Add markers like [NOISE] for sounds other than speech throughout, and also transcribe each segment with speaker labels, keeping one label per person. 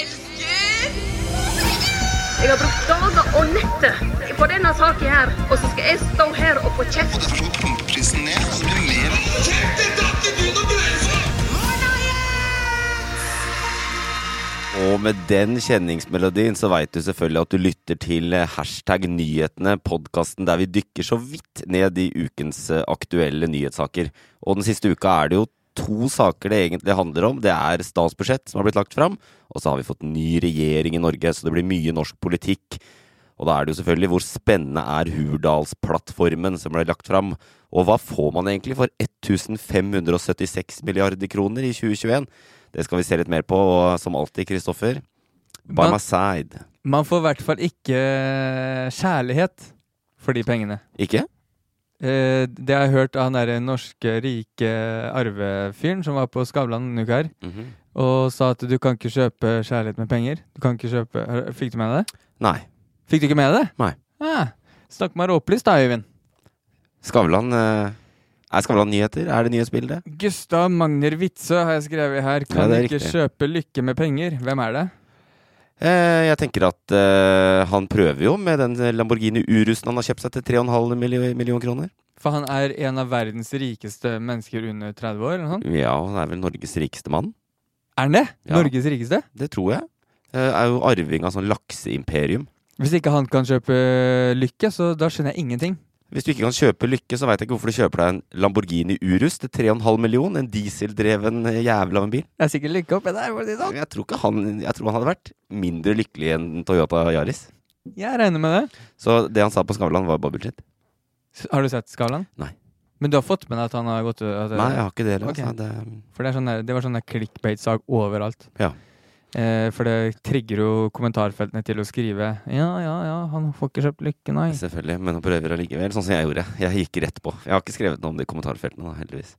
Speaker 1: elsker
Speaker 2: Jeg har brukt dager og netter på denne saken her, og så skal jeg stå her og få kjeft.
Speaker 3: Derfor skal vi pumpe prisen ned. Så blir det mer.
Speaker 1: Kjeft, det drakk ikke du noe grenser!
Speaker 4: Og med den kjenningsmelodien så veit du selvfølgelig at du lytter til eh, hashtag nyhetene, podkasten der vi dykker så vidt ned i ukens eh, aktuelle nyhetssaker. Og den siste uka er det jo to saker det egentlig handler om. Det er statsbudsjett som har blitt lagt fram, og så har vi fått ny regjering i Norge, så det blir mye norsk politikk. Og da er det jo selvfølgelig hvor spennende er Hurdalsplattformen som ble lagt fram. Og hva får man egentlig for 1576 milliarder kroner i 2021? Det skal vi se litt mer på, og som alltid, Kristoffer. By
Speaker 5: Man-
Speaker 4: my side.
Speaker 5: Man får i hvert fall ikke eh, kjærlighet for de pengene.
Speaker 4: Ikke?
Speaker 5: Eh, Det har jeg hørt av han derre norske rike arvefyren som var på Skavlan denne uka her,
Speaker 4: Mhm.
Speaker 5: og sa at du kan ikke kjøpe kjærlighet med penger. Du kan ikke kjøpe Har- Fikk du med deg det?
Speaker 4: Nei.
Speaker 5: Fikk du ikke med deg det?
Speaker 4: Nei.
Speaker 5: Ah, snakk meg råplyst da, Øyvind.
Speaker 4: Skavlan eh, Er Skavlan nyheter? Er det nyhetsbildet?
Speaker 5: Gustav Magner Witzøe har jeg skrevet her. Kan
Speaker 4: det er
Speaker 5: ikke
Speaker 4: riktig.
Speaker 5: kjøpe lykke med penger. Hvem er det?
Speaker 4: Eh, jeg tenker at eh, han prøver jo med den Lamborghini Urusen han har kjøpt seg til 3,5 million, million kroner.
Speaker 5: For han er en av verdens rikeste mennesker under 30 år. eller noe sånt.
Speaker 4: Ja, han er vel Norges rikeste mann.
Speaker 5: Er han det?
Speaker 4: Ja.
Speaker 5: Norges rikeste?
Speaker 4: Det tror jeg. Eh, er jo arving av sånn lakseimperium.
Speaker 5: Hvis ikke han kan kjøpe eh, lykke, så da skjønner jeg ingenting.
Speaker 4: Hvis du ikke kan kjøpe lykke, så veit jeg ikke hvorfor du kjøper deg en Lamborghini Urus til 3,5 million, en dieseldreven eh, jævel av en bil.
Speaker 5: Det er sikkert lykke oppi der. for å si det sånn.
Speaker 4: Jeg tror, ikke han, jeg tror han hadde vært mindre lykkelig enn Toyota Yaris.
Speaker 5: Jeg regner med det.
Speaker 4: Så det han sa på Skavlan, var bare bullshit.
Speaker 5: S- Har du sett skalaen?
Speaker 4: Nei.
Speaker 5: Men du har fått med deg at han har gått eh, at,
Speaker 4: Nei, jeg har ikke det heller.
Speaker 5: Ok.
Speaker 4: altså. Det-
Speaker 5: For det, er sånn der, det var sånn der clickbait-sag overalt.
Speaker 4: Ja.
Speaker 5: Eh, for det trigger jo kommentarfeltene til å skrive Ja, ja, ja, han får ikke kjøpt lykke, nei.
Speaker 4: Selvfølgelig, men han prøver allikevel, sånn som jeg gjorde. Jeg gikk rett på. Jeg har ikke skrevet noe om det i kommentarfeltene, da, heldigvis.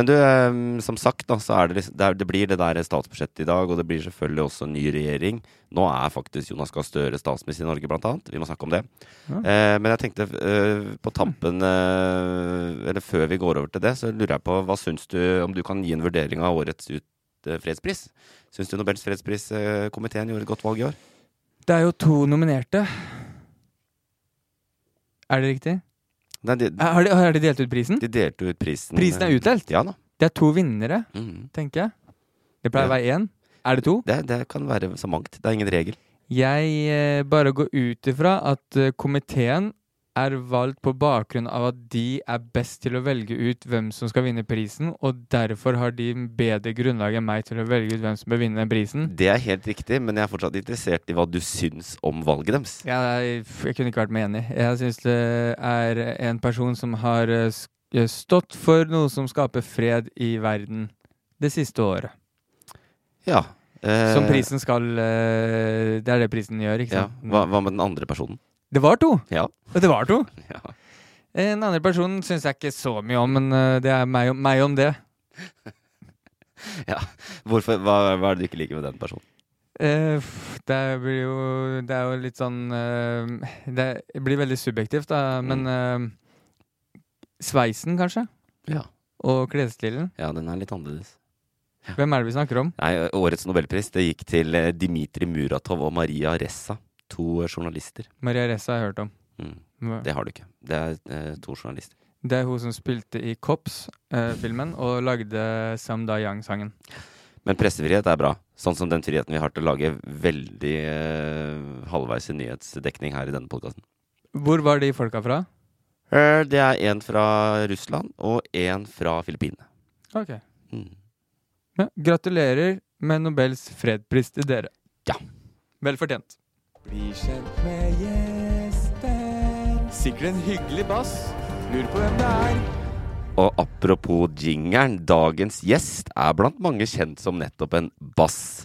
Speaker 4: Men du, eh, som sagt, da, så er det, liksom- det, er- det blir det der statsbudsjettet i dag, og det blir selvfølgelig også en ny regjering. Nå er faktisk Jonas Gahr Støre statsminister i Norge, blant annet. Vi må snakke om det.
Speaker 5: Ja.
Speaker 4: Eh, men jeg tenkte eh, på tampen, eh, eller før vi går over til det, så lurer jeg på hva syns du om du kan gi en vurdering av årets ut, eh, fredspris? Syns du Nobels fredspriskomiteen gjorde et godt valg i år?
Speaker 5: Det er jo to nominerte. Er det riktig?
Speaker 4: Nei, de,
Speaker 5: Er- Har de, har de delt ut prisen?
Speaker 4: de delte ut prisen eh,
Speaker 5: Prisen er utdelt?
Speaker 4: Ja da.
Speaker 5: Det er to vinnere,
Speaker 4: Mhm.
Speaker 5: tenker jeg. Det pleier å
Speaker 4: Ja.
Speaker 5: være én. Er det to?
Speaker 4: Det, det kan være så mangt. Det er ingen regel.
Speaker 5: Jeg eh, bare går ut ifra at eh, komiteen er valgt på bakgrunn av at de er best til å velge ut hvem som skal vinne prisen, og derfor har de bedre grunnlag enn meg til å velge ut hvem som bør vinne den prisen.
Speaker 4: Det er helt riktig, men jeg er fortsatt interessert i hva du syns om valget deres.
Speaker 5: Jeg, jeg kunne ikke vært mer enig. Jeg syns det er en person som har eh, sk- eh, stått for noe som skaper fred i verden det siste året.
Speaker 4: Ja. eh,
Speaker 5: Som prisen skal eh, Det er det prisen gjør, ikke
Speaker 4: Ja.
Speaker 5: sant?
Speaker 4: Hva, hva med den andre personen? [LAUGHS]
Speaker 5: Det var to!
Speaker 4: Ja.
Speaker 5: Det var to!
Speaker 4: ja.
Speaker 5: En andre person syns jeg ikke så mye om, men eh, det er meg om, meg om det.
Speaker 4: Hvorfor, hva, hva er det du ikke liker med den personen?
Speaker 5: Eh, f- det blir jo Det er jo litt sånn eh, Det blir veldig subjektivt, da, men
Speaker 6: Mm.
Speaker 5: eh, Sveisen, kanskje?
Speaker 4: Ja.
Speaker 5: Og klesstilen.
Speaker 4: ja, den er litt annerledes.
Speaker 5: Hvem er det vi snakker om?
Speaker 4: Nei, Årets nobelpris det gikk til eh, Dmitrij Muratov og Maria Ressa. To eh, journalister.
Speaker 5: Maria Ressa har jeg hørt om.
Speaker 4: Mm.
Speaker 5: Hva-
Speaker 4: Det har du ikke. Det er eh, to journalister.
Speaker 6: Det er hun som spilte i
Speaker 5: eh,
Speaker 6: Cops-filmen og lagde Sam Da Yang-sangen.
Speaker 4: Men pressefrihet er bra. Sånn som den friheten vi har til å lage veldig eh, halvveis i nyhetsdekning her i denne podkasten.
Speaker 6: Hvor var de folka fra?
Speaker 4: Eh, Det er en fra Russland og en fra Filippinene.
Speaker 6: Ok.
Speaker 4: Mm.
Speaker 6: Ja, gratulerer med Nobels fredspris til dere.
Speaker 4: Ja.
Speaker 6: Vel fortjent.
Speaker 5: Bli kjent med gjesten. Sikkert en hyggelig bass. Lurer på hvem det er.
Speaker 4: Og apropos jingeren, dagens gjest er blant mange kjent som nettopp en bass.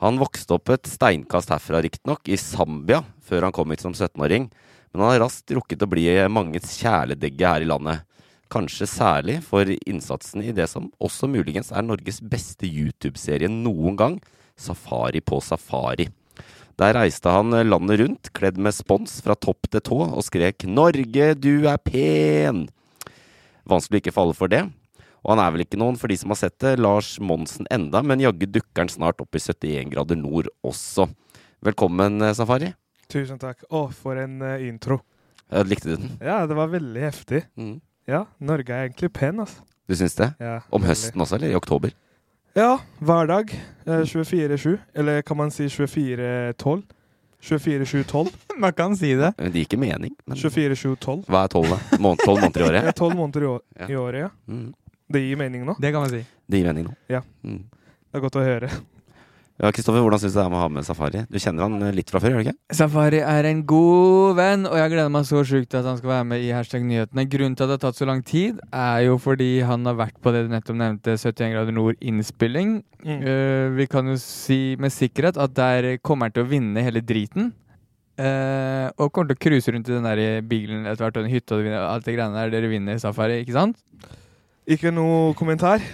Speaker 4: Han vokste opp et steinkast herfra, riktignok, i Zambia, før han kom hit som 17-åring. Men han har raskt rukket å bli manges kjæledegge her i landet. Kanskje særlig for innsatsen i det som også muligens er Norges beste YouTube-serie noen gang, Safari på safari. Der reiste han landet rundt, kledd med spons fra topp til tå, og skrek 'Norge, du er pen'! Vanskelig å ikke falle for det. Og han er vel ikke noen, for de som har sett det, Lars Monsen enda, men jaggu dukker han snart opp i 71 grader nord også. Velkommen, eh, Safari.
Speaker 5: Tusen takk. Å, for en eh, intro.
Speaker 4: Eh, Likte du den?
Speaker 5: Ja, det var veldig heftig.
Speaker 4: Mm.
Speaker 5: Ja, Norge er egentlig pen, altså.
Speaker 4: Du syns det?
Speaker 5: Ja,
Speaker 4: Om
Speaker 5: veldig.
Speaker 4: høsten også, eller i oktober?
Speaker 5: Ja, hver dag. eh, 24-7. Eller kan man si 24-12? 24-7-12.
Speaker 6: [LAUGHS] Man kan si det.
Speaker 4: Men Det gir ikke mening. Men
Speaker 5: 24-7-12.
Speaker 4: hva er tolv, da? Måned, tolv måneder i året?
Speaker 5: 12 måneder i, år,
Speaker 4: Ja.
Speaker 5: i året, [LAUGHS] ja.
Speaker 4: Mm.
Speaker 5: Det gir mening nå.
Speaker 6: Det kan man si.
Speaker 4: Det gir mening nå.
Speaker 5: Ja.
Speaker 4: Mm.
Speaker 5: Det er godt å høre.
Speaker 4: Ja, Kristoffer, hvordan syns du det er med å ha med Safari? Du kjenner han eh, litt fra før, gjør du ikke?
Speaker 6: Safari er en god venn, og jeg gleder meg så sjukt til at han skal være med i Hashtag nyhetene. Grunnen til at det har tatt så lang tid, er jo fordi han har vært på det du nettopp nevnte, 71 grader nord-innspilling.
Speaker 5: Mm.
Speaker 6: Eh, vi kan jo si med sikkerhet at der kommer han til å vinne hele driten. Eh, og kommer til å cruise rundt i den der bilen etter hvert, og den hytta og alt det greiene der. Dere vinner safari, ikke sant?
Speaker 5: Ikke noe kommentar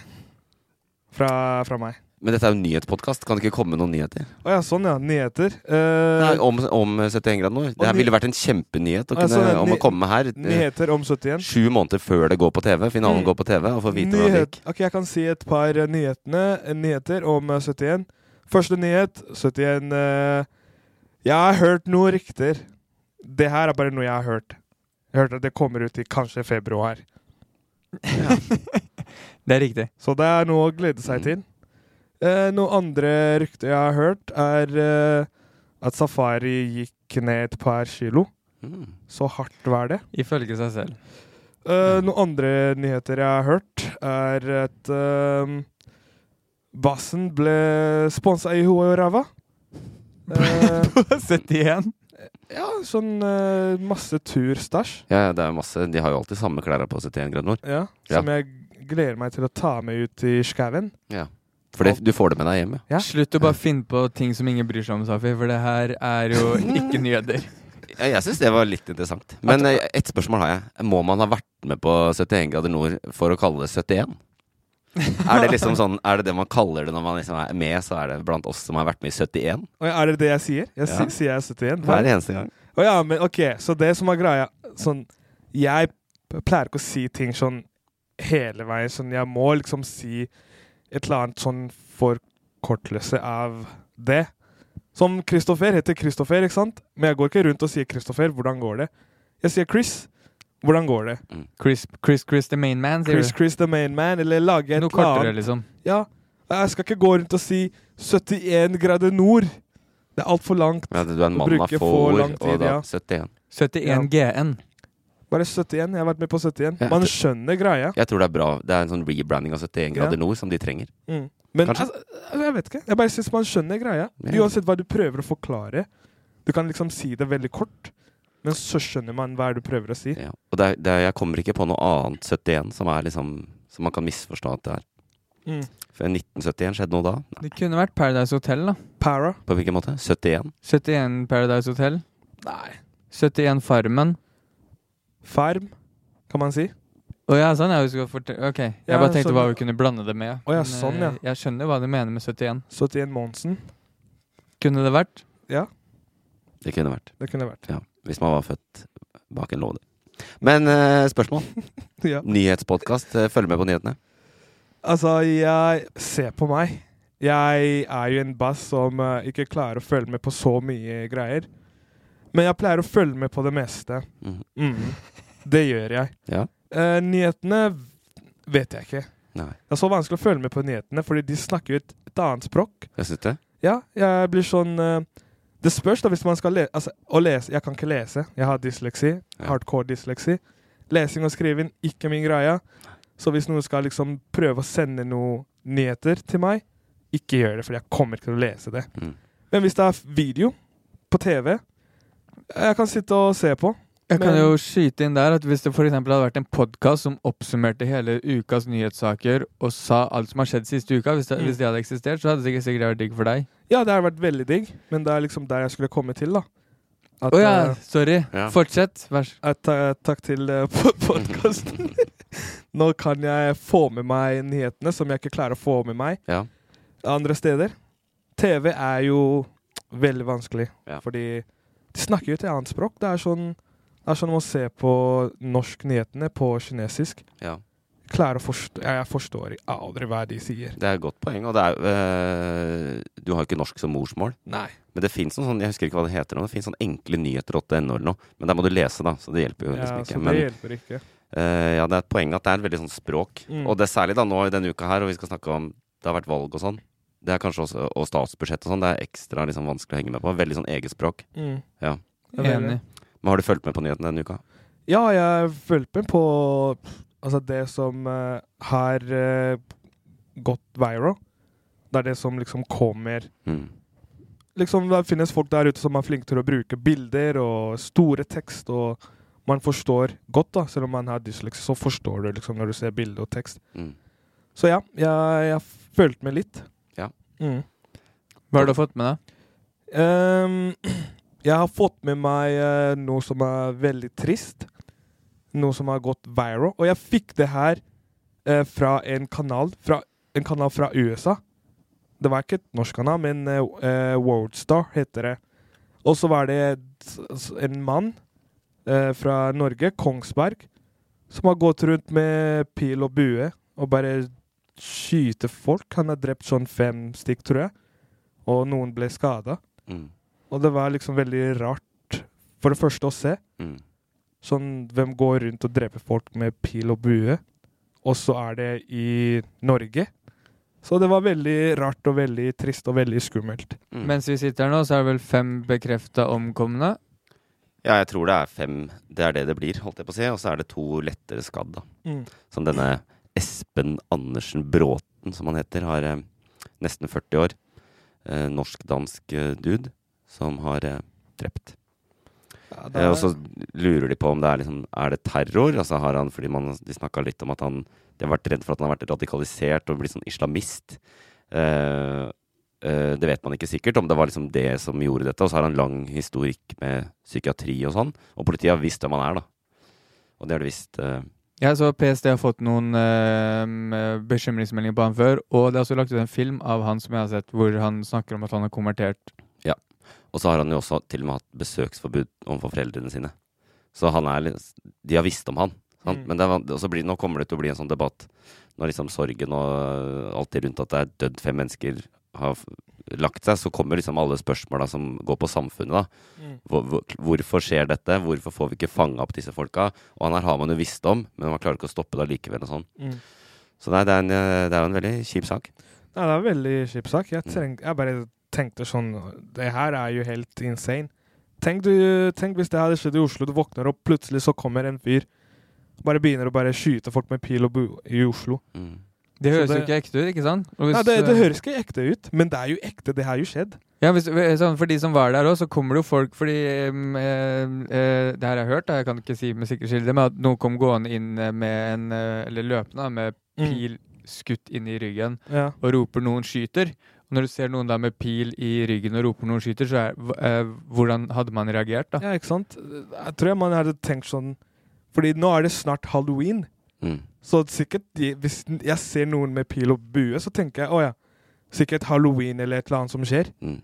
Speaker 5: fra, fra meg.
Speaker 4: Men dette er jo en nyhetspodkast, kan det ikke komme noen nyheter?
Speaker 5: Å ja, sånn ja. Nyheter. Eh,
Speaker 4: Nei, om, om 71 grader nord. Det her
Speaker 5: ny-
Speaker 4: ville vært en kjempenyhet å
Speaker 5: Ja,
Speaker 4: kunne,
Speaker 5: sånn en
Speaker 4: om å
Speaker 5: ny-
Speaker 4: komme her. eh,
Speaker 5: nyheter om 71.
Speaker 4: Sju måneder før det går på TV, finalen
Speaker 5: Mm.
Speaker 4: går på TV, og få vite hvordan det gikk.
Speaker 5: Ok, Jeg kan si et par eh, nyhetene, eh, nyheter om eh, 71. Første nyhet 71 eh, Jeg har hørt noen rykter. Det her er bare noe jeg har hørt. Jeg hørte at det kommer ut i kanskje februar.
Speaker 6: [LAUGHS] Det er riktig. Mm.
Speaker 5: Så det er noe å glede seg til. Eh, noen andre rykter jeg har hørt, er eh, at Safari gikk ned et par kilo.
Speaker 4: Mm.
Speaker 5: Så hardt var det.
Speaker 6: Ifølge seg selv.
Speaker 5: Eh, noen andre nyheter jeg har hørt, er at eh, bassen ble sponsa i hodet og ræva. Eh,
Speaker 6: 71.
Speaker 5: ja, sånn eh, masse turstæsj
Speaker 4: Ja, ja, det er jo masse. De har jo alltid samme klærne på 71 grader nord.
Speaker 5: ja,
Speaker 4: Ja.
Speaker 5: som jeg gleder meg til å ta med ut i skauen.
Speaker 4: For det, du får det med deg hjem. ja.
Speaker 5: Ja.
Speaker 6: Slutt å bare finne på ting som ingen bryr seg om, Safi, for det her er jo
Speaker 5: [LAUGHS]
Speaker 6: ikke nyheter.
Speaker 4: Ja, jeg syns det var litt interessant. Men eh, ett spørsmål har jeg. Må man ha vært med på 71 grader nord for å kalle det
Speaker 5: [LAUGHS]
Speaker 4: 71? Er det liksom sånn Er det det man kaller det når man liksom er med, så er det blant oss som har vært med i 71?
Speaker 5: Og er det det jeg sier? Jeg
Speaker 4: Ja.
Speaker 5: si, sier jeg 71.
Speaker 4: Hver eneste gang.
Speaker 5: Å ja, men OK, så det som er greia Sånn, jeg p- pleier ikke å si ting sånn hele veien. Sånn, jeg må liksom si et eller annet sånn forkortelse av det. Som Kristoffer heter Kristoffer, ikke sant? Men jeg går ikke rundt og sier Kristoffer, hvordan går det? Jeg sier Chris, hvordan går det?
Speaker 6: Mm. Chris, Chris, Chris the main man, sier
Speaker 5: Chris,
Speaker 6: du.
Speaker 5: Chris the main man, eller lager et
Speaker 6: Noe
Speaker 5: eller
Speaker 6: kortere,
Speaker 5: annet.
Speaker 6: liksom.
Speaker 5: Ja, jeg skal ikke gå rundt og si 71 grader nord. Det er altfor langt.
Speaker 4: Ja, du er en
Speaker 5: Å
Speaker 4: mann av
Speaker 5: bruke
Speaker 4: få
Speaker 5: for
Speaker 4: ord,
Speaker 5: lang tid,
Speaker 4: og da
Speaker 5: ja.
Speaker 4: 71.
Speaker 6: 71 GN.
Speaker 5: Bare 71. Jeg har vært med på 71.
Speaker 4: Ja,
Speaker 5: Man
Speaker 4: det-
Speaker 5: skjønner greia.
Speaker 4: Jeg tror det er bra. Det er en sånn rebranding av 71
Speaker 5: Ja.
Speaker 4: grader nord som de trenger.
Speaker 5: Mm. Men
Speaker 4: Kanskje?
Speaker 5: altså, altså, jeg vet ikke. Jeg bare syns man skjønner greia.
Speaker 4: Ja.
Speaker 5: Uansett hva du prøver å forklare. Du kan liksom si det veldig kort, men så skjønner man hva du prøver å si.
Speaker 4: Ja. Og det er, det er, jeg kommer ikke på noe annet 71 som er liksom Som man kan misforstå at det er.
Speaker 5: Mm.
Speaker 4: For 1971 skjedde noe da? Nei.
Speaker 6: Det kunne vært Paradise Hotel, da.
Speaker 5: Para.
Speaker 4: På hvilken måte? 71?
Speaker 6: 71 Paradise Hotel. Nei. 71 Farmen.
Speaker 5: Farm, kan man si.
Speaker 6: Å ja, sånn. Jeg husker å fortelle Ok, jeg
Speaker 5: Ja,
Speaker 6: bare tenkte
Speaker 5: sånn,
Speaker 6: hva
Speaker 5: ja.
Speaker 6: vi kunne blande det med.
Speaker 5: Å ja,
Speaker 6: Men,
Speaker 5: sånn,
Speaker 6: eh,
Speaker 5: ja.
Speaker 6: Jeg skjønner hva du mener med 71.
Speaker 5: 71 Monsen.
Speaker 6: Kunne det vært?
Speaker 4: Det kunne vært.
Speaker 5: Det kunne vært.
Speaker 4: Ja. Hvis man var født bak en låve. Men eh, spørsmål?
Speaker 7: [LAUGHS]
Speaker 5: Ja.
Speaker 4: Nyhetspodkast. eh, Følg med på nyhetene.
Speaker 5: Altså, jeg Se på meg. Jeg er jo en bass som eh, ikke klarer å følge med på så mye greier. Men jeg pleier å følge med på det meste.
Speaker 4: Mhm.
Speaker 5: Mm. Det gjør jeg.
Speaker 4: Ja.
Speaker 5: Eh, nyhetene vet jeg ikke.
Speaker 4: Nei.
Speaker 5: Det er så vanskelig å følge med på nyhetene, fordi de snakker jo et, et annet språk.
Speaker 4: Jeg synes det.
Speaker 5: Ja, jeg blir sånn eh, Det spørs da hvis man skal lese, altså, å lese. Jeg kan ikke lese. Jeg har dysleksi. Hardcore dysleksi. Lesing og skriving, ikke min greie. Så hvis noen skal liksom prøve å sende noen nyheter til meg, ikke gjør det, for jeg kommer ikke til å lese det. Men hvis det er video på TV, jeg kan sitte og se på.
Speaker 7: Jeg kan
Speaker 5: Men-
Speaker 7: jo skyte inn der at hvis det for eksempel hadde vært en podkast som oppsummerte hele ukas nyhetssaker og sa alt som har skjedd siste uka, hvis det,
Speaker 5: Mm.
Speaker 7: hvis det hadde eksistert, så hadde det sikkert sikkert vært digg for deg.
Speaker 5: Ja, det har vært veldig digg, men det er liksom der jeg skulle komme til, da. At,
Speaker 7: Å ja,
Speaker 5: eh,
Speaker 7: sorry.
Speaker 5: Ja.
Speaker 7: Fortsett. Vær så
Speaker 5: Eh, ta- takk til eh, [LAUGHS] pod- podkasten. [LAUGHS] Nå kan jeg få med meg nyhetene som jeg ikke klarer å få med meg
Speaker 4: Ja.
Speaker 5: andre steder. TV er jo veldig vanskelig, fordi de snakker jo et annet språk. Det er sånn, det er sånn å se på norsknyhetene på kinesisk.
Speaker 4: Ja.
Speaker 5: Klarer å forstå ja, Jeg forstår aldri hva de sier.
Speaker 4: Det er et godt poeng. Og det er, øh, du har jo ikke norsk som morsmål.
Speaker 5: Nei.
Speaker 4: Men det fins noen sånn, jeg husker ikke hva det heter, nå, det finnes sånn enkle nyheter.no eller noe. Men der må du lese, da, så det hjelper jo
Speaker 5: Ja,
Speaker 4: liksom ikke.
Speaker 5: så det
Speaker 4: Men,
Speaker 5: hjelper ikke.
Speaker 4: øh, ja, det er et poeng at det er et veldig sånn språk.
Speaker 5: Mm.
Speaker 4: Og det er særlig da nå i denne uka her, og vi skal snakke om det har vært valg og sånn. Det er kanskje også, Og statsbudsjett og sånn. Det er ekstra liksom, vanskelig å henge med på. Veldig sånn eget språk.
Speaker 5: Mm.
Speaker 4: Ja.
Speaker 5: Jeg er enig.
Speaker 4: Men har du fulgt med på nyhetene denne uka?
Speaker 5: Ja, jeg fulgte med på altså det som eh, har eh, gått viral. Det er det som liksom kommer
Speaker 4: Mm.
Speaker 5: Liksom Det finnes folk der ute som er flinke til å bruke bilder og store tekst, og man forstår godt, da selv om man har dysleksi, så forstår du liksom når du ser bilde og tekst.
Speaker 4: Mm.
Speaker 5: Så ja, jeg, jeg fulgte med litt.
Speaker 4: Ja.
Speaker 5: Mm.
Speaker 7: Hva har du fått med deg?
Speaker 5: Ehm, jeg har fått med meg eh, noe som er veldig trist. Noe som har gått viral. Og jeg fikk det her eh, fra en kanal fra, En kanal fra USA. Det var ikke et norsk kanal, men eh, eh, Worldstar heter det. Og så var det s- s- en mann eh, fra Norge, Kongsberg, som har gått rundt med pil og bue og bare skyter folk. Han har drept sånn fem stykk, tror jeg. Og noen ble skada.
Speaker 4: Mm.
Speaker 5: Og det var liksom veldig rart, for det første å se.
Speaker 4: Mm.
Speaker 5: Sånn, hvem går rundt og dreper folk med pil og bue? Og så er det i Norge. Så det var veldig rart og veldig trist og veldig skummelt.
Speaker 7: Mm.
Speaker 4: mm.
Speaker 7: Mens vi sitter her nå, så er det vel fem bekrefta omkomne.
Speaker 4: Ja, jeg tror det er fem. Det er det det blir, holdt jeg på å si. Og så er det to lettere skadd, da.
Speaker 5: Mm.
Speaker 4: Som denne Espen Andersen Bråten, som han heter, har eh, nesten 40 år. Eh, Norsk-dansk eh, dude som har eh, drept.
Speaker 5: det
Speaker 4: eh,
Speaker 5: er-
Speaker 4: og så lurer de på om det er, liksom, er det terror. Altså har han, fordi man, De snakka litt om at han De har vært redd for at han har vært radikalisert og blitt sånn islamist. Eh, eh, det vet man ikke sikkert, om det var liksom det som gjorde dette. Og så har han lang historikk med psykiatri og sånn. Og politiet har visst hvem han er, da. Og det har de visst. eh,
Speaker 7: Jeg så PST har fått noen eh, bekymringsmeldinger på han før, og det er også lagt ut en film av han som jeg har sett, hvor han snakker om at han har konvertert.
Speaker 4: Ja. Og så har han jo også til og med hatt besøksforbud overfor foreldrene sine. Så han er litt De har visst om han. sant?
Speaker 5: Mm.
Speaker 4: Men det er, van- og så blir, nå kommer det til å bli en sånn debatt når liksom sorgen og alt det rundt at det er dødd fem mennesker har f- lagt seg, så kommer liksom alle spørsmåla som går på samfunnet, da.
Speaker 5: Mm.
Speaker 4: Hvor, hvor, hvorfor skjer dette? Hvorfor får vi ikke fanga opp disse folka? Og han her har man jo visst om, men man klarer ikke å stoppe det allikevel og sånn.
Speaker 5: Mm.
Speaker 4: Så nei, det er en, eh, det er jo en veldig kjip sak.
Speaker 5: Nei, det er en veldig kjip sak. Jeg, treng, jeg bare tenkte sånn Det her er jo helt insane. Tenk, du, tenk hvis det hadde skjedd i Oslo. Du våkner opp, plutselig så kommer en fyr. Bare begynner å bare skyte folk med pil og bue i Oslo.
Speaker 4: Mm.
Speaker 7: Det
Speaker 5: Så
Speaker 7: høres jo ikke ekte ut, ikke sant? Og
Speaker 5: Nei,
Speaker 7: hvis,
Speaker 5: det, det
Speaker 7: eh,
Speaker 5: høres ikke ekte ut, men det er jo ekte. Det har jo skjedd.
Speaker 7: Ja, hvis, sånn, For de som var der òg, så kommer det jo folk Fordi em, eh, eh, det her har jeg hørt, da, jeg kan ikke si med sikker kilde, men at noen kom gående inn eh, med en eh, Eller løpende da, med pil skutt inn i ryggen
Speaker 5: Mm. Ja.
Speaker 7: og roper 'noen skyter'. Og når du ser noen da med pil i ryggen og roper 'noen skyter', så er hv- eh, Hvordan hadde man reagert, da?
Speaker 5: Ja, ikke sant? Jeg tror man hadde tenkt sånn Fordi nå er det snart halloween.
Speaker 4: Mm.
Speaker 5: Så sikkert de, Hvis jeg ser noen med pil og bue, så tenker jeg å ja, sikkert halloween eller et eller annet som skjer.
Speaker 4: Mm.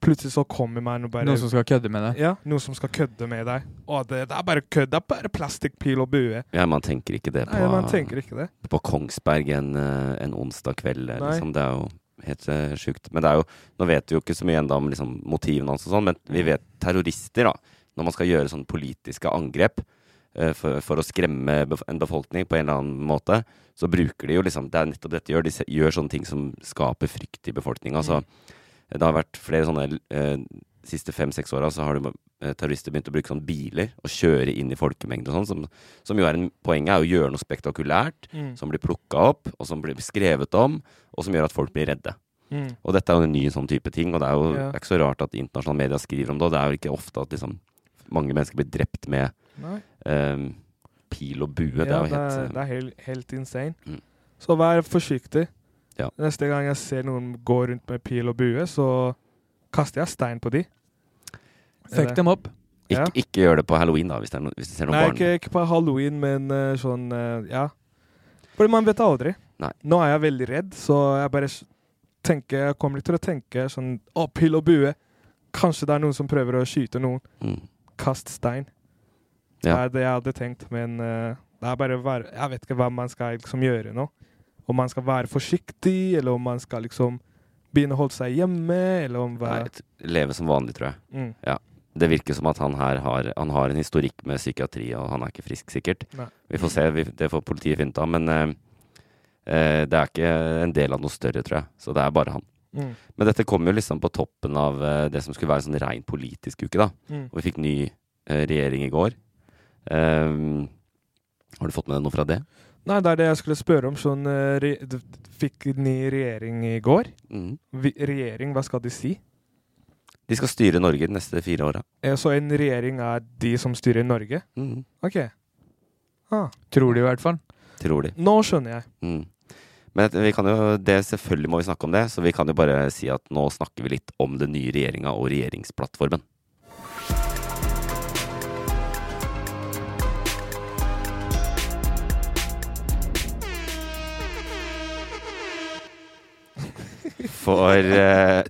Speaker 5: Plutselig så kommer man og bare
Speaker 7: Noen som skal kødde med deg.
Speaker 5: Ja, noen som skal kødde med deg. Å, det, det er bare kødd. Det er bare plastikkpil og bue.
Speaker 4: Ja, man tenker ikke det på
Speaker 5: Nei, man tenker ikke det.
Speaker 4: på Kongsberg en, eh, en onsdag kveld. eh,
Speaker 5: Nei.
Speaker 4: Liksom. Det er jo helt eh, sjukt. Men det er jo, nå vet vi jo ikke så mye enda om liksom, motivene hans og sånn, men vi vet terrorister, da. Når man skal gjøre sånne politiske angrep, eh, for, for å skremme bef- en befolkning på en eller annen måte, så bruker de jo liksom Det er nettopp dette de gjør. De se- gjør sånne ting som skaper frykt i befolkninga. Så det har vært flere sånne eh, siste fem-seks åra så har det, eh, terrorister begynt å bruke sånne biler og kjøre inn i folkemengder og sånn. Som, som jo er en, poenget er å gjøre noe spektakulært
Speaker 8: Mm.
Speaker 4: som blir plukka opp, og som blir skrevet om, og som gjør at folk blir redde.
Speaker 8: Mm.
Speaker 4: Og dette er jo en ny sånn type ting, og det er jo
Speaker 8: Ja.
Speaker 4: det er ikke så rart at internasjonale medier skriver om det. Og det er jo ikke ofte at liksom, mange mennesker blir drept med
Speaker 8: Nei.
Speaker 4: eh, pil og bue. det
Speaker 8: Ja,
Speaker 4: er jo
Speaker 8: det
Speaker 4: helt
Speaker 8: er,
Speaker 4: eh,
Speaker 8: det er helt, helt insane.
Speaker 4: Mm.
Speaker 8: Så vær forsiktig.
Speaker 4: Ja.
Speaker 8: Neste gang jeg ser noen gå rundt med pil og bue, så kaster jeg stein på de.
Speaker 5: Fuck dem opp.
Speaker 4: ikke,
Speaker 8: Ja.
Speaker 4: ikke gjør det på halloween, da, hvis, det er no, hvis du ser noen
Speaker 8: Nei,
Speaker 4: barn.
Speaker 8: ikke, ikke på halloween, men eh, sånn eh, Ja. Fordi man vet aldri.
Speaker 4: Nei.
Speaker 8: Nå er jeg veldig redd, så jeg bare s- tenker, jeg kommer litt til å tenke sånn Å, pil og bue. Kanskje det er noen som prøver å skyte noen.
Speaker 4: Mm.
Speaker 8: Kast stein. Det
Speaker 4: Ja.
Speaker 8: er det jeg hadde tenkt, men eh, det er bare å være, jeg vet ikke hva man skal liksom gjøre nå. Om man skal være forsiktig, eller om man skal liksom begynne å holde seg hjemme, eller om hva
Speaker 4: Nei, t- leve som vanlig, tror jeg.
Speaker 8: mm.
Speaker 4: Det virker som at han her har, han har en historikk med psykiatri, og han er ikke frisk, sikkert.
Speaker 8: Nei.
Speaker 4: Vi får se, vi, det får politiet finne ut av. Men eh, eh, det er ikke en del av noe større, tror jeg. Så det er bare han.
Speaker 8: Mm.
Speaker 4: Men dette kom jo liksom på toppen av eh, det som skulle være en sånn rein politisk uke, da.
Speaker 8: Mm.
Speaker 4: Og vi fikk ny eh, regjering i går. Ehm, har du fått med deg noe fra det?
Speaker 8: Nei, det er det jeg skulle spørre om. Sånn, eh, re d- fikk ny regjering i går? Vi, regjering, hva skal de si?
Speaker 4: Mm. De skal styre Norge de neste fire åra.
Speaker 8: Eh, Så en regjering er de som styrer Norge?
Speaker 4: Mm.
Speaker 8: OK. Ah,
Speaker 5: Tror de i hvert fall.
Speaker 4: Tror de.
Speaker 8: nå skjønner jeg.
Speaker 4: Mm. Men at vi kan jo, det selvfølgelig må vi snakke om det, så vi kan jo bare si at nå snakker vi litt om den nye regjeringa og regjeringsplattformen. For eh,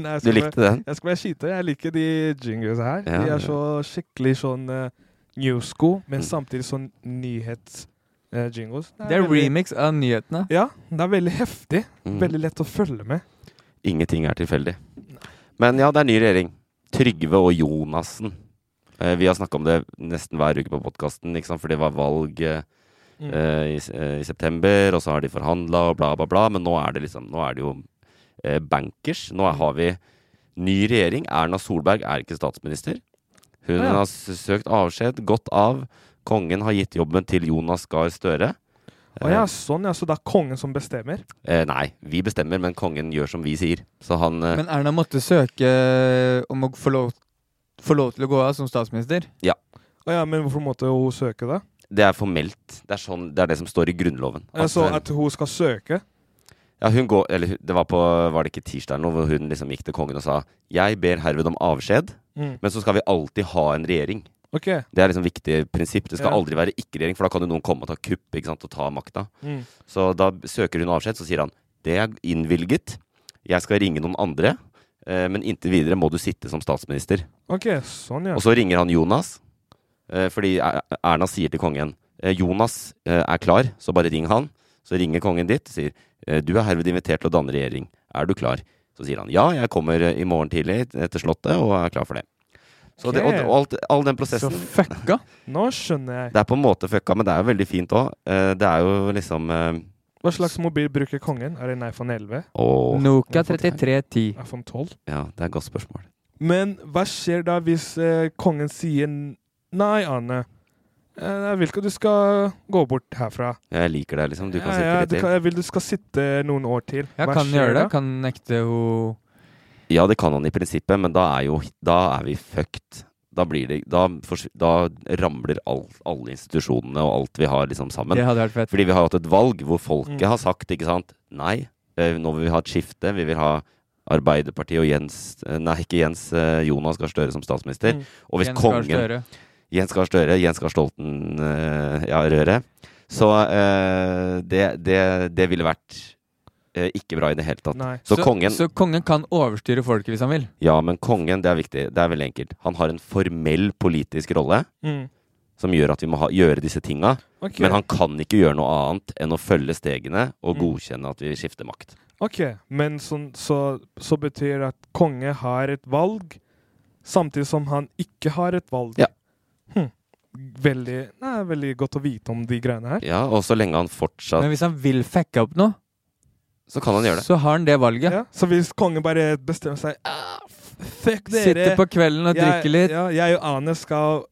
Speaker 8: Nei, jeg
Speaker 4: Du
Speaker 8: skal bare-
Speaker 4: likte den?
Speaker 8: Jeg skal bare skyte. Jeg liker de jingles her.
Speaker 4: Ja,
Speaker 8: de
Speaker 4: ja.
Speaker 8: er så skikkelig sånn uh, newsco, men
Speaker 4: Mm.
Speaker 8: samtidig sånn eh, nyhets-jingles.
Speaker 5: Det er remix av nyhetene.
Speaker 8: Ja, det er veldig heftig.
Speaker 4: Mm.
Speaker 8: Veldig lett å følge med.
Speaker 4: Ingenting er tilfeldig. Men ja, det er ny regjering. Trygve og Jonassen. Eh, vi har snakka om det nesten hver uke på podkasten, for det var valg eh,
Speaker 8: Mm.
Speaker 4: eh, i, s- eh, i september, og så har de forhandla og bla, bla, bla. Men nå er det liksom Nå er det jo eh, bankers. Nå er, har vi ny regjering. Erna Solberg er ikke statsminister. Hun
Speaker 8: Ja.
Speaker 4: har s- søkt avskjed, gått av. Kongen har gitt jobben til Jonas Gahr Støre.
Speaker 8: Å ja, sånn ja. Så det er kongen som bestemmer?
Speaker 4: Eh, nei, vi bestemmer, men kongen gjør som vi sier. Så han eh,
Speaker 5: Men Erna måtte søke eh, om å få lov, få lov til å gå av som statsminister.
Speaker 8: Å ja, men hvorfor måtte hun søke det?
Speaker 4: Det er formelt. Det er, sånn, det er det som står i Grunnloven.
Speaker 8: Jeg så
Speaker 4: eh,
Speaker 8: at hun skal søke.
Speaker 4: ja, hun går, eller hun- det var, på, var det ikke tirsdag eller noe, hvor hun liksom gikk til kongen og sa Jeg ber herved om avskjed,
Speaker 8: Mm.
Speaker 4: men så skal vi alltid ha en regjering.
Speaker 8: OK.
Speaker 4: Det er liksom viktig prinsipp. Det skal
Speaker 8: Ja.
Speaker 4: aldri være ikke-regjering, for da kan jo noen komme og ta kupp ikke sant, og ta makta.
Speaker 8: Mm.
Speaker 4: Så da søker hun avskjed, så sier han Det er innvilget. Jeg skal ringe noen andre. eh, Men inntil videre må du sitte som statsminister.
Speaker 8: OK, sånn ja.
Speaker 4: Og så ringer han Jonas, eh, fordi Er- Erna sier til kongen eh, Jonas eh, er klar, så bare ring han. Så ringer kongen dit og sier eh, du er herved invitert til å danne regjering. Er du klar? Så sier han ja, jeg kommer eh, i morgen tidlig eh, til Slottet og er klar for det. Så det, og,
Speaker 8: Ok.
Speaker 4: og alt, all den
Speaker 5: Så
Speaker 4: prosessen
Speaker 5: fucka!
Speaker 8: Nå skjønner jeg.
Speaker 4: Det er på en måte fucka, men det er jo veldig fint òg. Det er jo liksom eh,
Speaker 8: Hva slags mobil bruker kongen? Er det en iPhone 11?
Speaker 4: Åh,
Speaker 5: Nokia 3310.
Speaker 8: iPhone 12?
Speaker 4: Ja, det er et godt spørsmål.
Speaker 8: Men hva skjer da hvis eh, kongen sier n- Nei, Anne. Eh, Jeg vil ikke at du skal gå bort herfra.
Speaker 4: Jeg liker det, liksom. Du kan
Speaker 8: Ja,
Speaker 4: sitte
Speaker 8: ja,
Speaker 4: litt
Speaker 8: du
Speaker 4: til.
Speaker 8: kan, jeg vil du skal sitte noen år til.
Speaker 5: Ja,
Speaker 8: Hva
Speaker 5: kan
Speaker 8: skjer
Speaker 5: han gjøre det?
Speaker 8: da?
Speaker 5: Kan han nekte hun
Speaker 4: Ja, det kan han i prinsippet, men da er, jo, da er vi fucked. Da, blir det, da, forsv- da ramler all, alle institusjonene og alt vi har liksom sammen.
Speaker 5: Det hadde vært fett.
Speaker 4: Fordi vi har hatt et valg hvor folket
Speaker 8: Mm.
Speaker 4: har sagt ikke sant, nei, eh, nå vil vi ha et skifte. Vi vil ha Arbeiderpartiet og Jens eh, Nei, ikke Jens. eh, Jonas Gahr Støre som statsminister.
Speaker 8: Mm.
Speaker 4: Og hvis
Speaker 5: Jens Gahr
Speaker 4: kongen
Speaker 5: Støre.
Speaker 4: Jens Gahr Støre, Jens Gahr Stolten eh, ja, Røre. Så eh, det, det, det ville vært eh, ikke bra i det hele tatt.
Speaker 8: Nei.
Speaker 4: Så, kongen
Speaker 5: så kongen kan overstyre folket hvis han vil.
Speaker 4: Ja, men kongen, det er viktig. Det er veldig enkelt. Han har en formell politisk rolle
Speaker 8: Mm.
Speaker 4: som gjør at vi må ha, gjøre disse tinga.
Speaker 8: Ok,
Speaker 4: Men han kan ikke gjøre noe annet enn å følge stegene og
Speaker 8: Mm.
Speaker 4: godkjenne at vi skifter makt.
Speaker 8: ok. men sånn, så, så betyr det at konge har et valg, samtidig som han ikke har et valg.
Speaker 4: Ja.
Speaker 8: Hm. veldig, nei, veldig godt å vite om de greiene her.
Speaker 4: Ja, og så lenge han fortsatt
Speaker 5: Men hvis han vil fucke opp noe,
Speaker 4: Så kan han gjøre det.
Speaker 5: så har han det valget.
Speaker 8: Ja, så hvis kongen bare bestemmer seg ah, f- Fuck dere!
Speaker 5: Sitter på kvelden og drikker litt.
Speaker 8: Ja, jeg og Ane skal,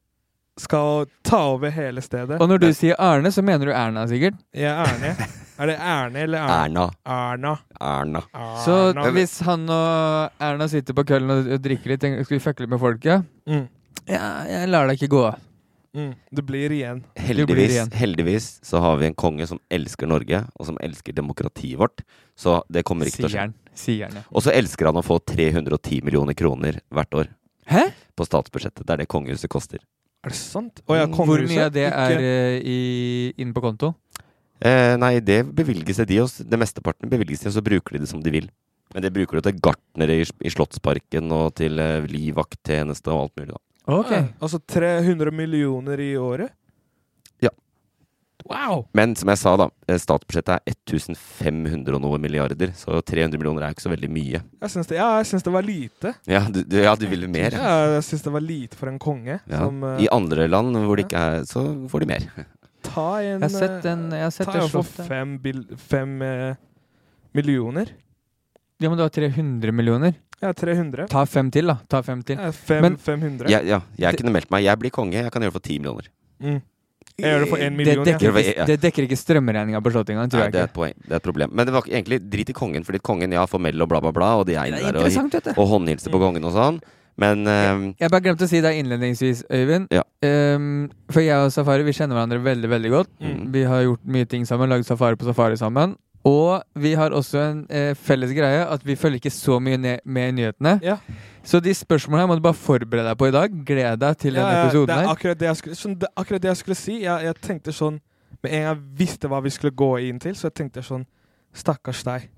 Speaker 8: skal ta over hele stedet.
Speaker 5: Og når du sier Arne, så mener du Erna, sikkert.
Speaker 8: Jeg er Erne. Er det Erne eller Erne?
Speaker 4: Erna.
Speaker 8: Erna.
Speaker 4: Erna.
Speaker 8: Erna.
Speaker 5: Så hvis han og Erna sitter på kvelden og og drikker litt, tenker, skal vi fucke litt med folket?
Speaker 8: Mm,
Speaker 5: Ja, jeg lar deg ikke gå av.
Speaker 8: mm, Det blir igjen.
Speaker 5: Det blir
Speaker 4: Heldigvis,
Speaker 5: igjen.
Speaker 4: heldigvis så har vi en konge som elsker Norge, og som elsker demokratiet vårt. Så det kommer ikke til å
Speaker 5: Sier
Speaker 4: skje.
Speaker 5: han. Sier han, ja.
Speaker 4: Og så elsker han å få 310 millioner kroner hvert år
Speaker 5: Hæ?
Speaker 4: på statsbudsjettet. Det er det kongehuset koster.
Speaker 8: Er det sant? Å ja,
Speaker 5: Mm, Hvor
Speaker 8: kongehuset.
Speaker 5: mye av det er
Speaker 8: Ikke-
Speaker 5: eh, i, inn på konto?
Speaker 4: Eh, nei, det bevilges det de oss. Det mesteparten bevilges de, og så bruker de det som de vil. Men det bruker du til gartnere i, i Slottsparken og til eh, livvakttjeneste og alt mulig. da.
Speaker 5: Ok.
Speaker 8: Ja, Altså 300 millioner i året?
Speaker 4: Ja.
Speaker 8: Wow!
Speaker 4: Men som jeg sa, da, eh, statsbudsjettet er 1500 og noe milliarder, så 300 millioner er jo ikke så veldig mye.
Speaker 8: Jeg syns det, ja, jeg syns det var lite.
Speaker 4: Ja, du, du, ja, du vil mer. Ja.
Speaker 8: Ja, jeg syns det var lite for en konge
Speaker 4: Ja.
Speaker 8: som eh,
Speaker 4: I andre land hvor det ikke er Så får de mer.
Speaker 8: Ta en
Speaker 5: Jeg har sett en Jeg har sett
Speaker 8: Ta
Speaker 5: det
Speaker 8: en for
Speaker 5: slottet.
Speaker 8: fem, bil, fem eh, millioner.
Speaker 5: Ja, men du har 300 millioner.
Speaker 8: Ja, 300.
Speaker 5: Ta fem til, da. Ta fem til.
Speaker 8: Ja, fem,
Speaker 5: Men-
Speaker 8: 500.
Speaker 4: Jeg, ja, jeg kunne meldt meg. Jeg blir konge. Jeg kan gjøre det for 10 millioner.
Speaker 8: Mm. Jeg gjør det for én
Speaker 5: Eh, Det
Speaker 8: million. jeg.
Speaker 5: dekker,
Speaker 4: ja.
Speaker 5: ikke, det dekker ikke strømregninga på slottet engang, tror
Speaker 4: Nei,
Speaker 5: jeg
Speaker 4: det er
Speaker 5: ikke.
Speaker 4: et poeng. Det er et problem. Men det var ikke- egentlig drit i kongen, fordi kongen ja, formell og bla, bla, bla, og de er
Speaker 5: Det
Speaker 4: inne
Speaker 5: er
Speaker 4: der og,
Speaker 5: interessant, vet du.
Speaker 4: og håndhilser på kongen og sånn. Men eh,
Speaker 5: Jeg bare glemte å si det innledningsvis, Øyvind.
Speaker 4: Ja.
Speaker 5: Ehm, for jeg og Safari vi kjenner hverandre veldig veldig godt.
Speaker 4: Mm.
Speaker 5: Vi har gjort mye ting sammen, lagd Safari på Safari sammen. Og vi har også en eh, felles greie at vi følger ikke så mye ne med i nyhetene.
Speaker 8: Ja.
Speaker 5: Så de spørsmålene her må du bare forberede deg på i dag. Gled deg til
Speaker 8: Ja,
Speaker 5: denne
Speaker 8: ja, det
Speaker 5: episoden
Speaker 8: er
Speaker 5: her.
Speaker 8: akkurat det jeg skulle, sånn, det, er akkurat det jeg skulle si. Jeg, jeg tenkte sånn Med en gang jeg visste hva vi skulle gå inn til, så jeg tenkte sånn Stakkars deg.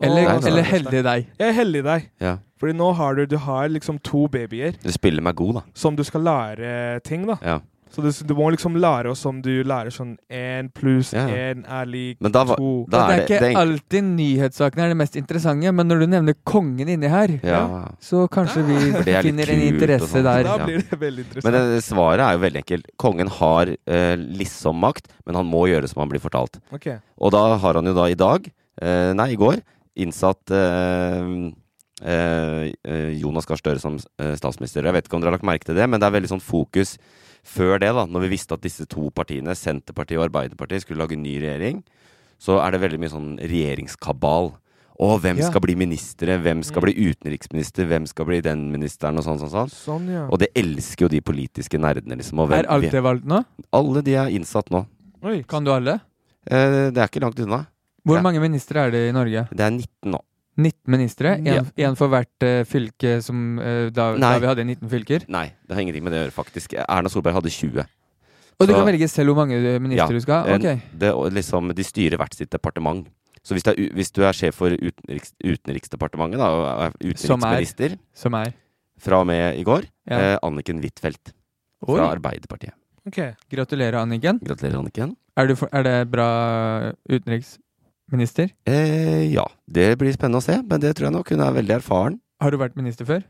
Speaker 5: Eller,
Speaker 8: Å,
Speaker 5: eller
Speaker 8: stakkars
Speaker 5: heldig
Speaker 8: deg.
Speaker 5: deg.
Speaker 8: Jeg er heldig deg.
Speaker 4: ja,
Speaker 8: Fordi nå har du, du har liksom to babyer
Speaker 4: du spiller meg god, da.
Speaker 8: som du skal lære ting, da.
Speaker 4: Ja.
Speaker 8: Så du, du må liksom lære oss om du lærer sånn én pluss
Speaker 4: Ja.
Speaker 8: én er lik
Speaker 4: Men da var
Speaker 8: to.
Speaker 4: da
Speaker 5: det
Speaker 4: er
Speaker 5: er
Speaker 4: det,
Speaker 5: ikke
Speaker 4: det er,
Speaker 5: alltid nyhetssakene er det mest interessante, men når du nevner kongen inni her,
Speaker 4: ja.
Speaker 5: så kanskje vi
Speaker 4: For det er litt
Speaker 5: finner en
Speaker 4: kult og
Speaker 5: interesse
Speaker 4: sånn.
Speaker 5: der.
Speaker 8: Da
Speaker 4: ja.
Speaker 8: blir det veldig
Speaker 4: Men
Speaker 8: interessant.
Speaker 4: det, svaret er jo veldig enkelt. Kongen har eh, liksom makt, men han må gjøre som han blir fortalt.
Speaker 8: Ok.
Speaker 4: Og da har han jo da i dag, eh, nei, i går, innsatt eh, eh, eh, Jonas Gahr Støre som eh, statsminister. Jeg vet ikke om dere har lagt merke til det, men det er veldig sånn fokus før det, da, når vi visste at disse to partiene, Senterpartiet og Arbeiderpartiet, skulle lage en ny regjering, så er det veldig mye sånn regjeringskabal. Å, hvem
Speaker 5: Ja.
Speaker 4: skal bli ministre? Hvem skal
Speaker 8: Mm.
Speaker 4: bli utenriksminister? Hvem skal bli den ministeren? Og sånn, sånn, sånn.
Speaker 8: Sånn, ja.
Speaker 4: Og det elsker jo de politiske nerdene, liksom. Og hvem,
Speaker 5: Er alt det valgt nå?
Speaker 4: alle de er innsatt nå.
Speaker 8: Oi.
Speaker 5: Kan du alle?
Speaker 4: Eh, det er ikke langt unna.
Speaker 5: Hvor
Speaker 4: Ja.
Speaker 5: mange ministre er det i Norge?
Speaker 4: Det er 19 nå.
Speaker 5: 19 ministre?
Speaker 8: Ja.
Speaker 5: Én for hvert eh, fylke som eh, da, da
Speaker 4: Nei.
Speaker 5: vi hadde 19 fylker?
Speaker 4: Nei, det har ingenting med det å gjøre, faktisk. Erna Solberg hadde 20.
Speaker 5: Og du
Speaker 4: Så-
Speaker 5: kan velge selv hvor mange eh, ministre
Speaker 4: Ja,
Speaker 5: du skal ha?
Speaker 4: Eh,
Speaker 5: Ok.
Speaker 4: Det, og liksom, de styrer hvert sitt departement. Så hvis, det er, u- hvis du er sjef for utenriks, Utenriksdepartementet, da, og er
Speaker 5: Som er?
Speaker 4: utenriksminister
Speaker 5: Som er
Speaker 4: fra og med i går,
Speaker 5: ja.
Speaker 4: eh, Anniken Huitfeldt
Speaker 5: Oi.
Speaker 4: fra Arbeiderpartiet.
Speaker 8: Ok.
Speaker 5: Gratulerer, Anniken.
Speaker 4: Gratulerer, Anniken.
Speaker 5: Er, du for, er det bra utenriksminister?
Speaker 4: Eh, ja, det blir spennende å se, men det tror jeg nok. Hun er veldig erfaren.
Speaker 5: Har du vært minister før?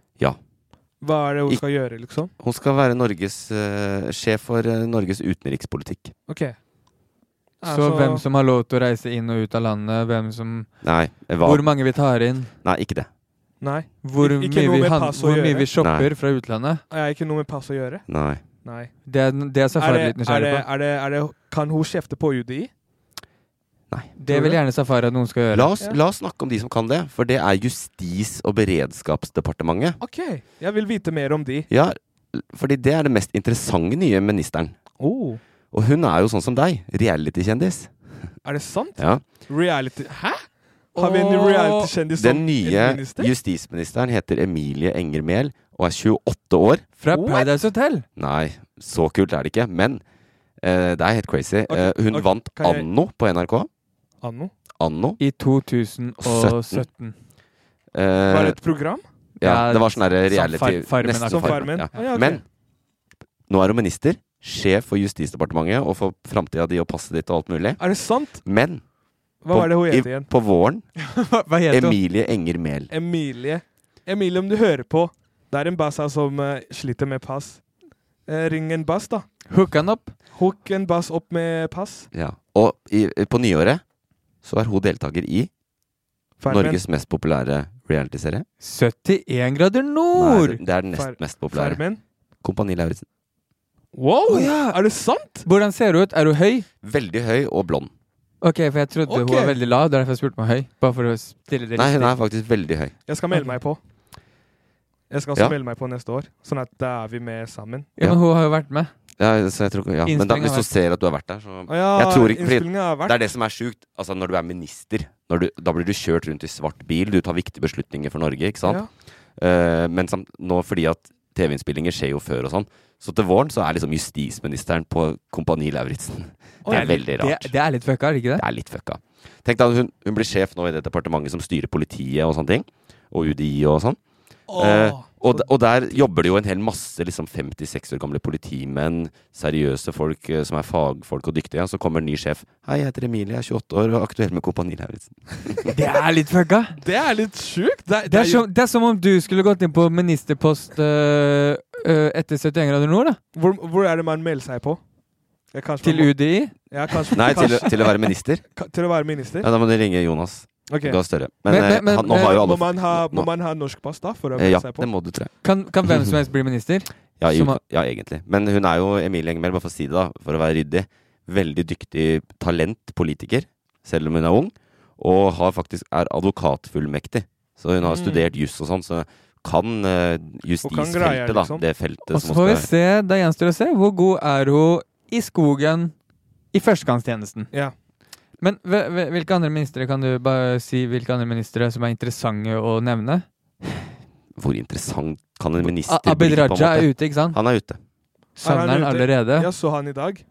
Speaker 8: Hva er det hun
Speaker 4: Ik-
Speaker 8: skal gjøre, liksom?
Speaker 4: Hun skal være Norges eh, sjef for eh, Norges utenrikspolitikk.
Speaker 8: Ok. Altså, Ja,
Speaker 5: Så hvem som har lov til å reise inn og ut av landet, hvem som
Speaker 4: Nei, hva?
Speaker 5: Hvor mange vi tar inn,
Speaker 4: Nei, ikke det.
Speaker 8: Nei.
Speaker 5: hvor,
Speaker 8: Ik- ikke
Speaker 5: mye,
Speaker 8: noe
Speaker 5: vi
Speaker 8: med
Speaker 5: han,
Speaker 8: pass å
Speaker 5: hvor mye
Speaker 8: gjøre.
Speaker 5: vi shopper fra utlandet.
Speaker 8: Er jeg ikke noe med pass å gjøre?
Speaker 4: Nei.
Speaker 8: Nei.
Speaker 5: Det er, det er
Speaker 8: Er
Speaker 5: Safari
Speaker 8: det,
Speaker 5: litt
Speaker 8: er det,
Speaker 5: nysgjerrig på.
Speaker 8: er det, er det, kan hun kjefte på UDI?
Speaker 5: Det vil gjerne Safari at noen skal gjøre.
Speaker 4: La oss,
Speaker 8: Ja.
Speaker 4: la oss snakke om de som kan det, for det er Justis- og beredskapsdepartementet.
Speaker 8: OK, jeg vil vite mer om de.
Speaker 4: Ja, fordi det er det mest interessante nye ministeren.
Speaker 8: Oh.
Speaker 4: Og hun er jo sånn som deg, reality-kjendis.
Speaker 8: Er det sant?
Speaker 4: Ja.
Speaker 8: Reality Hæ? Har vi en
Speaker 5: Åh,
Speaker 8: reality-kjendis som
Speaker 4: Den nye
Speaker 8: en minister?
Speaker 4: justisministeren heter Emilie Enger Mehl og er 28 år.
Speaker 5: Fra
Speaker 8: What?
Speaker 5: Paradise Hotel!
Speaker 4: Nei, så kult er det ikke, men eh, det er helt crazy.
Speaker 8: Ok,
Speaker 4: Eh, hun
Speaker 8: ok,
Speaker 4: vant
Speaker 8: kan jeg-
Speaker 4: Anno på NRK.
Speaker 8: Anno?
Speaker 4: Anno.
Speaker 5: I 2017.
Speaker 4: Eh,
Speaker 8: Var det et program?
Speaker 4: ja,
Speaker 5: Ja,
Speaker 4: det var sånn derre
Speaker 5: som
Speaker 4: reality
Speaker 5: Far- Farmen,
Speaker 4: nesten
Speaker 5: akkurat.
Speaker 8: Som Farmen?
Speaker 4: Ja.
Speaker 8: Å, ja, ok.
Speaker 4: Men nå er hun minister, sjef for Justisdepartementet og for framtida di og passet ditt og alt mulig.
Speaker 8: Er det sant?
Speaker 4: Men
Speaker 8: Hva var det hun het
Speaker 4: i,
Speaker 8: igjen? [LAUGHS]
Speaker 4: på våren
Speaker 5: Hva, hva heter hun?
Speaker 4: Emilie Enger Mehl.
Speaker 8: Emilie. Emilie, om du hører på. Det er en bassa som eh, sliter med pass. eh, ring en bass, da.
Speaker 5: Hook han opp.
Speaker 8: Hook en bass opp med pass.
Speaker 4: Ja. Og i, eh, på nyåret så er hun deltaker i
Speaker 8: Farmen.
Speaker 4: Norges mest populære realityserie.
Speaker 5: 71 grader
Speaker 4: Nei,
Speaker 5: nord!
Speaker 4: det- det er den nest
Speaker 8: Far-
Speaker 4: mest populære.
Speaker 8: Farmen.
Speaker 4: Kompani Lauritzen.
Speaker 8: Wow!
Speaker 5: Å, ja.
Speaker 8: Er det sant?
Speaker 5: Hvordan ser hun ut? Er hun høy?
Speaker 4: Veldig høy og blond.
Speaker 5: Ok, for jeg trodde hun
Speaker 8: Ok.
Speaker 5: var veldig lav. Det er derfor jeg spurte meg høy. Bare for å stille det
Speaker 4: Nei, hun er
Speaker 5: riktig.
Speaker 4: faktisk veldig høy.
Speaker 8: Jeg skal melde meg på. Jeg skal også
Speaker 4: Ja.
Speaker 8: melde meg på neste år, sånn at da er vi med sammen.
Speaker 5: Ja, men hun har jo vært med.
Speaker 4: Ja, så jeg tror, ikke- ja. Men da,
Speaker 5: Innspilling
Speaker 4: hvis
Speaker 5: har
Speaker 4: du
Speaker 5: vært-
Speaker 4: ser at du har vært der, så
Speaker 8: Å ja,
Speaker 4: Jeg tror ikke- fordi-
Speaker 8: Innspillinga har
Speaker 4: Det
Speaker 8: vært
Speaker 4: er det som er sjukt. Altså, når du er minister, når du, da blir du kjørt rundt i svart bil. Du tar viktige beslutninger for Norge, ikke sant?
Speaker 8: Ja.
Speaker 4: Eh, men samt, nå fordi at TV-innspillinger skjer jo før og sånn, så til våren så er liksom justisministeren på Kompani Lauritzen. Det er veldig rart.
Speaker 5: Det, det er litt fucka, er det ikke det?
Speaker 4: Det er litt fucka. Tenk deg at hun, hun blir sjef nå i det departementet som styrer politiet og sånne ting. Og UDI og sånn. Eh, og, d- og der jobber det jo en hel masse liksom 56 år gamle politimenn, seriøse folk eh, som er fagfolk og dyktige. Og så kommer en ny sjef. 'Hei, jeg heter Emilie, jeg er 28 år og er aktuell med Kompani Lauritzen'.
Speaker 5: Det er litt fucka!
Speaker 8: Det er litt sjukt! Det,
Speaker 5: Det er, som, det er som om du skulle gått inn på ministerpost øh, øh, etter 71 grader nord, da.
Speaker 8: hvor, hvor er det man melder seg på? Ja, kanskje
Speaker 5: Til
Speaker 8: man må-
Speaker 5: UDI.
Speaker 8: Ja, kanskje,
Speaker 4: Nei, til,
Speaker 8: kanskje,
Speaker 4: å- til å være minister.
Speaker 8: ka- til å være minister?
Speaker 4: Ja, da må du ringe Jonas
Speaker 8: Ok.
Speaker 4: Gahr Støre. Men,
Speaker 5: Men-
Speaker 4: eh,
Speaker 5: men-
Speaker 4: han, nå
Speaker 5: men-
Speaker 4: har jo alle
Speaker 8: Må man ha,
Speaker 4: nå-
Speaker 8: må man ha norsk pass da for å
Speaker 4: eh,
Speaker 8: melde
Speaker 4: Ja,
Speaker 8: seg
Speaker 4: det
Speaker 8: på?
Speaker 4: må du, tror jeg.
Speaker 5: Kan, kan hvem som helst bli minister?
Speaker 4: Ja, i,
Speaker 5: Som er-
Speaker 4: utga- ja, egentlig. Men hun er jo Emilie Enger Mehl, bare for å si det, da, for å være ryddig. Veldig dyktig talent politiker, selv om hun er ung. Og har faktisk, er advokatfullmektig. Så hun har
Speaker 8: Mm.
Speaker 4: studert juss og sånn, så kan eh,
Speaker 8: kan greier,
Speaker 4: justisfeltet, da.
Speaker 8: liksom.
Speaker 4: Det feltet
Speaker 5: Og
Speaker 4: som
Speaker 5: så
Speaker 4: hun
Speaker 5: får vi
Speaker 4: skal
Speaker 5: se, det gjenstår å se, hvor god er hun i skogen i førstegangstjenesten.
Speaker 8: Ja.
Speaker 5: Men hve- hve- hvilke andre ministre kan du bare si hvilke andre ministre som er interessante å nevne?
Speaker 4: Hvor interessant kan en minister
Speaker 5: A- Abid
Speaker 4: bli, på en
Speaker 5: Raja er
Speaker 4: måte?
Speaker 5: ute, ikke sant?
Speaker 4: Han er ute.
Speaker 8: Er han
Speaker 5: Savner han
Speaker 8: ute?
Speaker 5: allerede.
Speaker 8: Jeg så han i dag.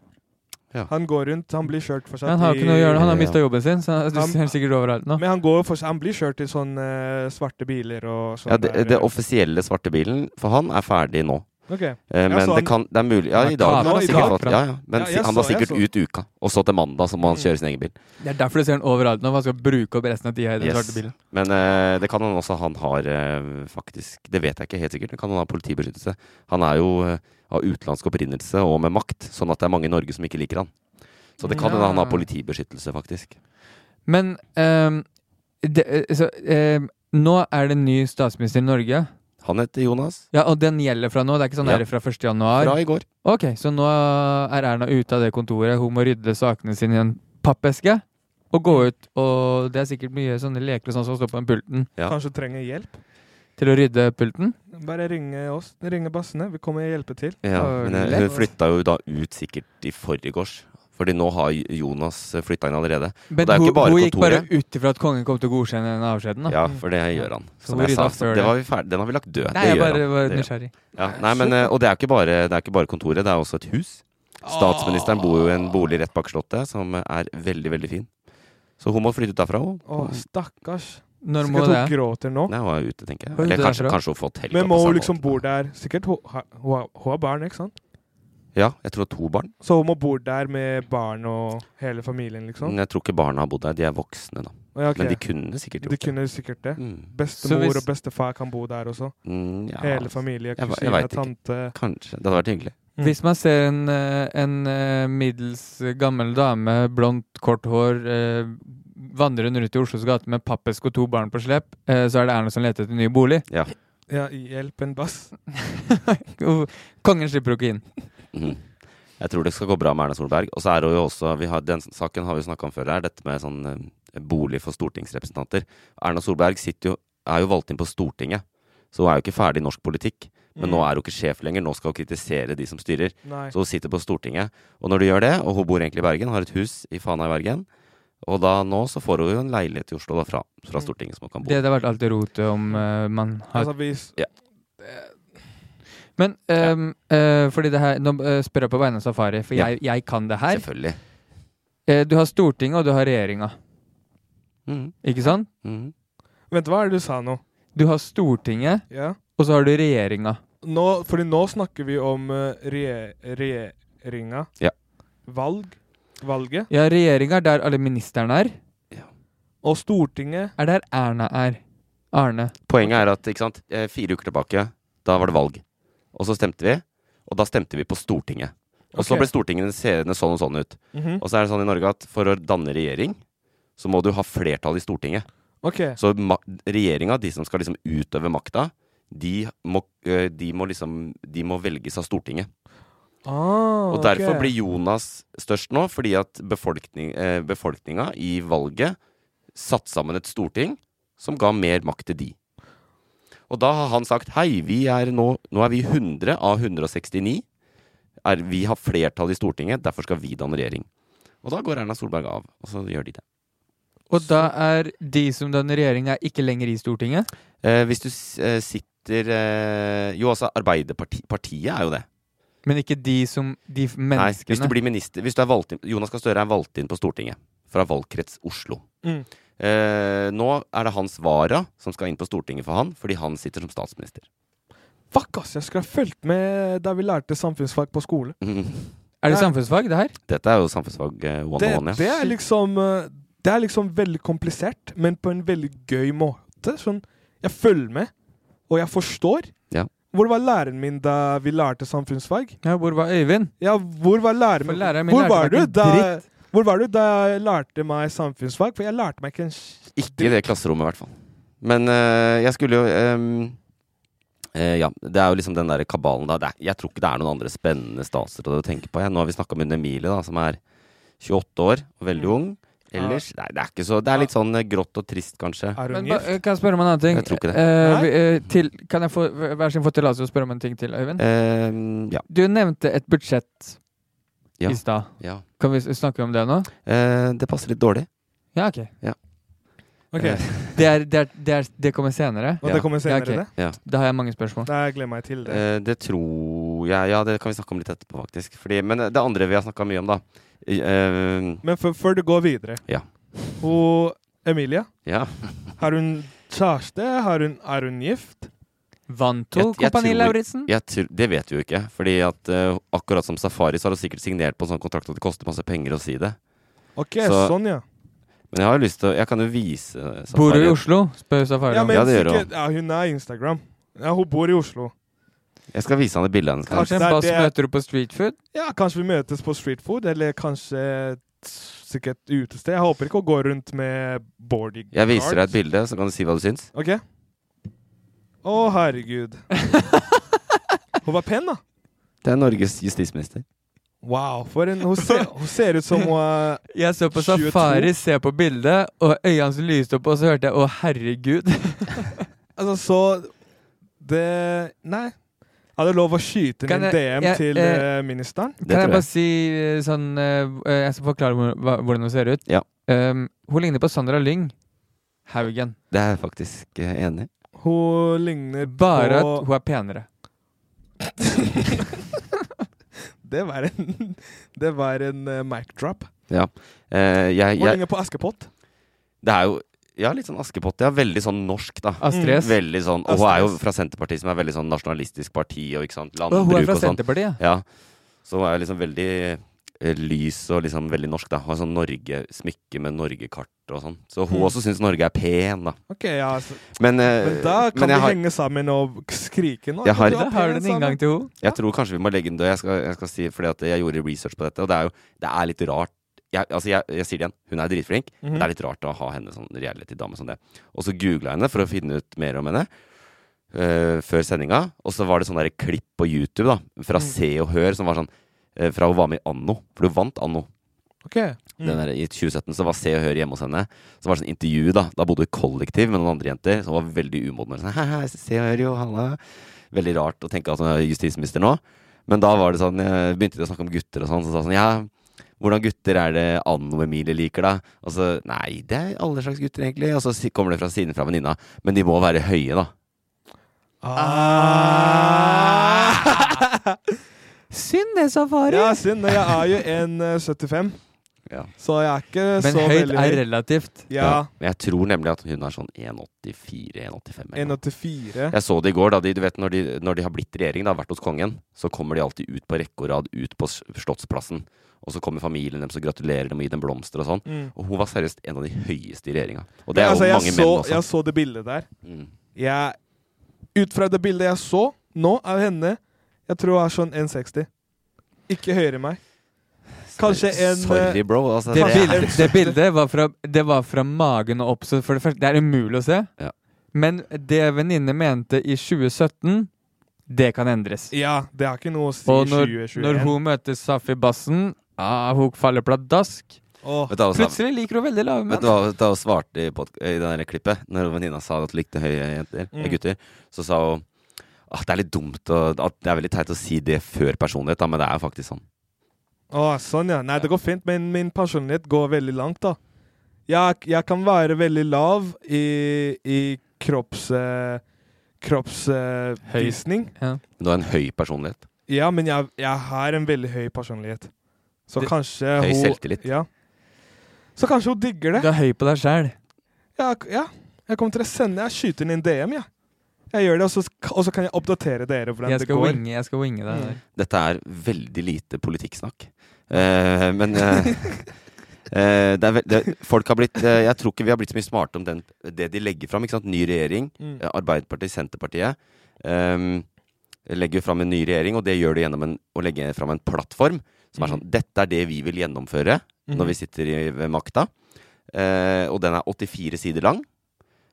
Speaker 4: Ja.
Speaker 8: Han går rundt, han blir kjørt fortsatt
Speaker 5: Men han har jo
Speaker 8: i-
Speaker 5: ikke noe å gjøre, han har
Speaker 4: Ja.
Speaker 5: mista jobben sin, så du
Speaker 8: Han-
Speaker 5: ser han sikkert overalt nå.
Speaker 8: Men han går fortsatt, han blir kjørt i sånne eh, svarte biler og sånn.
Speaker 4: Ja, det,
Speaker 8: der,
Speaker 4: det
Speaker 8: eh,
Speaker 4: offisielle svarte bilen for han er ferdig nå.
Speaker 8: ok.
Speaker 4: Eh, men
Speaker 8: så han-
Speaker 4: det, kan, det er mulig Ja,
Speaker 5: Han
Speaker 4: i
Speaker 5: er
Speaker 4: dag.
Speaker 5: klar,
Speaker 4: Han har
Speaker 8: i
Speaker 4: sikkert,
Speaker 5: dag.
Speaker 4: fått- ja, ja. Men
Speaker 8: Ja, jeg
Speaker 4: han var
Speaker 8: så- jeg
Speaker 4: sikkert
Speaker 8: så.
Speaker 4: ut uka. Og så til mandag så må han
Speaker 8: Mm.
Speaker 4: kjøre sin egen bil.
Speaker 5: Det er derfor du ser han overalt nå, for han skal bruke opp resten av tida i den
Speaker 4: Yes.
Speaker 5: svarte bilen.
Speaker 4: Men eh, det kan han også han har eh, faktisk Det vet jeg ikke helt sikkert. men Kan han ha politibeskyttelse? Han er jo eh, av utenlandsk opprinnelse og med makt, sånn at det er mange i Norge som ikke liker han. Så det kan hende han har
Speaker 5: Ja.
Speaker 4: politibeskyttelse, faktisk.
Speaker 5: Men ehm, det, eh, så, ehm, nå er det en ny statsminister i Norge,
Speaker 4: Han heter Jonas.
Speaker 5: Ja, og den gjelder fra nå? Det er ikke sånn
Speaker 4: Ja.
Speaker 5: der fra 1. januar?
Speaker 4: Fra i går.
Speaker 5: Ok, så nå er Erna ute av det kontoret. Hun må rydde sakene sine i en pappeske og gå ut. Og det er sikkert mye sånne leker og sånn som står på den pulten
Speaker 4: Ja.
Speaker 8: Kanskje trenger hjelp?
Speaker 5: til å rydde pulten.
Speaker 8: Bare ringe oss, ringe bassene. Vi kommer og hjelper til.
Speaker 4: Ja,
Speaker 5: Har
Speaker 4: men
Speaker 5: du
Speaker 4: eh,
Speaker 5: lett?
Speaker 4: hun flytta jo da ut sikkert i forgårs. Fordi nå har Jonas flytta inn allerede.
Speaker 5: Men
Speaker 4: det er jo
Speaker 5: hun,
Speaker 4: ikke bare
Speaker 5: hun gikk bare
Speaker 4: kontoret.
Speaker 5: ut ifra at kongen kom til å godkjenne den avskjeden. Da.
Speaker 4: Ja, for det gjør han.
Speaker 5: Så
Speaker 4: Som
Speaker 5: hvor
Speaker 4: jeg sa.
Speaker 5: rydda før
Speaker 4: så Det
Speaker 5: det?
Speaker 4: var vi ferdig. Den har vi lagt død.
Speaker 5: Mm. Nei,
Speaker 4: det gjør
Speaker 5: jeg bare
Speaker 4: han.
Speaker 5: var
Speaker 4: Det gjør han.
Speaker 5: nysgjerrig.
Speaker 4: Ja, nei, men, eh, og det er, ikke bare, det er ikke bare kontoret, det er også et hus. Statsministeren bor jo i
Speaker 5: Ah.
Speaker 4: en bolig rett bak Slottet, som er veldig, veldig fin. Så hun må flytte ut derfra. hun.
Speaker 8: Å, stakkars.
Speaker 5: Når må
Speaker 8: Sikkert hun
Speaker 5: det?
Speaker 8: gråter nå.
Speaker 4: Nei, hun er ute, tenker jeg.
Speaker 5: Hun er
Speaker 4: Eller
Speaker 5: ute
Speaker 4: kanskje,
Speaker 5: derfra.
Speaker 4: kanskje hun får hotell.
Speaker 8: Men
Speaker 4: da,
Speaker 8: må
Speaker 4: på
Speaker 8: hun
Speaker 4: samme
Speaker 8: liksom
Speaker 4: måte.
Speaker 8: bo der Sikkert hun har, hun har- hun har barn, ikke sant?
Speaker 4: Ja, jeg tror to barn.
Speaker 8: Så hun må bo der med barn og hele familien, liksom?
Speaker 4: Men jeg tror ikke barna har bodd der. De er voksne, da.
Speaker 8: Ja, ok.
Speaker 4: Men de kunne sikkert
Speaker 8: De
Speaker 4: gjort det.
Speaker 8: kunne sikkert det.
Speaker 4: Mm.
Speaker 5: Så
Speaker 8: Bestemor
Speaker 5: hvis-
Speaker 8: og bestefar kan bo der også.
Speaker 4: Mm, ja,
Speaker 8: Hele familie,
Speaker 4: Jeg ve-
Speaker 8: kusine,
Speaker 4: jeg vet ikke.
Speaker 8: tante
Speaker 4: Kanskje. Det hadde vært hyggelig.
Speaker 8: Mm.
Speaker 5: Hvis man ser en, eh, en eh, middels gammel dame, blondt, kort hår, eh, vandrende rundt i Oslos gate med pappesk og to barn på slep, eh, så er det Erna som leter etter ny bolig.
Speaker 8: Ja, hjelp en bass.
Speaker 5: Kongen slipper jo ikke inn.
Speaker 4: Mhm. Jeg tror det skal gå bra med Erna Solberg. Og så er hun jo også vi har, Den saken har vi snakka om før her, dette med sånn eh, bolig for stortingsrepresentanter. Erna Solberg sitter jo, er jo valgt inn på Stortinget, så hun er jo ikke ferdig i norsk politikk. Men nå er hun ikke sjef lenger, nå skal hun kritisere de som styrer.
Speaker 8: Nei.
Speaker 4: Så hun sitter på Stortinget. Og når du gjør det, og hun bor egentlig i Bergen, har et hus i Fana i Bergen, og da nå så får hun jo en leilighet i Oslo da fra, fra
Speaker 8: Mm.
Speaker 4: Stortinget som hun kan bo i.
Speaker 5: Det hadde vært alltid rotet om eh, man har
Speaker 8: Altså, hvis
Speaker 5: Men ehm, eh, fordi det her Nå eh, spør jeg på vegne av Safari, for
Speaker 4: Ja.
Speaker 5: jeg, jeg kan det her.
Speaker 4: Selvfølgelig.
Speaker 5: Eh, du har Stortinget, og du har regjeringa.
Speaker 4: Mhm.
Speaker 5: Ikke sant?
Speaker 4: Mhm.
Speaker 8: Vent, hva er det du sa nå?
Speaker 5: Du har Stortinget,
Speaker 8: Ja.
Speaker 5: og så har du regjeringa.
Speaker 8: nå fordi nå snakker vi om eh, re regjeringa.
Speaker 4: Ja.
Speaker 8: Valg. Valget.
Speaker 5: Ja, regjeringa er der alle ministrene er.
Speaker 8: Og Stortinget.
Speaker 5: Er der Erna er. Arne.
Speaker 4: Poenget er at ikke sant? eh, fire uker tilbake, da var det valg. Og så stemte vi. Og da stemte vi på Stortinget. Og så
Speaker 8: Ok.
Speaker 4: ble Stortinget seende sånn og sånn ut.
Speaker 8: Mhm.
Speaker 4: Og så er det sånn i Norge at for å danne regjering, så må du ha flertall i Stortinget.
Speaker 8: Ok.
Speaker 4: Så ma- regjeringa, de som skal liksom utøve makta, de må, øh, de må liksom De må velges av Stortinget.
Speaker 8: Ah,
Speaker 4: Og derfor
Speaker 8: ok.
Speaker 4: blir Jonas størst nå, fordi at befolkning, eh, befolkninga i valget satte sammen et storting som ga mer makt til de. Og da har han sagt hei, vi er nå, nå er vi 100 av 169. Er, vi har flertall i Stortinget, derfor skal vi danne regjering. Og da går Erna Solberg av, og så gjør de det.
Speaker 5: Og da er de som danner regjering, er ikke lenger i Stortinget?
Speaker 4: Eh, hvis du s- eh, sitter eh, Jo, altså Arbeiderpartiet partiet er jo det.
Speaker 5: Men ikke de som De f-
Speaker 4: Nei,
Speaker 5: menneskene?
Speaker 4: hvis du blir minister hvis du er valgt inn, Jonas Gahr Støre er valgt inn på Stortinget fra valgkrets Oslo.
Speaker 8: Mm.
Speaker 4: Eh, nå er det hans vara som skal inn på Stortinget for han, fordi han sitter som statsminister. [LAUGHS]
Speaker 8: Fuck, ass! Jeg skulle ha fulgt med da vi lærte samfunnsfag på skole.
Speaker 5: Er det samfunnsfag, det her?
Speaker 4: Dette er jo samfunnsfag eh, one
Speaker 8: det,
Speaker 4: on one,
Speaker 8: det,
Speaker 4: ja.
Speaker 8: er liksom, eh, det er liksom veldig komplisert, men på en veldig gøy måte. Sånn, jeg følger med, og jeg forstår.
Speaker 4: Ja.
Speaker 8: Hvor var læreren min da vi lærte samfunnsfag?
Speaker 5: Ja, hvor var Øyvind?
Speaker 8: Ja, hvor var læreren
Speaker 5: For
Speaker 8: min?
Speaker 5: læreren min
Speaker 8: Hvor
Speaker 5: lærte
Speaker 8: var,
Speaker 5: meg
Speaker 8: du
Speaker 5: ikke
Speaker 8: da,
Speaker 5: dritt.
Speaker 8: hvor var du da jeg lærte meg samfunnsfag? For jeg lærte meg ikke en sk-
Speaker 4: Ikke i det klasserommet, i hvert fall. Men eh, jeg skulle jo ehm, eh, Ja, det er jo liksom den derre kabalen da. Det er, jeg tror ikke det er noen andre spennende statsråder å tenke på. Jeg. Nå har vi snakka med Emilie, da, som er 28 år og veldig
Speaker 8: Mm.
Speaker 4: ung. Ellers Nei, det er ikke så Det er litt sånn eh, grått og trist, kanskje.
Speaker 8: Er hun
Speaker 5: Men ba,
Speaker 8: gift?
Speaker 5: kan jeg spørre om en annen ting?
Speaker 4: Jeg tror ikke det.
Speaker 5: Eh,
Speaker 8: Nei?
Speaker 5: vi, eh, til, kan jeg få v- hver sin få tillatelse å spørre om en ting til, Øyvind?
Speaker 4: Ehm, ja.
Speaker 5: Du nevnte et budsjett
Speaker 4: Ja.
Speaker 5: i stad.
Speaker 4: ja.
Speaker 5: Kan vi s- snakke om det nå?
Speaker 4: Eh, det passer litt dårlig.
Speaker 5: Ja, OK.
Speaker 8: Ok,
Speaker 4: Eh,
Speaker 5: [LAUGHS] Det, er, det, er, det, er, det kommer senere.
Speaker 8: og
Speaker 4: ja.
Speaker 8: det kommer senere,
Speaker 5: Ja, ok.
Speaker 8: det?
Speaker 5: Da har jeg mange spørsmål.
Speaker 8: Nei, jeg gleder meg til det.
Speaker 4: Eh, det tror jeg Ja, det kan vi snakke om litt etterpå, faktisk. Fordi, men det andre vi har snakka mye om, da. I- eh,
Speaker 8: Men før- før du går videre
Speaker 4: Ja.
Speaker 8: Og Emilie,
Speaker 4: ja.
Speaker 8: har hun kjæreste? Har hun, er hun gift?
Speaker 5: Vant hun
Speaker 4: Jeg- jeg
Speaker 5: Kompani
Speaker 4: tror-
Speaker 5: Lauritzen?
Speaker 4: Jeg tror, det vet vi jo ikke. Fordi at eh, akkurat som Safari, så har hun sikkert signert på en sånn kontrakt at det koster masse penger å si det.
Speaker 8: Ok,
Speaker 4: Så-
Speaker 8: sånn, ja.
Speaker 4: Men jeg har jo lyst til å Jeg kan jo vise eh, Safari.
Speaker 5: Bor du i Oslo? spør Safari.
Speaker 8: Ja,
Speaker 5: om.
Speaker 8: men
Speaker 4: Ja, det gjør
Speaker 8: sikkert, ja, hun er Instagram. Ja, hun bor i Oslo.
Speaker 4: Jeg skal vise han det bildet hennes. kanskje.
Speaker 5: Kanskje en
Speaker 8: det er
Speaker 5: bass
Speaker 8: det-
Speaker 5: møter du på street food?
Speaker 8: Ja, kanskje vi møtes på street food, eller kanskje et- sikkert utested. Jeg håper ikke å gå rundt med boarding.
Speaker 4: Jeg viser deg et bilde, så kan du si hva du syns.
Speaker 8: Ok. Å,
Speaker 4: [LAUGHS]
Speaker 8: herregud. Hun var pen, da.
Speaker 4: Det er Norges justisminister.
Speaker 8: Wow. For en, hun, ser, hun ser ut som hun er
Speaker 5: Jeg så på
Speaker 8: 22.
Speaker 5: Safari, se på bildet, og øynene hans lyste opp, og så hørte jeg 'Å, herregud'.
Speaker 8: Altså, så Det Nei. Jeg hadde lov å skyte
Speaker 5: Kan
Speaker 8: inn en
Speaker 5: jeg-
Speaker 8: DM
Speaker 5: jeg-
Speaker 8: til
Speaker 5: jeg-
Speaker 8: eh, ministeren.
Speaker 4: Det
Speaker 5: Kan jeg
Speaker 4: tror
Speaker 5: bare
Speaker 4: jeg.
Speaker 5: si eh, sånn eh, eh, Jeg skal forklare hvor- hva- hvordan hun ser ut.
Speaker 4: Ja.
Speaker 5: Um, hun ligner på Sandra Lyng Haugen.
Speaker 4: Det er jeg faktisk eh, enig i.
Speaker 8: Hun ligner
Speaker 5: Bare
Speaker 8: på
Speaker 5: at hun er penere.
Speaker 8: Det var en, [LAUGHS] det var en eh, mic drop.
Speaker 4: Ja. Eh, jeg,
Speaker 8: Hun
Speaker 4: jeg,
Speaker 8: ligner på Askepott.
Speaker 4: det er jo Ja, litt sånn Askepott. Ja, veldig sånn norsk, da.
Speaker 5: Astrid S.
Speaker 4: Veldig sånn, og hun
Speaker 8: Astrid
Speaker 4: er jo
Speaker 8: S.
Speaker 4: fra Senterpartiet, som er veldig sånn nasjonalistisk parti og ikke sant,
Speaker 5: Å, hun er
Speaker 4: landbruk
Speaker 5: fra
Speaker 4: og sånn.
Speaker 5: Senterpartiet.
Speaker 4: Ja. Så hun er liksom veldig eh, lys og liksom veldig norsk. da Har sånn Norge, smykke med Norgekart og sånn. Så hun
Speaker 8: Mm.
Speaker 4: også syns Norge er pen, da.
Speaker 8: Ok, ja, altså.
Speaker 4: Men, eh,
Speaker 8: Men da kan
Speaker 4: men
Speaker 8: vi
Speaker 4: jeg, har,
Speaker 8: henge sammen og skrike nå.
Speaker 4: Jeg har-
Speaker 8: Du
Speaker 5: Da har
Speaker 8: pen
Speaker 5: du en inngang til henne.
Speaker 4: jeg tror kanskje vi må legge den død. Jeg skal, jeg skal si fordi at jeg gjorde research på dette, og det er jo det er litt rart. Jeg, altså jeg, jeg sier det igjen, hun er dritflink.
Speaker 8: sammen.
Speaker 4: Det er litt rart å ha henne sånn reality-dame som det. Og så googla jeg henne for å finne ut mer om henne. eh, før sendinga. Og så var det sånn der klipp på YouTube da fra
Speaker 8: Mm.
Speaker 4: Se og Hør som var sånn eh, Fra hun var med i Anno. For hun vant Anno.
Speaker 8: Ok. Mm.
Speaker 4: Den der, I 2017 så var Se og Hør hjemme hos henne. Så var det sånn intervju, da. Da bodde hun i kollektiv med noen andre jenter som var veldig umodne. Sånn, «Hei, hei, Se og Hør, jo, halla. Veldig rart å tenke at hun er justisminister nå. Men da var det sånn, eh, begynte de å snakke om gutter og sånn. Så sa sånn, ja, hvordan gutter er det Anno Emilie liker, da? Og så, nei, det er alle slags gutter, egentlig. Og så si- kommer det fra siden fra venninna. Men de må være høye, da.
Speaker 8: Ah.
Speaker 5: Synd det, Safari.
Speaker 8: Ja, synd. men Jeg er jo en eh, 75,
Speaker 4: Ja.
Speaker 8: så jeg er ikke
Speaker 5: Men
Speaker 8: så
Speaker 5: høyt
Speaker 8: veldig
Speaker 5: er relativt.
Speaker 8: Ja,
Speaker 4: Men jeg tror nemlig at hun er sånn 1,84-1,85. eller noe.
Speaker 8: 1,84.
Speaker 4: Jeg så det i går, da de, du vet, når, de, når de har blitt regjering, da, vært hos kongen, så kommer de alltid ut på rekke og rad ut på S- Slottsplassen. Og så kommer familien deres og gratulerer dem og gir dem blomster og sånn.
Speaker 8: Mm.
Speaker 4: Og hun var seriøst en av de høyeste i regjeringa. Og det er jo
Speaker 8: Altså, jeg
Speaker 4: mange
Speaker 8: så,
Speaker 4: menn også.
Speaker 8: Jeg så det bildet der.
Speaker 4: Mm.
Speaker 8: Jeg, ut fra det bildet jeg så nå av henne, Jeg tror jeg er sånn 1,60. Ikke høyere enn meg. Kanskje en eh,
Speaker 4: Sorry, bro. Altså,
Speaker 5: Det,
Speaker 4: det er- [LAUGHS]
Speaker 5: bildet, det bildet var fra, det var fra magen og opp, så for det første, det er umulig å se.
Speaker 4: Ja.
Speaker 5: Men det venninne mente i 2017, det kan endres.
Speaker 8: Ja, det har ikke noe å si
Speaker 5: Og når,
Speaker 8: 2021.
Speaker 5: når hun møter Safi Bassen, ah, hun faller pladask.
Speaker 8: Åh,
Speaker 4: Vet du hva hun sa-
Speaker 5: Plutselig liker hun veldig lave
Speaker 4: vet
Speaker 5: menn.
Speaker 4: du hva vet du hva hun svarte i, pod- i det der klippet? Når venninna sa at hun likte høye jenter,
Speaker 8: Mm.
Speaker 4: eh, gutter, så sa hun at det er litt dumt og at det er veldig teit å si det før personlighet, da, men det er jo faktisk sånn.
Speaker 8: åh, sånn, ja. Nei, det går fint, men min personlighet går veldig langt, da. Jeg, jeg kan være veldig lav i, i kropps... eh, Kroppsvisning.
Speaker 5: Ja.
Speaker 4: Du har en høy personlighet.
Speaker 8: ja, men jeg, jeg har en veldig høy personlighet. Så
Speaker 5: Det-
Speaker 8: kanskje
Speaker 4: Høy
Speaker 8: hun
Speaker 4: selvtillit.
Speaker 8: Ja. Så kanskje hun digger det.
Speaker 5: Du er høy på deg sjæl.
Speaker 8: Ja, k- ja. Jeg kommer til å sende Jeg skyter inn en DM, jeg. Jeg gjør det, og så, sk- og så kan jeg oppdatere dere hvordan
Speaker 5: Jeg
Speaker 8: det
Speaker 5: skal
Speaker 8: går.
Speaker 5: winge, jeg skal winge deg. der.
Speaker 4: Dette er veldig lite politikksnakk. Eh,
Speaker 8: Mm.
Speaker 4: men eh, eh, det er vel- det, folk har blitt eh, Jeg tror ikke vi har blitt så mye smarte om den, det de legger fram. Ikke sant? Ny regjering.
Speaker 8: [LAUGHS] Mm.
Speaker 4: eh, Arbeiderpartiet, Senterpartiet. ehm, legger fram en ny regjering, og det gjør det gjennom en, å legge fram en plattform som er
Speaker 5: Mm.
Speaker 4: sånn Dette er det vi vil gjennomføre når vi sitter i, ved makta. Eh, og den er 84 sider lang.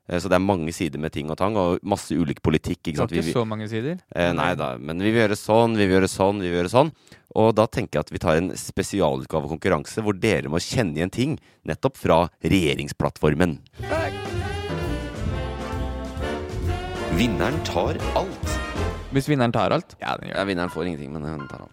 Speaker 4: Eh, Så det er mange sider med ting og tang, og masse ulik politikk. Ikke
Speaker 5: Det
Speaker 4: sant?
Speaker 5: var
Speaker 4: Vi, vi,
Speaker 5: ikke så mange sider.
Speaker 4: Eh, nei da, men vi vil gjøre sånn, vi vil gjøre sånn, vi vil gjøre sånn. Og da tenker jeg at vi tar en spesialutgave konkurranse hvor dere må kjenne igjen ting nettopp fra regjeringsplattformen. Vinneren tar alt.
Speaker 5: Hvis vinneren tar alt. Ja, den
Speaker 4: Ja, vinneren får ingenting, men hun tar alt.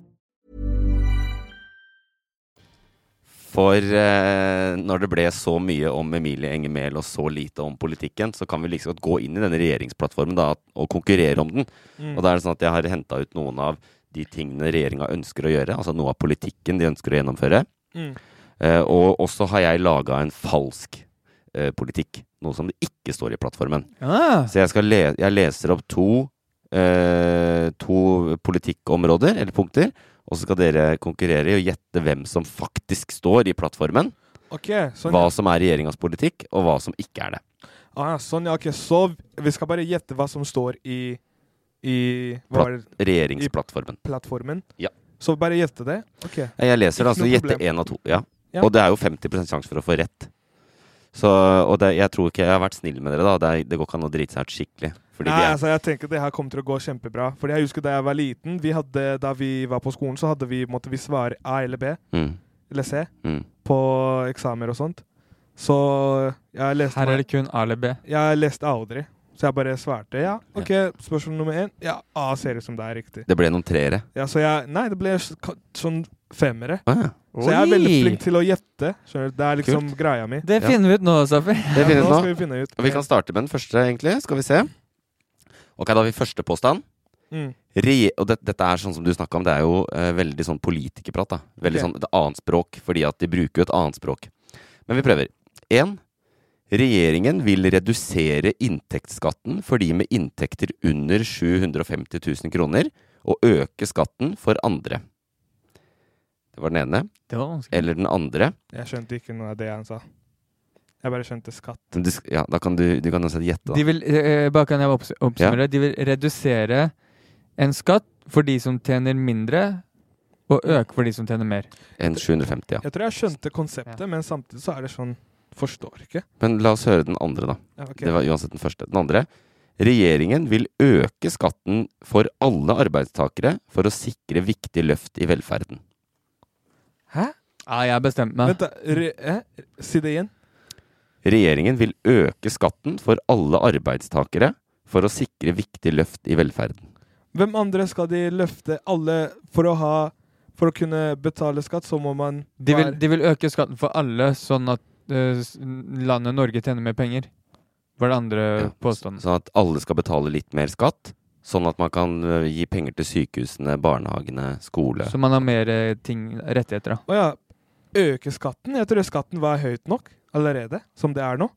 Speaker 4: For eh, når det ble så mye om Emilie Enger Mehl og så lite om politikken, så kan vi liksom godt gå inn i denne regjeringsplattformen da, og konkurrere om den. Og da er det sånn at jeg har henta ut noen av de tingene regjeringa ønsker å gjøre, altså noe av politikken de ønsker å gjennomføre.
Speaker 8: Mm.
Speaker 4: Eh, og også har jeg laga en falsk eh, politikk. Noe som det ikke står i plattformen.
Speaker 5: Ah,
Speaker 4: Så jeg, skal le jeg leser opp to, eh, to politikkområder, eller punkter. Og så skal dere konkurrere i å gjette hvem som faktisk står i plattformen
Speaker 8: Ok, sånn
Speaker 4: hva
Speaker 8: ja.
Speaker 4: som er regjeringas politikk, og hva som ikke er det.
Speaker 8: Ah, ja, sånn, ja. Ok, så vi skal bare gjette hva som står i I hva var det,
Speaker 4: Regjeringsplattformen.
Speaker 8: plattformen?
Speaker 4: Ja.
Speaker 8: Så bare gjette det? Ok.
Speaker 4: Jeg leser det, altså
Speaker 8: Ikke noe
Speaker 4: gjette én av to. Ja.
Speaker 8: Ja.
Speaker 4: Og det er jo 50 sjanse for å få rett. Så, og det, jeg tror ikke jeg har vært snill med dere, da. Det, er, det går ikke an å drite seg ut skikkelig. Fordi
Speaker 8: Nei,
Speaker 4: de er,
Speaker 8: altså, jeg tenker det her kommer til å gå kjempebra. Fordi jeg husker da jeg var liten, vi hadde, da vi var på skolen, så hadde vi, måtte vi svare A eller B
Speaker 4: mm,
Speaker 8: eller C
Speaker 4: mm.
Speaker 8: på på eksamener og sånt. Så jeg leste
Speaker 5: Her er det kun A eller B.
Speaker 8: Jeg leste aldri. Så jeg bare svarte ja. OK, spørsmål nummer én. Ja, A ser ut som det er riktig.
Speaker 4: Det ble noen treere.
Speaker 8: Ja, så jeg Nei, det ble s- ka- sånn femmere.
Speaker 4: Ah, ja.
Speaker 8: Så jeg er veldig
Speaker 5: Oi.
Speaker 8: flink til å gjette. Skjønner du? Det er liksom
Speaker 4: Kult.
Speaker 8: greia mi.
Speaker 5: Det finner vi ut nå, Safi.
Speaker 4: Det
Speaker 8: Ja,
Speaker 4: finner
Speaker 8: nå
Speaker 4: vi ut
Speaker 8: skal
Speaker 4: nå.
Speaker 8: vi finne ut.
Speaker 4: Vi kan starte med den første, egentlig. Skal vi se. Ok, da har vi første påstand.
Speaker 8: Mm.
Speaker 4: Re og det, dette er sånn som du snakka om, det er jo eh, veldig sånn politikerprat. da Veldig
Speaker 8: Ok.
Speaker 4: sånn et annet språk, fordi at de bruker jo et annet språk. Men vi prøver. 1. Regjeringen vil redusere inntektsskatten for de med inntekter under 750 000 kroner, og øke skatten for andre. Det var den ene.
Speaker 5: [LAUGHS] Det var vanskelig.
Speaker 4: Eller den andre.
Speaker 8: Jeg skjønte ikke noe av det han sa. Jeg bare skjønte skatt.
Speaker 4: Men Du, sk- ja, da kan du, du kan også gjette, da.
Speaker 5: De vil, eh, bare kan jeg opps- oppsummere.
Speaker 4: Ja.
Speaker 5: De vil redusere en skatt for de som tjener mindre, og øke for de som tjener mer.
Speaker 4: Enn 750, ja.
Speaker 8: Jeg tror jeg skjønte konseptet, men samtidig så er det sånn Forstår ikke.
Speaker 4: Men la oss høre den andre, da.
Speaker 8: Ja, ok.
Speaker 4: Det var uansett den første. Den andre. Regjeringen vil øke skatten for alle arbeidstakere for å sikre viktig løft i velferden.
Speaker 5: Ja, Ah, jeg har bestemt meg.
Speaker 8: Vent, da. Re eh? Si det igjen.
Speaker 4: Regjeringen vil øke skatten for alle arbeidstakere for å sikre viktig løft i velferden.
Speaker 8: Hvem andre skal de løfte? Alle for å ha For å kunne betale skatt, så må man
Speaker 5: De vil,
Speaker 8: være-
Speaker 5: de vil øke skatten for alle, sånn at eh, s- landet Norge tjener mer penger. Var det andre påstanden.
Speaker 4: Sånn at alle skal betale litt mer skatt. Sånn at man kan øh, gi penger til sykehusene, barnehagene, skole.
Speaker 5: Så man har mer eh, ting, rettigheter, da.
Speaker 8: Å ja. Øke skatten? Jeg tror skatten var høyt nok allerede, som det er nå.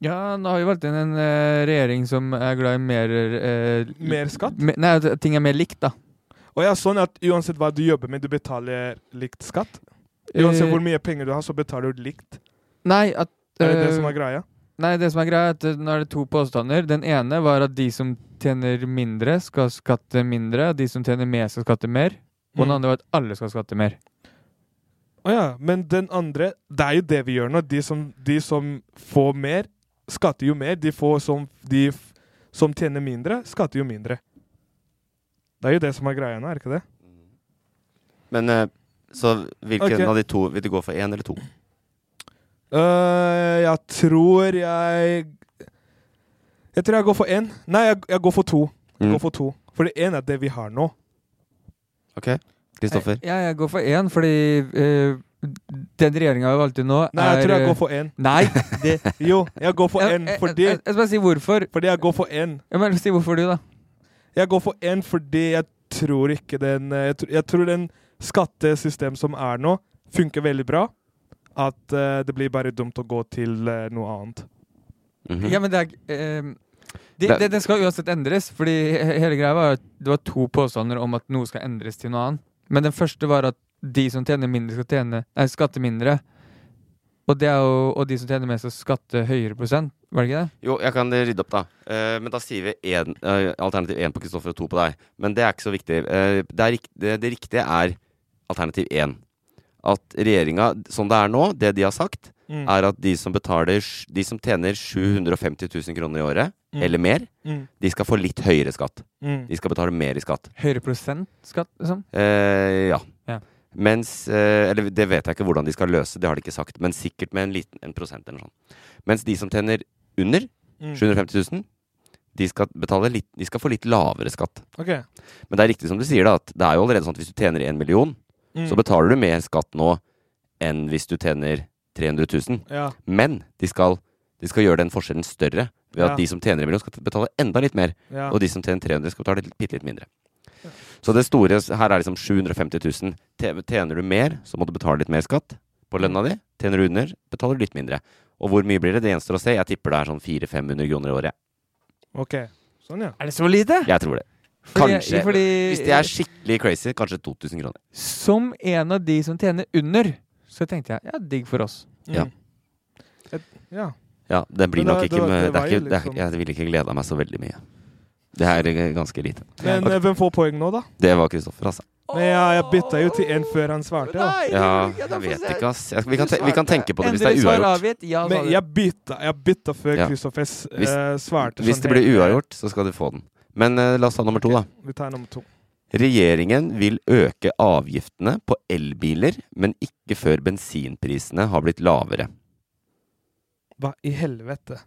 Speaker 5: Ja, nå har vi valgt inn en eh, regjering som er glad i mer eh,
Speaker 8: Mer skatt?
Speaker 5: Me, nei, at ting er mer likt, da.
Speaker 8: Å ja, sånn at uansett hva du jobber med, du betaler likt skatt? Uansett
Speaker 5: Eh,
Speaker 8: hvor mye penger du har, så betaler du likt?
Speaker 5: Nei, at
Speaker 8: Er det det
Speaker 5: eh,
Speaker 8: som er greia?
Speaker 5: Nei, det som er greia, er at eh, nå er det to påstander. Den ene var at de som tjener mindre, skal skatte mindre. og De som tjener mer, skal skatte mer. Og
Speaker 8: Mm.
Speaker 5: den andre var at alle skal skatte mer.
Speaker 8: Å ja, men den andre Det er jo det vi gjør nå. De som, de som får mer, skatter jo mer. De, får som, de f som tjener mindre, skatter jo mindre. Det er jo det som er greia nå, er det ikke det?
Speaker 4: Men øh, så hvilken
Speaker 8: Ok.
Speaker 4: av de to vil du gå for? Én eller to?
Speaker 8: Øh, jeg tror jeg Jeg tror jeg går for én. Nei, jeg, jeg går for to. Jeg
Speaker 4: Mm.
Speaker 8: går for to. Fordi én er det vi har nå.
Speaker 4: Ok, Kristoffer?
Speaker 5: Ja, jeg går for én, fordi eh, den regjeringa vi valgte nå,
Speaker 8: Nei,
Speaker 5: er
Speaker 8: jeg tror jeg
Speaker 5: eh,
Speaker 8: går for én.
Speaker 5: Nei! Det, eh,
Speaker 8: Jo, jeg går [LAUGHS] for
Speaker 5: Jeg-
Speaker 8: én
Speaker 5: jeg-
Speaker 8: fordi
Speaker 5: jeg- jeg skal bare si hvorfor.
Speaker 8: Fordi jeg går for én.
Speaker 5: jeg må si hvorfor du, da.
Speaker 8: Jeg går for én fordi jeg tror ikke den eh, Jeg tror, jeg tror den skattesystem som er nå, funker veldig bra. At eh, det blir bare dumt å gå til eh, noe annet.
Speaker 4: Mhm.
Speaker 5: Ja, men det er eh, det,
Speaker 4: Det-
Speaker 5: det, det skal uansett endres, fordi he- hele greia var at det var to påstander om at noe skal endres til noe annet. Men den første var at de som tjener mindre, skal tjene, nei, skatte mindre. Og, det er jo, og de som tjener mer, skal skatte høyere prosent. Var det ikke det?
Speaker 4: Jo, jeg kan rydde opp, da. Eh, men da sier vi en, eh, alternativ én på Kristoffer og to på deg. Men det er ikke så viktig. Eh, det, er, rik- det, det riktige er alternativ én. At regjeringa, som det er nå, det de har sagt,
Speaker 8: Mm.
Speaker 4: er at de som, betaler, sj- de som tjener 750 000 kroner i året,
Speaker 8: Mm.
Speaker 4: eller mer,
Speaker 8: Mm.
Speaker 4: de skal få litt høyere skatt.
Speaker 8: Mm.
Speaker 4: De skal betale mer i skatt.
Speaker 5: Høyere prosent skatt, liksom?
Speaker 4: Eh, ja.
Speaker 5: Ja.
Speaker 4: Mens eh, Eller det vet jeg ikke hvordan de skal løse, det har de ikke sagt. Men sikkert med en liten en prosent eller noe sånt. Mens de som tjener under
Speaker 8: Mm.
Speaker 4: 750 000, de skal, betale litt, de skal få litt lavere skatt.
Speaker 8: OK.
Speaker 4: Men det er riktig som du sier, da, at det er jo allerede sånn at hvis du tjener 1 million,
Speaker 8: Mm.
Speaker 4: så betaler du mer skatt nå enn hvis du tjener 300 000.
Speaker 8: Ja.
Speaker 4: Men de skal, de skal gjøre den forskjellen større ved at
Speaker 8: Ja.
Speaker 4: de som tjener 1 million, skal betale enda litt mer.
Speaker 8: Ja.
Speaker 4: Og de som tjener 300, skal betale bitte litt mindre. Så det store her er liksom 750 000. Te- Tjener du mer, så må du betale litt mer skatt på lønna di. Tjener du under, betaler du litt mindre. Og hvor mye blir det? Det gjenstår å se. Jeg tipper det er sånn 400-500 kroner i året.
Speaker 8: OK. Sånn, ja.
Speaker 5: Er det så lite?
Speaker 4: Jeg tror det.
Speaker 5: Fordi-
Speaker 4: Kanskje.
Speaker 5: fordi-
Speaker 4: Hvis det er skikkelig crazy, kanskje 2000 kroner.
Speaker 5: Som en av de som tjener under, så tenkte jeg ja, digg for oss.
Speaker 4: Ja.
Speaker 8: Mm. Et, ja.
Speaker 4: Ja, det blir
Speaker 8: Men da-
Speaker 4: nok ikke,
Speaker 8: det var-
Speaker 4: med-
Speaker 8: det
Speaker 4: det
Speaker 8: var
Speaker 4: er
Speaker 8: jo
Speaker 4: ikke det er,
Speaker 8: liksom-
Speaker 4: Jeg ville ikke gleda meg så veldig mye. Det her er eh, ganske lite.
Speaker 8: Men
Speaker 4: Ok,
Speaker 8: eh, hvem får poeng nå, da?
Speaker 4: Det var Kristoffer, altså.
Speaker 8: Men jeg, jeg bytta jo til én før han svarte. da.
Speaker 4: Ja, jeg vet ikke, ass. Jeg, vi, kan te, vi kan tenke
Speaker 5: eh,
Speaker 4: på det hvis det er uavgjort.
Speaker 8: Men jeg bytta, jeg bytta før
Speaker 4: Ja.
Speaker 8: Kristoffer s-
Speaker 4: Hvis-
Speaker 8: eh, svarte.
Speaker 4: Hvis
Speaker 8: sånn
Speaker 4: det blir
Speaker 8: helt-
Speaker 4: uavgjort, så skal du få den. Men eh, la oss ta nummer to, da.
Speaker 8: Vi tar nummer to.
Speaker 4: Regjeringen vil øke avgiftene på elbiler, men ikke før bensinprisene har blitt lavere.
Speaker 8: Hva i helvete?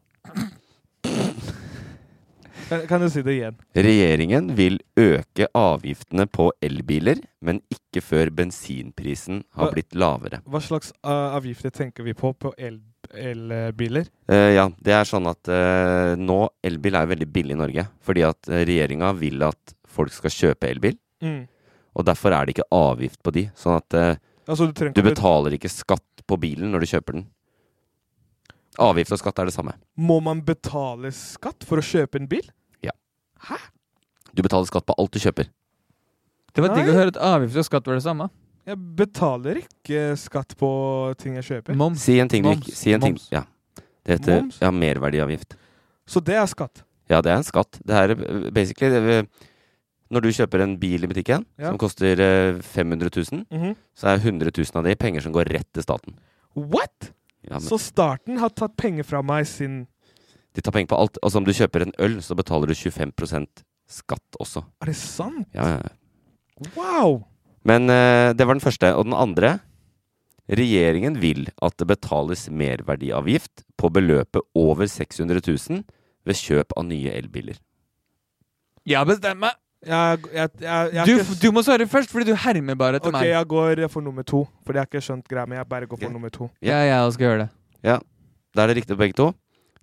Speaker 8: Kan, kan du si det igjen?
Speaker 4: Regjeringen vil øke avgiftene på elbiler, men ikke før bensinprisen har
Speaker 8: Hva-
Speaker 4: blitt lavere.
Speaker 8: Hva slags uh, avgifter tenker vi på på el- elbiler?
Speaker 4: Eh, ja, det er sånn at eh, nå elbil er jo veldig billig i Norge. Fordi at eh, regjeringa vil at folk skal kjøpe elbil.
Speaker 8: Mm.
Speaker 4: Og derfor er det ikke avgift på de. Sånn at eh,
Speaker 8: Altså, du trenger
Speaker 4: du
Speaker 8: ikke å bet-
Speaker 4: betaler ikke skatt på bilen når du kjøper den. Avgift og skatt er det samme.
Speaker 8: Må man betale skatt for å kjøpe en bil?
Speaker 4: Du betaler skatt på alt du kjøper.
Speaker 5: Det var digg
Speaker 8: Nei.
Speaker 5: å høre at avgift og skatt var det samme.
Speaker 8: Jeg betaler ikke skatt på ting jeg kjøper.
Speaker 4: Si en ting du ikke si en ting,
Speaker 8: Moms.
Speaker 4: ja. Det heter
Speaker 8: Moms?
Speaker 4: ja, merverdiavgift.
Speaker 8: Så det er skatt.
Speaker 4: Ja, det er en skatt. Det er eh, basically det, vi- Når du kjøper en bil i butikken
Speaker 8: Ja.
Speaker 4: som koster eh, 500 000,
Speaker 8: Mhm.
Speaker 4: så er 100 000 av de penger som går rett til staten.
Speaker 8: What?!
Speaker 4: Ja, men
Speaker 8: Så staten har tatt penger fra meg sin
Speaker 4: De tar penger på alt. Altså om du kjøper en øl, så betaler du 25 skatt også.
Speaker 8: Er det sant?
Speaker 4: Ja, ja, ja.
Speaker 8: Wow!
Speaker 4: Men eh, det var den første. Og den andre Regjeringen vil at det betales merverdiavgift på beløpet over 600 000 ved kjøp av nye elbiler.
Speaker 5: Jeg bestemmer!
Speaker 8: Jeg, jeg, jeg, jeg
Speaker 5: Du,
Speaker 8: er
Speaker 5: f- du må svare først, fordi du hermer bare etter
Speaker 8: Ok,
Speaker 5: meg.
Speaker 8: jeg går for nummer to, for jeg har ikke skjønt greia, men jeg bare går for nummer to.
Speaker 5: Ja, jeg også skal gjøre det.
Speaker 4: Ja, Da er det riktig på begge to.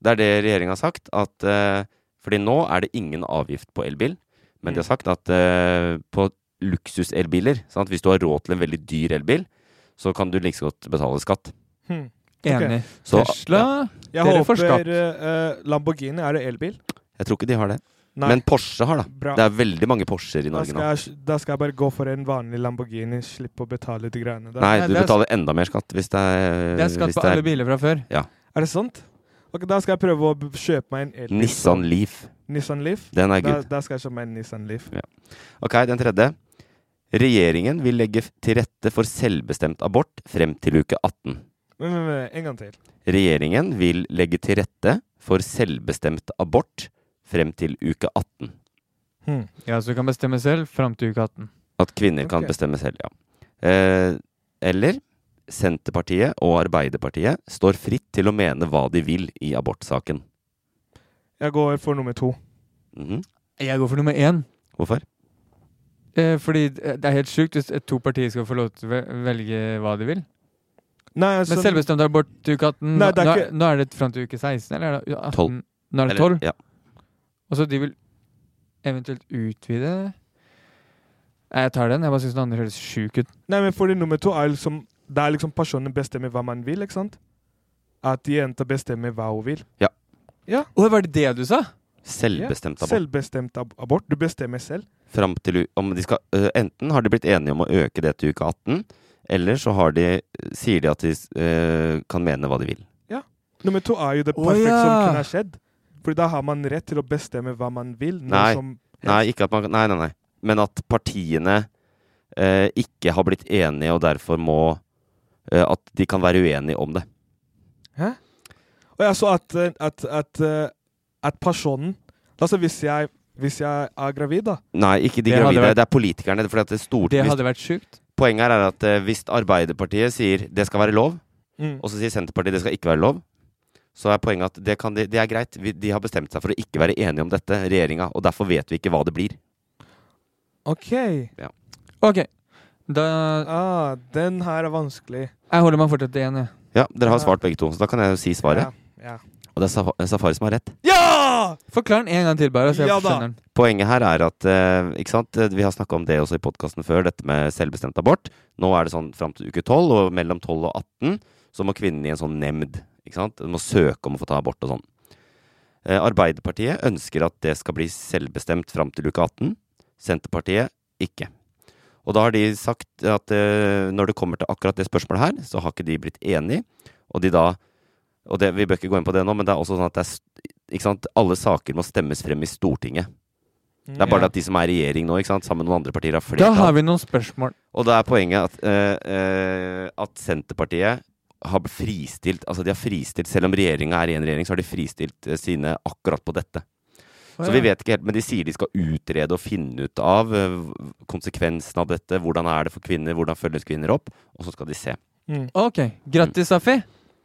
Speaker 4: Det er det regjeringa har sagt. At, eh, fordi nå er det ingen avgift på elbil. Men de har sagt at eh, på luksuselbiler, sant? hvis du har råd til en veldig dyr elbil, så kan du like så godt betale skatt.
Speaker 8: Hmm.
Speaker 5: Enig.
Speaker 8: Ok.
Speaker 4: Så-
Speaker 5: Tesla,
Speaker 8: Jeg
Speaker 5: dere får skatt.
Speaker 8: håper eh, Lamborghini er det elbil.
Speaker 4: Jeg tror ikke de har det.
Speaker 8: Nei.
Speaker 4: Men Porsche har det.
Speaker 8: Bra.
Speaker 4: Det er veldig mange Porscher
Speaker 8: Da
Speaker 4: i Norge
Speaker 8: skal,
Speaker 4: nå.
Speaker 8: jeg, da skal jeg bare gå for en vanlig Lamborghini, slippe å betale de greiene der.
Speaker 4: Nei,
Speaker 5: Nei,
Speaker 4: du
Speaker 5: det er-
Speaker 4: betaler enda mer skatt hvis det er
Speaker 5: Det er skatt
Speaker 4: hvis
Speaker 5: på alle biler fra før.
Speaker 4: Ja.
Speaker 8: Er det sant? Ok, Da skal jeg prøve å b- kjøpe meg en elbil.
Speaker 4: Nissan Leaf.
Speaker 8: Nissan Leaf?
Speaker 4: Den er
Speaker 8: Da,
Speaker 4: good.
Speaker 8: da skal jeg kjøpe meg en Nissan Leaf.
Speaker 4: Ja. Ok, den tredje. Regjeringen vil legge f- til rette for selvbestemt abort frem til uke 18.
Speaker 8: Men, men, men, en gang til.
Speaker 4: Regjeringen vil legge til rette for selvbestemt abort frem til uke 18.
Speaker 8: Hm.
Speaker 5: Ja, så du kan bestemme selv fram til uke 18.
Speaker 4: At kvinner kan
Speaker 5: Ok.
Speaker 4: bestemme selv, ja. Eh, eller Senterpartiet og Arbeiderpartiet står fritt til å mene hva de vil i abortsaken.
Speaker 8: Jeg går for nummer to.
Speaker 4: Mhm.
Speaker 5: Jeg går for nummer én.
Speaker 4: Hvorfor?
Speaker 5: Eh, fordi det er helt sjukt hvis eh, to partier skal få lov til å ve- velge hva de vil.
Speaker 8: Nei,
Speaker 5: Men
Speaker 8: altså-
Speaker 5: selvbestemt abort til uke 18
Speaker 8: Nei, det er
Speaker 5: nå,
Speaker 8: ikke-
Speaker 5: er, nå er det fram til uke 16, eller er det 18?
Speaker 4: Tolv.
Speaker 5: Nå er det
Speaker 4: Eller-
Speaker 5: 12?
Speaker 4: Ja.
Speaker 5: Og så de vil eventuelt utvide Nei, jeg tar den. Jeg bare syns den andre høres sjuk ut.
Speaker 8: Nei, men fordi nummer to er liksom Det er liksom personen bestemmer hva man vil, ikke sant? At jenta bestemmer hva hun vil.
Speaker 4: Ja.
Speaker 8: Ja.
Speaker 5: Å, var det det du sa?
Speaker 4: Selvbestemt
Speaker 8: Ja.
Speaker 4: abort.
Speaker 8: Selvbestemt ab abort. Du bestemmer selv.
Speaker 4: Frem til u- om de skal, eh, enten har de blitt enige om å øke det til uke 18, eller så har de, sier de at de eh, kan mene hva de vil.
Speaker 8: Ja. Nummer to er jo det
Speaker 5: Å,
Speaker 8: perfekte som
Speaker 5: ja.
Speaker 8: kunne ha skjedd. Fordi da har man rett til å bestemme hva man vil. når
Speaker 4: Nei.
Speaker 8: Som
Speaker 4: Nei, ikke at man, nei, nei, nei. Men at partiene eh, ikke har blitt enige, og derfor må eh, At de kan være uenige om det.
Speaker 8: Og jeg så at, eh, at, at, eh, at personen Altså hvis jeg, hvis jeg er gravid, da.
Speaker 4: Nei, ikke de
Speaker 5: Det hadde
Speaker 4: gravide.
Speaker 5: vært-
Speaker 4: Det er politikerne. Fordi at det stort,
Speaker 5: Det
Speaker 4: hvis-
Speaker 5: hadde vært sjukt.
Speaker 4: Poenget her er at eh, hvis Arbeiderpartiet sier det skal være lov,
Speaker 8: Mm.
Speaker 4: og så sier Senterpartiet det skal ikke være lov, så er poenget at det, kan de, det er greit. Vi, de har bestemt seg for å ikke være enige om dette, regjeringa, og derfor vet vi ikke hva det blir.
Speaker 8: OK.
Speaker 5: OK. Da
Speaker 8: Ah, den her er vanskelig.
Speaker 5: Jeg holder meg fortsatt til én, jeg.
Speaker 4: Ja, dere har
Speaker 8: Ja.
Speaker 4: svart begge to, så da kan jeg jo si svaret.
Speaker 8: Ja!
Speaker 4: Og det er Safa- Safari som har rett.
Speaker 8: Ja!
Speaker 5: Forklar den en gang til, bare. Så jeg
Speaker 8: Ja da.
Speaker 5: skjønner den.
Speaker 4: Poenget her er at eh, ikke sant? vi har snakka om det også i podkasten før, dette med selvbestemt abort. Nå er det sånn fram til uke 12, og mellom 12 og 18 så må kvinnen i en sånn nemnd. Ikke sant? Den må søke om å få ta abort og sånn. Eh, Arbeiderpartiet ønsker at det skal bli selvbestemt fram til uke 18. Senterpartiet ikke. Og da har de sagt at eh, når det kommer til akkurat det spørsmålet her, så har ikke de blitt enige. Og de da Og det, vi bør ikke gå inn på det nå, men det er også sånn at det er, st- ikke sant? alle saker må stemmes frem i Stortinget.
Speaker 8: Mm.
Speaker 4: Det er bare det at de som er i regjering nå, ikke sant, sammen med noen andre partier, har
Speaker 5: Da
Speaker 4: flertall.
Speaker 5: har vi noen spørsmål.
Speaker 4: Og da er poenget at, eh, eh, at Senterpartiet har fristilt Altså de har fristilt, selv om regjeringa er i en regjering, så har de fristilt eh, sine akkurat på dette. Så vi vet ikke helt, men de sier de skal utrede og finne ut av eh, konsekvensen av dette. Hvordan er det for kvinner, hvordan følges kvinner opp? Og så skal de se.
Speaker 8: Mm.
Speaker 5: Ok. Grattis, Safi.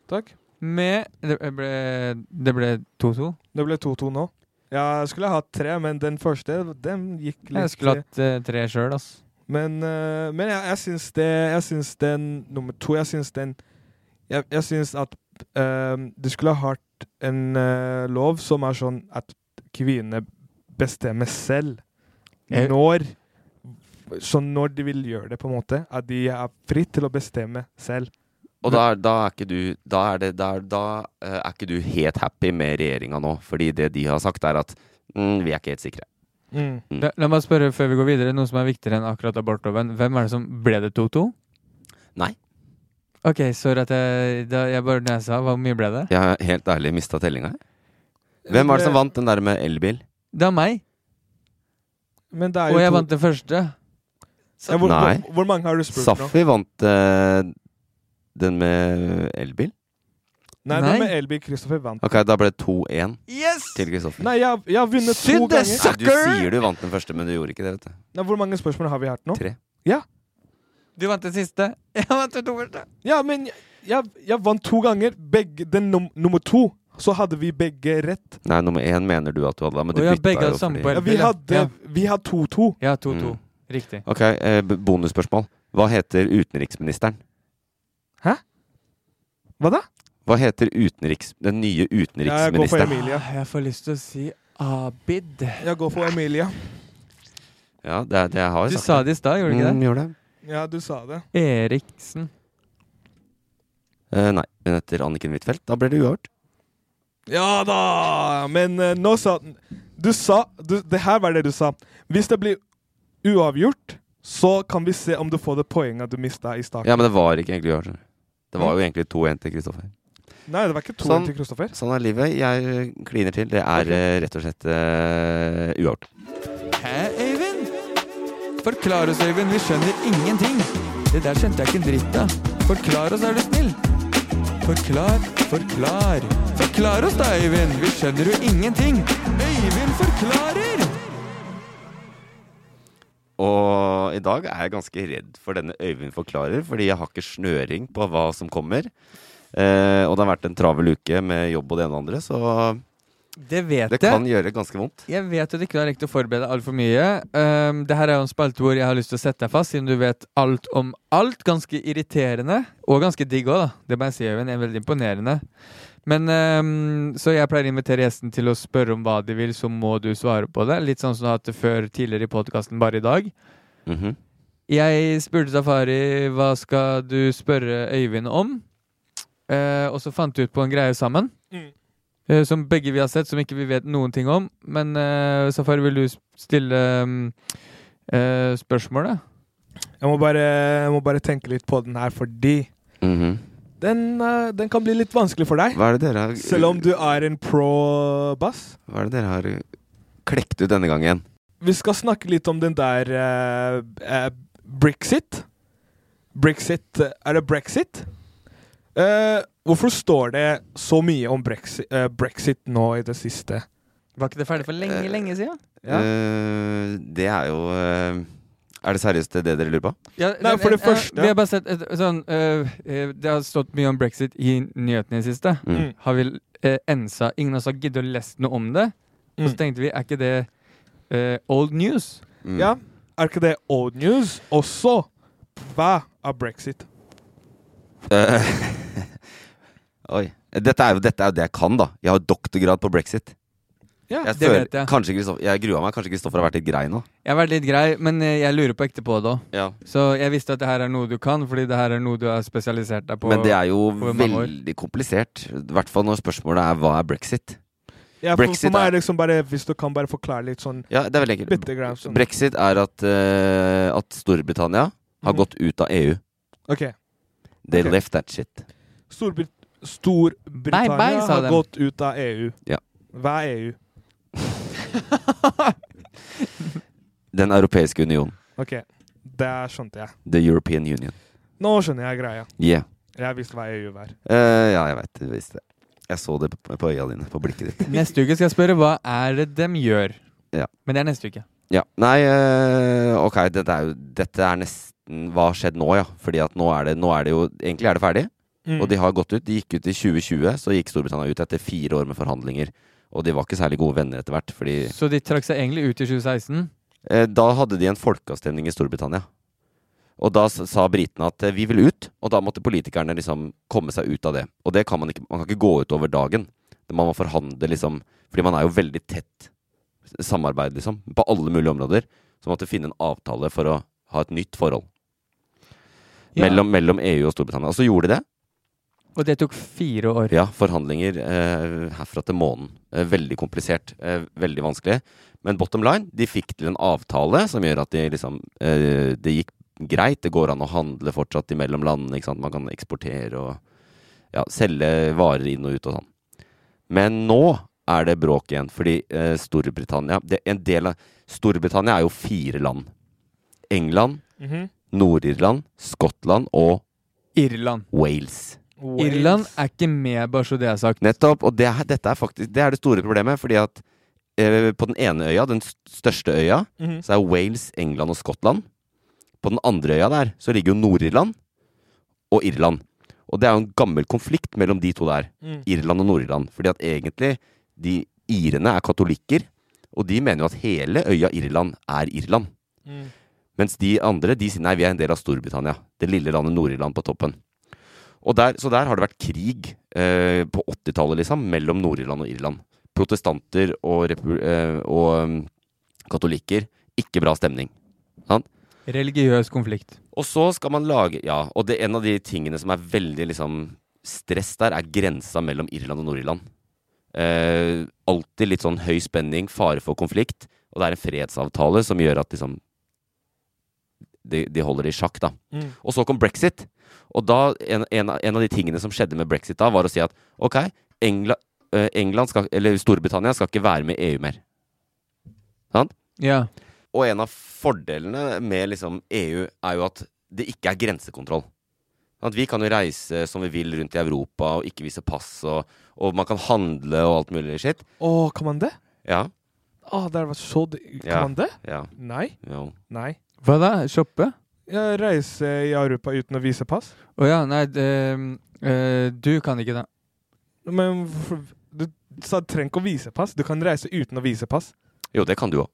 Speaker 8: Takk.
Speaker 5: Med Det ble det ble 2-2.
Speaker 8: Det ble 2-2 nå. Ja, jeg skulle hatt tre, men den første, den gikk litt
Speaker 5: Jeg skulle hatt eh, tre sjøl, ass.
Speaker 8: Men, eh, men jeg, jeg syns det Jeg syns den nummer to Jeg syns den Jeg, jeg syns at eh, det skulle ha vært en eh, lov som er sånn at kvinnene bestemmer selv
Speaker 5: Jeg-
Speaker 8: når Sånn når de vil gjøre det, på en måte. At de er fritt til å bestemme selv.
Speaker 4: Og da, er- da, er ikke du, da, er det, da, er- da eh, er ikke du helt happy med regjeringa nå, fordi det de har sagt, er at mm, vi er ikke helt sikre. Mm.
Speaker 5: La, la meg spørre før vi går videre, noe som er viktigere enn akkurat abortloven. Hvem er det som ble det 2-2?
Speaker 4: Nei.
Speaker 5: Ok, sorry at jeg, da, jeg bare når jeg sa Hvor mye ble det?
Speaker 4: Jeg har helt ærlig mista tellinga. jeg. Hvem var det som vant den der med elbil?
Speaker 5: Det er meg.
Speaker 8: Men det er
Speaker 5: Og
Speaker 8: jo
Speaker 5: jeg
Speaker 8: to-
Speaker 5: vant den første.
Speaker 8: Ja, hvor,
Speaker 4: Nei.
Speaker 8: Hvor, hvor mange har du spurt nå?
Speaker 4: Safi vant eh, den med elbil.
Speaker 8: Nei, det var med Elby Kristoffer vant.
Speaker 4: Ok, da ble det 2-1
Speaker 8: Yes!
Speaker 4: til Kristoffer.
Speaker 8: Nei, jeg, jeg har vunnet to
Speaker 4: Nei,
Speaker 8: ganger.
Speaker 4: Du sier du vant den første, men du gjorde ikke det, vet du.
Speaker 8: Nei, hvor mange spørsmål har vi hatt nå?
Speaker 4: Tre.
Speaker 8: Ja.
Speaker 5: Du vant den siste. [LAUGHS] Jeg vant den to første.
Speaker 8: Ja, men jeg, jeg, jeg vant to ganger. Begge, den num nummer to, så hadde vi begge rett.
Speaker 4: Nei, nummer én mener du at du hadde, men du
Speaker 5: Å ja,
Speaker 4: bytta
Speaker 5: begge
Speaker 4: jo
Speaker 5: hadde samme
Speaker 4: fordi-
Speaker 5: poeng.
Speaker 8: Ja, vi
Speaker 5: Ja.
Speaker 8: hadde
Speaker 5: Ja.
Speaker 8: vi hadde 2-2.
Speaker 5: Ja,
Speaker 4: Mm.
Speaker 5: 2-2. Riktig.
Speaker 4: Ok, eh, b- bonusspørsmål. Hva heter utenriksministeren?
Speaker 8: Hæ? Hva da?
Speaker 4: Hva heter utenriks, den nye
Speaker 8: Jeg går for
Speaker 4: utenriksministeren?
Speaker 8: Emilia.
Speaker 5: Jeg får lyst til å si
Speaker 8: Ah,
Speaker 5: Abid.
Speaker 8: Jeg går for Emilia.
Speaker 4: Ja, det, er- det jeg har
Speaker 5: Du
Speaker 4: sagt
Speaker 5: sa det i stad, gjorde du ikke
Speaker 4: Mm,
Speaker 5: det?
Speaker 4: gjorde det.
Speaker 8: Ja, du sa det.
Speaker 5: Eriksen.
Speaker 4: Eh, nei, hun heter Anniken Huitfeldt. Da ble det uavgjort.
Speaker 8: Ja da! Men eh, nå sa Du sa du, Det her var det du sa. Hvis det blir uavgjort, så kan vi se om du får det poenget du mista i starten.
Speaker 4: Ja, men det var ikke egentlig uavgjort. Det var jo egentlig 2-1 til Kristoffer.
Speaker 8: Nei, det var ikke to
Speaker 4: Sånn.
Speaker 8: til Kristoffer.
Speaker 4: Sånn er livet. Jeg eh, kliner til. Det er eh, rett og slett eh, uavgjort.
Speaker 5: Hæ, Øyvind? Forklar oss, Øyvind. Vi skjønner ingenting. Det der skjønte jeg ikke en dritt av. Forklar oss, er du snill. Forklar, forklar. Forklar oss da, Øyvind. Vi skjønner jo ingenting. Øyvind forklarer!
Speaker 4: Og i dag er jeg ganske redd for denne Øyvind forklarer, fordi jeg har ikke snøring på hva som kommer. Eh, og det har vært en travel uke med jobb og det ene og det andre, så
Speaker 5: Det vet
Speaker 4: det
Speaker 5: jeg.
Speaker 4: kan gjøre ganske vondt.
Speaker 5: Jeg vet at du ikke har rekt å forberede deg altfor mye. Um, det her er jo en spalte hvor jeg har lyst til å sette deg fast, siden du vet alt om alt. Ganske irriterende, og ganske digg òg, da. Det må jeg si, Øyvind. er Veldig imponerende. Men um, Så jeg pleier å invitere gjesten til å spørre om hva de vil, så må du svare på det. Litt sånn som du har hatt det før tidligere i podkasten, bare i dag.
Speaker 4: Mhm.
Speaker 5: Jeg spurte Safari hva skal du spørre Øyvind om, eh, og så fant vi ut på en greie sammen.
Speaker 8: Mm.
Speaker 5: Eh, som begge vi har sett, som ikke vi vet noen ting om. Men eh, Safari, vil du s- stille um, eh, spørsmålet?
Speaker 8: Jeg må bare, jeg må bare tenke litt på den her, fordi
Speaker 4: Mhm.
Speaker 8: den, eh, den kan bli litt vanskelig for deg.
Speaker 4: Hva er det dere har
Speaker 8: Selv om du er en pro-bass.
Speaker 4: Hva er det dere har klekt ut denne gangen?
Speaker 8: Vi skal snakke litt om den der eh, eh, brexit. Brexit eh, Er det brexit? Eh, hvorfor står det så mye om brexit, eh, brexit nå i det siste?
Speaker 5: Var ikke det ferdig for lenge, lenge siden?
Speaker 4: Eh, det er jo eh, Er det seriøst det dere lurer på?
Speaker 5: Ja,
Speaker 8: Nei,
Speaker 5: men,
Speaker 8: for det
Speaker 5: eh, eh,
Speaker 8: første-
Speaker 5: Vi har bare sett et, sånn eh, eh, Det har stått mye om brexit i nyhetene i det siste.
Speaker 4: Mm.
Speaker 5: Har vi eh, ensa Ingen har sagt giddet å lese noe om det.
Speaker 8: mm.
Speaker 5: Og så tenkte vi, er ikke det eh, old news?
Speaker 4: Mm.
Speaker 8: Ja, Er ikke det old news? Også hva er brexit?
Speaker 4: Eh, [LAUGHS] Oi. Dette er, jo, dette er jo det jeg kan, da. Jeg har doktorgrad på brexit.
Speaker 8: Ja,
Speaker 4: jeg
Speaker 5: det
Speaker 4: føler-
Speaker 5: vet jeg.
Speaker 4: Kanskje Kristoffer, jeg grua meg. Kanskje Kristoffer har vært litt grei nå.
Speaker 5: Jeg har vært litt grei, men eh, jeg lurer på ekte på det òg.
Speaker 4: Ja.
Speaker 5: Så jeg visste at det her er noe du kan, fordi det her er noe du har spesialisert deg på.
Speaker 4: Men det er jo
Speaker 5: over mange år.
Speaker 4: veldig komplisert. I hvert fall når spørsmålet er hva er brexit?
Speaker 8: Ja, for,
Speaker 4: Brexit
Speaker 8: for meg
Speaker 4: er-
Speaker 8: er det liksom bare Hvis du kan bare forklare litt sånn
Speaker 4: Ja, det er veldig enkelt.
Speaker 8: Bitte grann sånn.
Speaker 4: Brexit er at, eh, at Storbritannia har
Speaker 8: Mhm.
Speaker 4: gått ut av EU.
Speaker 8: Ok.
Speaker 4: They
Speaker 8: Ok.
Speaker 4: left that shit.
Speaker 8: Storbrit
Speaker 5: Bye,
Speaker 8: Storbritannia
Speaker 5: bye, sa
Speaker 8: har
Speaker 5: de.
Speaker 8: gått ut av EU.
Speaker 4: Ja.
Speaker 8: Hva er E EU?
Speaker 4: Den europeiske union.
Speaker 8: OK, det skjønte jeg.
Speaker 4: The European Union.
Speaker 8: Nå skjønner jeg greia.
Speaker 4: Yeah.
Speaker 8: Jeg visste hva E EU var.
Speaker 4: Eh, ja, jeg veit. Du visste det. Jeg så det på på øya dine, på blikket ditt.
Speaker 5: Neste uke skal jeg spørre hva er det dem gjør.
Speaker 4: Ja.
Speaker 5: Men det er neste uke.
Speaker 4: Ja. Nei, eh, ok, dette er jo Dette er nesten Hva har skjedd nå, ja? Fordi at nå er det, nå er det jo Egentlig er det ferdig,
Speaker 5: Mm.
Speaker 4: og de har gått ut. De gikk ut i 2020, så gikk Storbritannia ut etter fire år med forhandlinger. Og de var ikke særlig gode venner etter hvert, fordi
Speaker 5: Så de trakk seg egentlig ut i 2016.
Speaker 4: eh, Da hadde de en folkeavstemning i Storbritannia. Og da s- sa britene at eh, vi vil ut, og da måtte politikerne liksom komme seg ut av det. Og det kan man ikke, man kan ikke gå ut over dagen. Man må forhandle liksom Fordi man er jo veldig tett s- samarbeid, liksom. På alle mulige områder. Så man måtte finne en avtale for å ha et nytt forhold.
Speaker 5: Ja.
Speaker 4: Mellom, mellom EU og Storbritannia. Og så gjorde de det.
Speaker 5: Og det tok fire år.
Speaker 4: Ja, forhandlinger eh, herfra til månen. Eh, veldig komplisert, eh, veldig vanskelig. Men bottom line, de fikk til en avtale som gjør at de liksom, eh, det gikk greit. Det går an å handle fortsatt imellom landene. Ikke sant? Man kan eksportere og ja, selge varer inn og ut og sånn. Men nå er det bråk igjen, fordi eh, Storbritannia det, en del av, Storbritannia er jo fire land. England,
Speaker 5: Mhm.
Speaker 4: Nord-Irland, Skottland og
Speaker 5: Irland.
Speaker 4: Wales.
Speaker 5: Irland er ikke med, bare så det er sagt.
Speaker 4: Nettopp. Og det, er- dette er faktisk det, er det store problemet. Fordi at eh, på den ene øya, den st- største øya,
Speaker 5: Mhm.
Speaker 4: så er Wales, England og Skottland. På den andre øya der så ligger jo Nord-Irland og Irland. Og det er jo en gammel konflikt mellom de to der.
Speaker 5: Mm.
Speaker 4: Irland og Nord-Irland. Fordi at egentlig de irene er katolikker, og de mener jo at hele øya Irland er Irland.
Speaker 5: Mm.
Speaker 4: Mens de andre de sier nei, vi er en del av Storbritannia. Det lille landet Nord-Irland på toppen. Og der, så der har det vært krig eh, på 80-tallet, liksom, mellom Nord-Irland og Irland. Protestanter og, repu eh, og mm, katolikker. Ikke bra stemning. Sant?
Speaker 5: Religiøs konflikt.
Speaker 4: Og så skal man lage Ja, og det, en av de tingene som er veldig liksom, stress der, er grensa mellom Irland og Nord-Irland. Eh, alltid litt sånn høy spenning, fare for konflikt. Og det er en fredsavtale som gjør at liksom de, de holder det i sjakk, da.
Speaker 5: Mm.
Speaker 4: Og så kom brexit. Og da, en, en, av- en av de tingene som skjedde med brexit da, var å si at ok, Engla, eh, England skal, eller Storbritannia skal ikke være med i EU mer. Sant?
Speaker 5: Ja.
Speaker 4: Og en av fordelene med liksom EU er jo at det ikke er grensekontroll. At vi kan jo reise som vi vil rundt i Europa og ikke vise pass, og, og man kan handle og alt mulig shit.
Speaker 8: Å, kan man det?
Speaker 4: Ja.
Speaker 8: Å, det var så d- Kan
Speaker 4: Ja.
Speaker 8: man det?
Speaker 4: Ja.
Speaker 8: Nei.
Speaker 4: Jo.
Speaker 8: Nei.
Speaker 5: Hva da? Shoppe?
Speaker 8: Ja, reise i Europa uten å vise pass?
Speaker 5: Å ja, nei det, eh, Du kan ikke det.
Speaker 8: Men hvorfor- du sa du trenger ikke å vise pass. Du kan reise uten å vise pass.
Speaker 4: Jo, det kan du òg.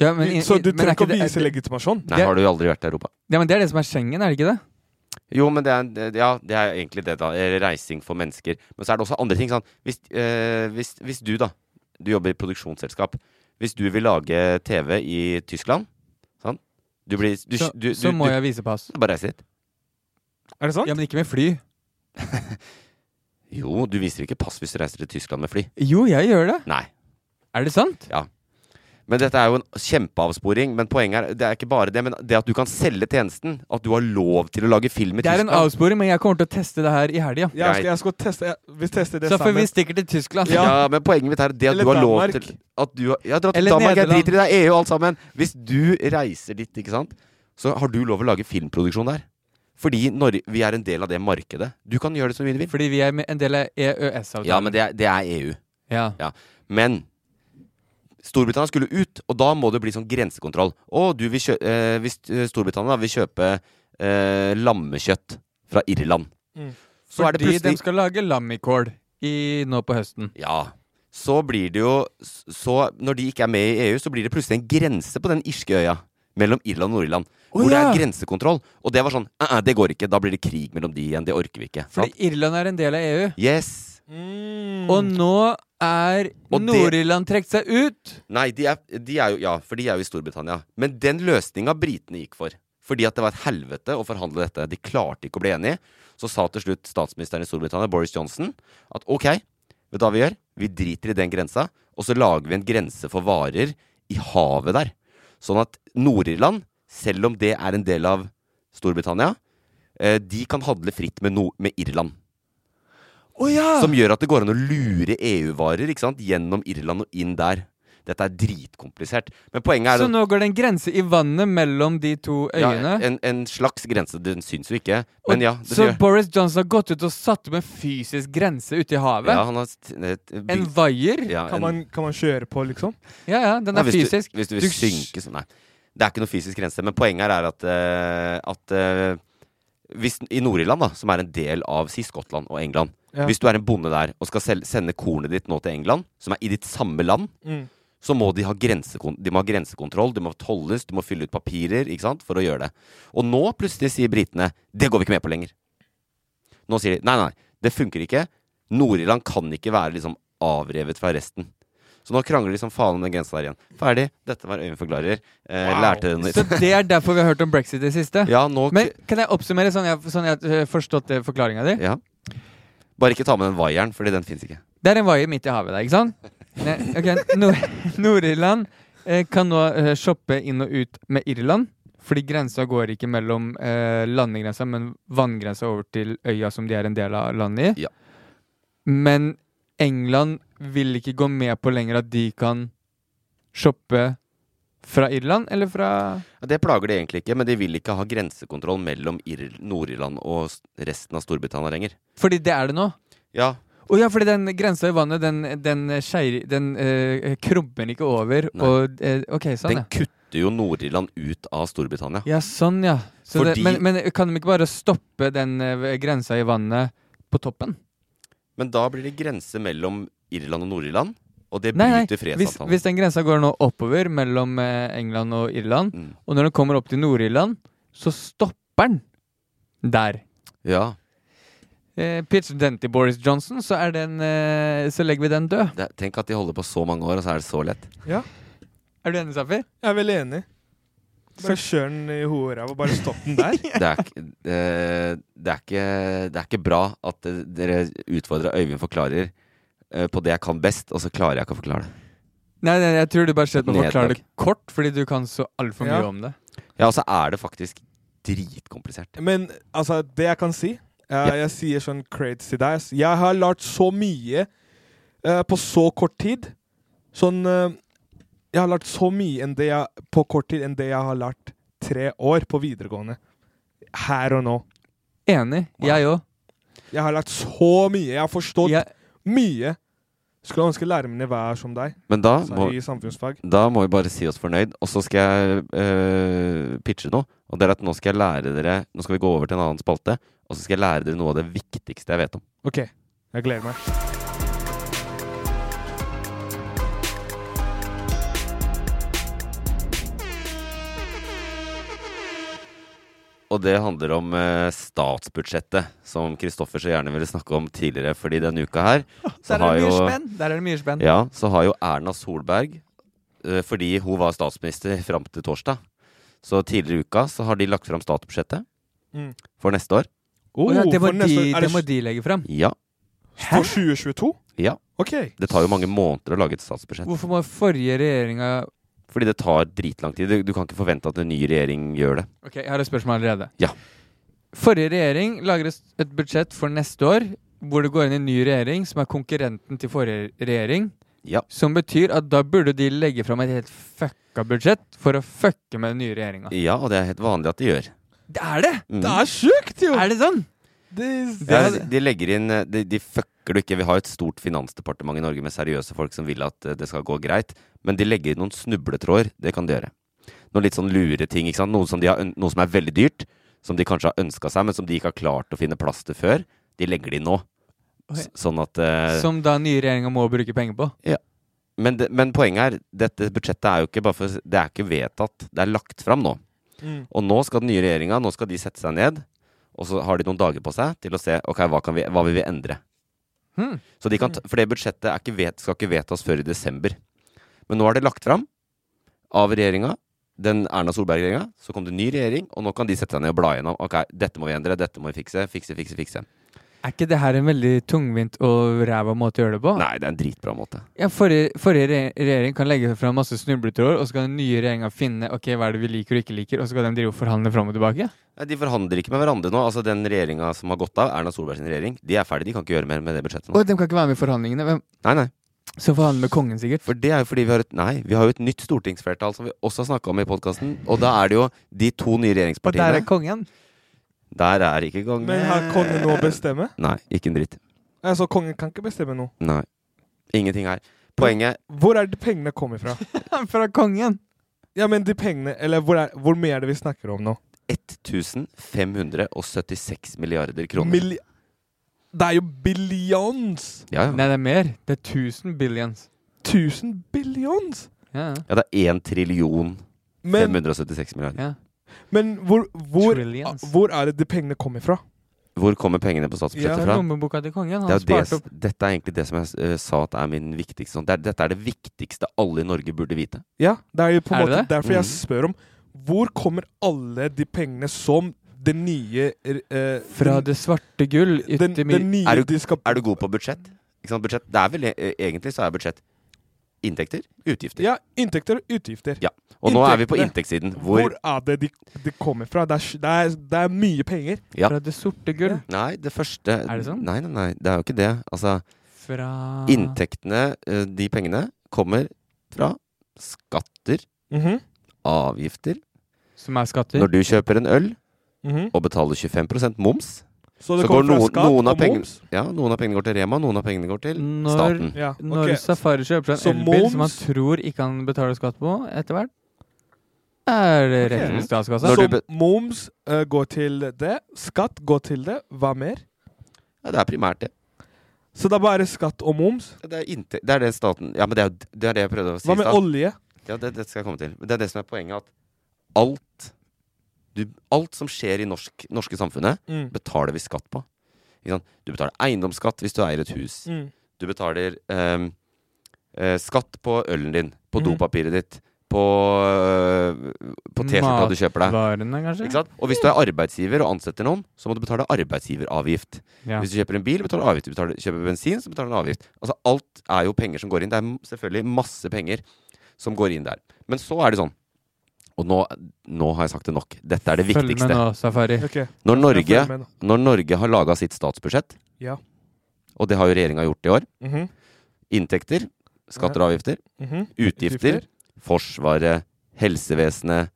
Speaker 5: Ja, men,
Speaker 8: så du
Speaker 5: men er
Speaker 8: trenger ikke å
Speaker 5: det- er
Speaker 8: vise
Speaker 5: det-
Speaker 8: legitimasjon?
Speaker 4: Nei, har du aldri vært i Europa?
Speaker 5: Ja, men Det er det som er Schengen, er det ikke det?
Speaker 4: Jo, men det er, det- ja, det er egentlig det, da. Eh, Reising for mennesker. Men så er det også andre ting. Sånn. Hvis, eh, hvis, hvis du, da Du jobber i produksjonsselskap. Hvis du vil lage TV i Tyskland sant? Du blir, du,
Speaker 5: Så-
Speaker 4: du,
Speaker 5: så
Speaker 4: du-
Speaker 5: må
Speaker 4: du-
Speaker 5: jeg vise pass.
Speaker 4: [LAUGHS] Bare reise dit.
Speaker 8: Er det sant?
Speaker 5: Ja, Men ikke med fly.
Speaker 4: Jo, du viser ikke pass hvis du reiser til Tyskland med fly.
Speaker 5: Jo, jeg gjør det.
Speaker 4: Nei.
Speaker 5: Er det sant?
Speaker 4: Ja. Men dette er jo en kjempeavsporing. Men poenget er, det er ikke bare det, men det at du kan selge tjenesten. At du har lov til å lage film i
Speaker 5: Det er en
Speaker 4: Tyskland.
Speaker 5: avsporing, men jeg kommer til å teste det her i helga.
Speaker 8: Jeg skal, jeg skal teste jeg, Vi tester det
Speaker 5: Så får vi
Speaker 8: sammen.
Speaker 5: stikker til Tyskland.
Speaker 4: Ja. men poenget mitt er det at
Speaker 8: Eller
Speaker 4: du har lov
Speaker 8: Danmark.
Speaker 4: til at du har, Ja, dra til
Speaker 5: Eller
Speaker 4: Danmark. Jeg
Speaker 5: Nederland.
Speaker 4: driter i deg, EU og E alt sammen. Hvis du reiser dit, ikke sant, så har du lov å lage filmproduksjon der. Fordi Norge, vi er en del av det markedet. Du kan gjøre det som du vil.
Speaker 5: Fordi vi er med- en del av EØS-avtalen.
Speaker 4: Ja, men det er, det er E EU.
Speaker 5: Ja.
Speaker 4: Men Storbritannia skulle ut, og da må det bli sånn grensekontroll. Å, du vil kjø eh, hvis eh, Storbritannia vil kjøpe eh, lammekjøtt fra Irland Så er det
Speaker 5: Fordi
Speaker 4: plutselig-
Speaker 5: de skal lage lammikål i, nå på høsten.
Speaker 4: Ja. Så blir det jo s- Så når de ikke er med i EU, så blir det plutselig en grense på den irske øya. Mellom Irland og Nord-Irland. Hvor det
Speaker 5: ja.
Speaker 4: er grensekontroll. Og det var sånn «Æ, æ, det går ikke. Da blir det krig mellom de igjen. Det orker vi ikke.
Speaker 5: Fordi
Speaker 4: Sant?
Speaker 5: Irland er en del av
Speaker 4: Mm.
Speaker 5: EU.
Speaker 4: Yes.
Speaker 8: Mm.
Speaker 5: Og nå er
Speaker 4: Og det-
Speaker 5: Nord-Irland trukket seg ut!
Speaker 4: Nei, de er, de er jo Ja, for de er jo i Storbritannia. Men den løsninga britene gikk for. Fordi at det var et helvete å forhandle dette. De klarte ikke å bli enige. Så sa til slutt statsministeren i Storbritannia, Boris Johnson, at ok, vet du hva vi gjør? Vi driter i den grensa, og så lager vi en grense for varer i havet der. Sånn at Nord-Irland, selv om det er en del av Storbritannia, eh, de kan handle fritt med, no med Irland.
Speaker 5: Å ja!
Speaker 4: Som gjør at det går an å lure EU-varer ikke sant? gjennom Irland og inn der. Dette er dritkomplisert. Men poenget er
Speaker 5: Så nå går det en grense i vannet mellom de to øyene?
Speaker 4: Ja, en, en slags grense. Den syns jo ikke,
Speaker 5: Og-
Speaker 4: men ja. Det
Speaker 5: så
Speaker 4: gjør-
Speaker 5: Boris Johnson har gått ut og satt opp en fysisk grense ute i havet?
Speaker 4: Ja, han har st- et-
Speaker 5: en vaier?
Speaker 4: Ja,
Speaker 8: Kan, man, kan man kjøre på, liksom?
Speaker 5: ja, ja, den
Speaker 4: Nei,
Speaker 5: er fysisk.
Speaker 4: Du, hvis du vil synke sånn Nei. Det er ikke noe fysisk grense. Men poenget her er at, eh, at eh, hvis, I Nord-Irland, da, som er en del av si Skottland og England
Speaker 9: Ja.
Speaker 4: Hvis du er en bonde der og skal sel- sende kornet ditt nå til England, som er i ditt samme land,
Speaker 9: Mm.
Speaker 4: så må de ha, grensekon de må ha grensekontroll, det må tolles, du må fylle ut papirer ikke sant, for å gjøre det. Og nå plutselig sier britene det går vi ikke med på lenger. Nå sier de nei, nei, det funker ikke. Nord-Irland kan ikke være liksom avrevet fra resten. Så nå krangler de som faen om den grensa der igjen. Ferdig. Dette var øyenforklarer. Eh, Lærte den
Speaker 5: Så det er derfor vi har hørt om brexit i det siste?
Speaker 4: [LAUGHS] Ja, nå
Speaker 5: Men kan jeg oppsummere sånn jeg, sånn jeg har forstått forklaringa di?
Speaker 4: Ja. Bare ikke ta med den vaieren, fordi den fins ikke.
Speaker 5: Det er en vaier midt i havet der, ikke sant? Ne, ok, Nord- Nord-Irland eh, kan nå eh, shoppe inn og ut med Irland, fordi grensa går ikke mellom eh, landegrensa, men vanngrensa over til øya som de er en del av landet i. Men England vil ikke gå med på lenger at de kan shoppe fra Irland, eller fra
Speaker 4: Ja, Det plager de egentlig ikke, men de vil ikke ha grensekontroll mellom Ir- Nord-Irland og s- resten av Storbritannia lenger.
Speaker 5: Fordi det er det nå?
Speaker 4: Ja.
Speaker 5: Å ja, fordi den grensa i vannet, den, den, skeier- den eh, krummer ikke over. Og, eh, ok, sånn,
Speaker 4: Den
Speaker 5: ja.
Speaker 4: kutter jo Nord-Irland ut av Storbritannia.
Speaker 5: Ja, sånn, ja. Så
Speaker 4: Fordi-
Speaker 5: det, men, men kan de ikke bare stoppe den eh, grensa i vannet på toppen?
Speaker 4: Men da blir det grense mellom Irland og Nord-Irland, og det
Speaker 5: Nei, nei.
Speaker 4: bryter
Speaker 5: Hvis,
Speaker 4: fredsavtalen.
Speaker 5: hvis den grensa går nå oppover mellom eh, England og Irland,
Speaker 4: Mm.
Speaker 5: og når den kommer opp til Nord-Irland, så stopper den der.
Speaker 4: Ja.
Speaker 5: Eh, Pitch den til Boris Johnson, så, er den, eh, så legger vi den død.
Speaker 4: Det, tenk at de holder på så mange år, og så er det så lett.
Speaker 8: Ja.
Speaker 5: Er du enig, Safir?
Speaker 8: Jeg er veldig enig. Skal kjøre den i hodet og bare stoppe den der?
Speaker 4: Det er, ikke- eh, det, er ikke, det er ikke bra at eh, dere utfordrer Øyvind forklarer eh, på det jeg kan best, og så klarer jeg ikke å forklare det.
Speaker 5: Nei, nei, jeg tror du bare slett må
Speaker 4: Nedtak.
Speaker 5: forklare det kort, fordi du kan så altfor mye
Speaker 8: Ja.
Speaker 5: om det.
Speaker 4: Ja, og så er det faktisk dritkomplisert.
Speaker 8: Men altså, det jeg kan si eh, Jeg sier sånn crades til deg. ass. Jeg har lært så mye eh, på så kort tid. Sånn eh, Jeg har lært så mye enn det jeg, på kort tid enn det jeg har lært tre år på videregående. Her og nå.
Speaker 5: Enig. Jeg òg.
Speaker 8: Jeg har lært så mye. Jeg har forstått mye. Skulle ønske læreren min var som deg.
Speaker 4: Men da
Speaker 8: Altså,
Speaker 4: må,
Speaker 8: I samfunnsfag.
Speaker 4: da må vi bare si oss fornøyd, og så skal jeg eh, pitche noe. Og det er at nå skal jeg lære dere Nå skal vi gå over til en annen spalte, og så skal jeg lære dere noe av det viktigste jeg vet om.
Speaker 8: OK. Jeg gleder meg.
Speaker 4: Og det handler om eh, statsbudsjettet, som Kristoffer så gjerne ville snakke om tidligere. Fordi denne uka her så
Speaker 5: Der er
Speaker 4: har
Speaker 5: det mye
Speaker 4: jo
Speaker 5: spenn. Der er det mye spenn.
Speaker 4: Ja, så har jo Erna Solberg, eh, fordi hun var statsminister fram til torsdag Så tidligere i uka så har de lagt fram statsbudsjettet
Speaker 8: Mm.
Speaker 4: for neste år.
Speaker 5: Å ja, det må
Speaker 8: Oh, for neste-
Speaker 5: de-
Speaker 8: er
Speaker 5: det må de legge fram?
Speaker 4: Ja.
Speaker 8: For 2022?
Speaker 4: ja.
Speaker 8: Ok.
Speaker 4: Det tar jo mange måneder å lage et statsbudsjett.
Speaker 5: Hvorfor må forrige regjeringa
Speaker 4: Fordi det tar dritlang tid. Du, du kan ikke forvente at en ny regjering gjør det.
Speaker 5: Ok, jeg har et spørsmål allerede.
Speaker 4: Ja.
Speaker 5: Forrige regjering lager et et budsjett for neste år hvor det går inn en ny regjering som er konkurrenten til forrige regjering. Som betyr at da burde de legge fram et helt fucka budsjett for å fucke med den nye regjeringa.
Speaker 4: Ja, og det er helt vanlig at de gjør.
Speaker 5: Det er det!
Speaker 4: Mm.
Speaker 8: Det er sjukt, jo!
Speaker 5: Er det sånn?
Speaker 4: Ja, de- de legger inn eh, De, de fucker det ikke. Vi har jo et stort finansdepartement i Norge med seriøse folk som vil at eh, det skal gå greit, men de legger inn noen snubletråder. Det kan de gjøre. Noen litt sånn lure ting. Ikke sant? Noe, som de har, øn- noe som er veldig dyrt, som de kanskje har ønska seg, men som de ikke har klart å finne plass til før. De legger det inn nå. S- Sånn at eh,
Speaker 5: Som da nye regjeringa må bruke penger på.
Speaker 4: Ja. Men, det, men poenget er, dette budsjettet er jo ikke bare for Det er ikke vedtatt, det er lagt fram nå.
Speaker 5: Mm.
Speaker 4: Og nå skal den nye regjeringa Nå skal de sette seg ned, og så har de noen dager på seg til å se Ok, hva, kan vi, hva vil vi endre.
Speaker 5: Hmm.
Speaker 4: Så de kan, ta- for det budsjettet er ikke vet, skal ikke vedtas før i desember. Men nå er det lagt fram av regjeringa. Den Erna Solberg-regjeringa. Så kom det ny regjering, og nå kan de sette seg ned og bla gjennom. Ok, dette må vi endre, dette må vi fikse, fikse, fikse, fikse.
Speaker 5: Er ikke det her en veldig tungvint og ræva måte å gjøre det på?
Speaker 4: Nei, det er en dritbra måte.
Speaker 5: Ja, forrige, forrige re- regjering kan legge fram masse snubletråder, og så kan den nye regjeringa finne ok, hva er det vi liker og ikke liker, og så kan de drive og forhandle fram og tilbake.
Speaker 4: Nei, De forhandler ikke med hverandre nå. Altså Den regjeringa som har gått av, Erna Solberg sin regjering, de er ferdige. De kan ikke gjøre mer med det budsjettet nå.
Speaker 5: Og de kan ikke være med i forhandlingene. Hvem?
Speaker 4: Nei, nei.
Speaker 5: Så forhandler med kongen, sikkert?
Speaker 4: For det er jo fordi vi har et Nei, vi har jo et nytt stortingsflertall som vi også har snakka om i podkasten. Og da er det jo de to nye
Speaker 5: Og der er
Speaker 4: regjeringspartiene.
Speaker 5: [LAUGHS] kongen.
Speaker 4: Der er ikke kongen. Eh,
Speaker 8: Men har kongen noe å bestemme?
Speaker 4: Nei, ikke en dritt.
Speaker 8: Altså, kongen kan ikke bestemme noe.
Speaker 4: Nei. Ingenting her. Poenget
Speaker 8: Hvor er det pengene kommer
Speaker 4: [LAUGHS]
Speaker 8: fra?
Speaker 5: fra kongen.
Speaker 8: Ja, men de pengene Eller hvor, er, hvor mye er det vi snakker om nå?
Speaker 4: 1576 milliarder kroner.
Speaker 8: Milli det er jo billions!
Speaker 4: ja, ja.
Speaker 5: Nei, det er mer. Det er 1000 billions.
Speaker 8: 1000 billions!
Speaker 5: Ja, ja.
Speaker 4: ja, det er 1 trillion
Speaker 8: Men,
Speaker 4: 576 milliarder.
Speaker 5: ja.
Speaker 8: men hvor, hvor, ah,
Speaker 5: Trillions.
Speaker 8: hvor er det de pengene kommer fra?
Speaker 4: Hvor kommer pengene på
Speaker 5: Det
Speaker 4: statsbudsjettet
Speaker 5: er
Speaker 4: fra?
Speaker 5: lommeboka til kongen.
Speaker 4: Det
Speaker 5: Han
Speaker 4: er jo
Speaker 5: sparte
Speaker 4: det,
Speaker 5: opp.
Speaker 4: dette er egentlig det som jeg eh, sa at er min viktigste sånn. det er, Dette er det viktigste alle i Norge burde vite.
Speaker 8: Ja, det er jo på en
Speaker 5: Er det
Speaker 8: måte
Speaker 5: det?
Speaker 8: derfor jeg
Speaker 4: Mhm.
Speaker 8: spør om Hvor kommer alle de pengene som det nye eh,
Speaker 5: Fra
Speaker 8: den,
Speaker 5: det svarte gull.
Speaker 8: den,
Speaker 5: Yttermi...
Speaker 8: den nye
Speaker 4: Er du-
Speaker 8: de skal
Speaker 4: Er du god på budsjett? Ikke sant? budsjett det er vel, eh, egentlig så er budsjett inntekter, utgifter.
Speaker 8: Ja, inntekter og utgifter.
Speaker 4: Ja. Og nå er vi på
Speaker 8: Inntektene.
Speaker 4: inntektssiden.
Speaker 8: Hvor,
Speaker 4: Hvor,
Speaker 8: er det de, de kommer fra? Det er, sj- det, er, det er mye penger.
Speaker 4: ja.
Speaker 5: Fra det sorte gull.
Speaker 4: Nei, det første
Speaker 5: Er det sånn?
Speaker 4: Nei, nei, nei. Det er jo ikke det. Altså,
Speaker 5: Fra
Speaker 8: Ah.
Speaker 4: inntektene, eh, de pengene, kommer fra skatter, avgifter
Speaker 5: Som er skatter.
Speaker 4: Når du kjøper en øl
Speaker 8: Mhm.
Speaker 4: og betaler 25 moms,
Speaker 8: Så det
Speaker 4: så går
Speaker 8: kommer fra
Speaker 4: noen,
Speaker 8: skatt
Speaker 4: noen, av
Speaker 8: og
Speaker 4: pengene,
Speaker 8: moms.
Speaker 4: ja, noen av pengene går til Rema, noen av pengene går til
Speaker 5: Når-
Speaker 4: staten.
Speaker 8: Ja, ok.
Speaker 5: Når Safari kjøper
Speaker 8: Så
Speaker 5: seg en elbil som han
Speaker 8: moms-
Speaker 5: tror ikke han betaler skatt på etter hvert, er det rett
Speaker 8: Ok.
Speaker 5: til statskassa.
Speaker 8: Så
Speaker 4: Når du be-
Speaker 8: moms eh, går til det, skatt går til det, hva mer?
Speaker 4: Ja, det er primært det.
Speaker 8: Så det er bare skatt og moms.
Speaker 4: Det er, inte- det er det staten Ja, men det er, jo- det er det jeg prøvde å si.
Speaker 8: Hva med
Speaker 4: i stad.
Speaker 8: olje?
Speaker 4: Ja, det, det skal jeg komme til. Men Det er det som er poenget, at alt du, Alt som skjer i norsk, norske samfunnet,
Speaker 8: Mm.
Speaker 4: betaler vi skatt på. Ikke sant? Du betaler eiendomsskatt hvis du eier et hus.
Speaker 8: Mm.
Speaker 4: Du betaler ehm, eh, skatt på ølen din, på
Speaker 8: Mhm.
Speaker 4: dopapiret ditt, på, eh, på T-skjorta du kjøper deg.
Speaker 5: Matvarene, kanskje?
Speaker 4: Ikke sant? Og hvis du er arbeidsgiver og ansetter noen, så må du betale arbeidsgiveravgift.
Speaker 5: Ja.
Speaker 4: Hvis du kjøper en bil, betaler du avgift. Du betaler, kjøper bensin, så betaler du en avgift. Altså Alt er jo penger som går inn. Det er m- selvfølgelig masse penger som går inn der. Men så er det sånn Og nå, nå har jeg sagt det nok. Dette er det
Speaker 5: Følg med
Speaker 4: viktigste.
Speaker 5: nå, Safari.
Speaker 8: Ok,
Speaker 4: Når Eh, Norge,
Speaker 8: jeg følger med nå.
Speaker 4: når Norge har laga sitt statsbudsjett,
Speaker 8: Ja.
Speaker 4: og det har jo regjeringa gjort i år
Speaker 8: Mhm,
Speaker 4: Inntekter, skatter og avgifter.
Speaker 8: mhm.
Speaker 4: Utgifter. Forsvaret, helsevesenet,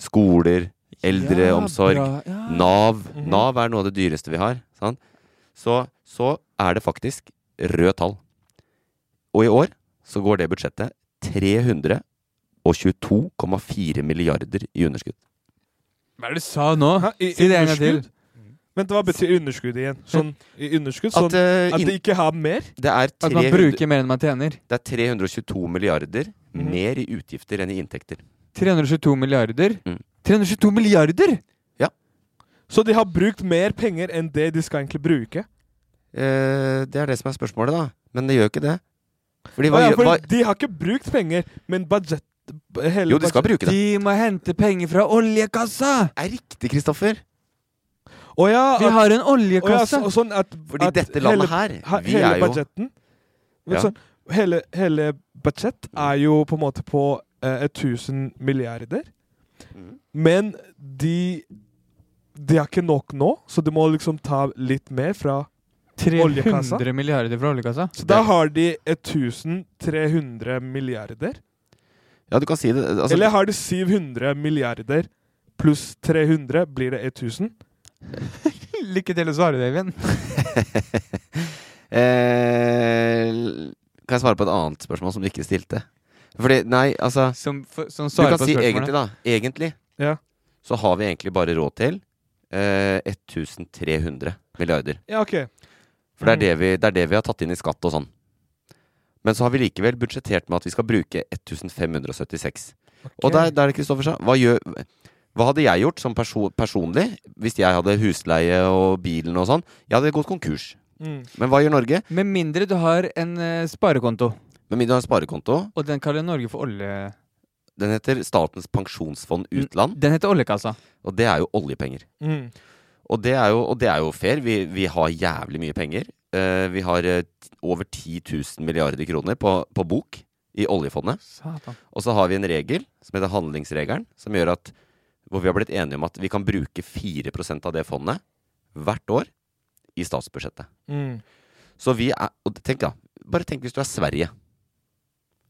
Speaker 4: skoler, eldreomsorg.
Speaker 5: Ja, bra. Ja.
Speaker 4: Nav.
Speaker 8: Mhm.
Speaker 4: Nav er noe av det dyreste vi har. Sant? Så, så er det faktisk røde tall. Og i år så går det budsjettet 322,4 milliarder i underskudd.
Speaker 5: Hva er det du sa nå?
Speaker 8: Hæ? I
Speaker 5: Si det en gang til.
Speaker 8: underskudd? Vent, hva betyr underskudd igjen? Sånn i underskudd?
Speaker 4: At,
Speaker 8: Sånn
Speaker 4: eh,
Speaker 8: at
Speaker 4: inn-
Speaker 8: de ikke har mer?
Speaker 4: det, er
Speaker 5: At man
Speaker 4: 300,
Speaker 5: bruker mer enn man tjener.
Speaker 4: det er 322 milliarder
Speaker 8: Mhm.
Speaker 4: mer i utgifter enn i inntekter.
Speaker 5: 322 milliarder.
Speaker 4: Mm.
Speaker 5: 322 milliarder!
Speaker 8: Så de har brukt mer penger enn det de skal egentlig bruke?
Speaker 4: Eh, det er det som er spørsmålet, da. Men det gjør ikke det. Fordi hva
Speaker 8: Å ja,
Speaker 4: gjør
Speaker 8: for
Speaker 4: hva,
Speaker 8: de har ikke brukt penger, men budsjett b- hele
Speaker 4: Jo, de skal
Speaker 8: budsjett-
Speaker 4: bruke det.
Speaker 5: De må hente penger fra oljekassa!
Speaker 4: Det er riktig, Kristoffer.
Speaker 8: Å ja,
Speaker 5: Vi
Speaker 8: at-
Speaker 5: har en
Speaker 8: Ah, å ja,
Speaker 5: oljekasse!
Speaker 8: så, sånn at,
Speaker 4: Fordi
Speaker 8: at
Speaker 4: dette landet
Speaker 8: hele,
Speaker 4: her,
Speaker 8: he-
Speaker 4: vi
Speaker 8: hele
Speaker 4: er jo
Speaker 8: budsjetten
Speaker 4: Ja. Mm.
Speaker 8: sånn, hele, hele budsjett er jo på en måte på eh, 1000 milliarder.
Speaker 4: Mhm.
Speaker 8: Men de De har ikke nok nå, så de må liksom ta litt mer fra
Speaker 5: 300
Speaker 8: Oljekassa?
Speaker 5: milliarder fra oljekassa.
Speaker 8: Så da har de 1300 milliarder.
Speaker 4: Ja, du kan si det. Altså,
Speaker 8: Eller har de 700 milliarder pluss 300, blir det 1000?
Speaker 5: Lykke til å svare, Davin.
Speaker 4: Eh, kan jeg svare på et annet spørsmål som du ikke stilte? Fordi, nei, altså
Speaker 5: Som, f- som
Speaker 4: Du
Speaker 5: svarer
Speaker 4: kan
Speaker 5: på
Speaker 4: si
Speaker 5: spørsmålet.
Speaker 4: egentlig, da. Egentlig
Speaker 8: Ja.
Speaker 4: så har vi egentlig bare råd til eh, 1300 milliarder.
Speaker 8: Ja, OK.
Speaker 4: For det
Speaker 5: Mm.
Speaker 4: er det, vi, det er det vi har tatt inn i skatt og sånn. Men så har vi likevel budsjettert med at vi skal bruke 1576. Og der, der er det Kristoffer sa. Hva, gjør, hva hadde jeg gjort som perso personlig hvis jeg hadde husleie og bilen og sånn? Jeg hadde gått konkurs.
Speaker 8: Mm.
Speaker 4: Men hva gjør Norge?
Speaker 5: Med mindre du har en eh, sparekonto,
Speaker 4: Med mindre du har en sparekonto,
Speaker 5: og den kaller Norge for olje...
Speaker 4: Den heter Statens pensjonsfond utland,
Speaker 5: Den heter oljekassa.
Speaker 4: og det er jo oljepenger.
Speaker 8: Mm.
Speaker 4: Og det er jo, og det er jo fair. Vi, vi har jævlig mye penger. Eh, vi har eh, t- over 10 000 milliarder kroner på, på bok i oljefondet.
Speaker 5: Satan.
Speaker 4: Og så har vi en regel som heter handlingsregelen, som gjør at hvor vi har blitt enige om at vi kan bruke 4 av det fondet hvert år i statsbudsjettet.
Speaker 8: Mm.
Speaker 4: Så vi er Og tenk, da. Bare tenk hvis du er Sverige.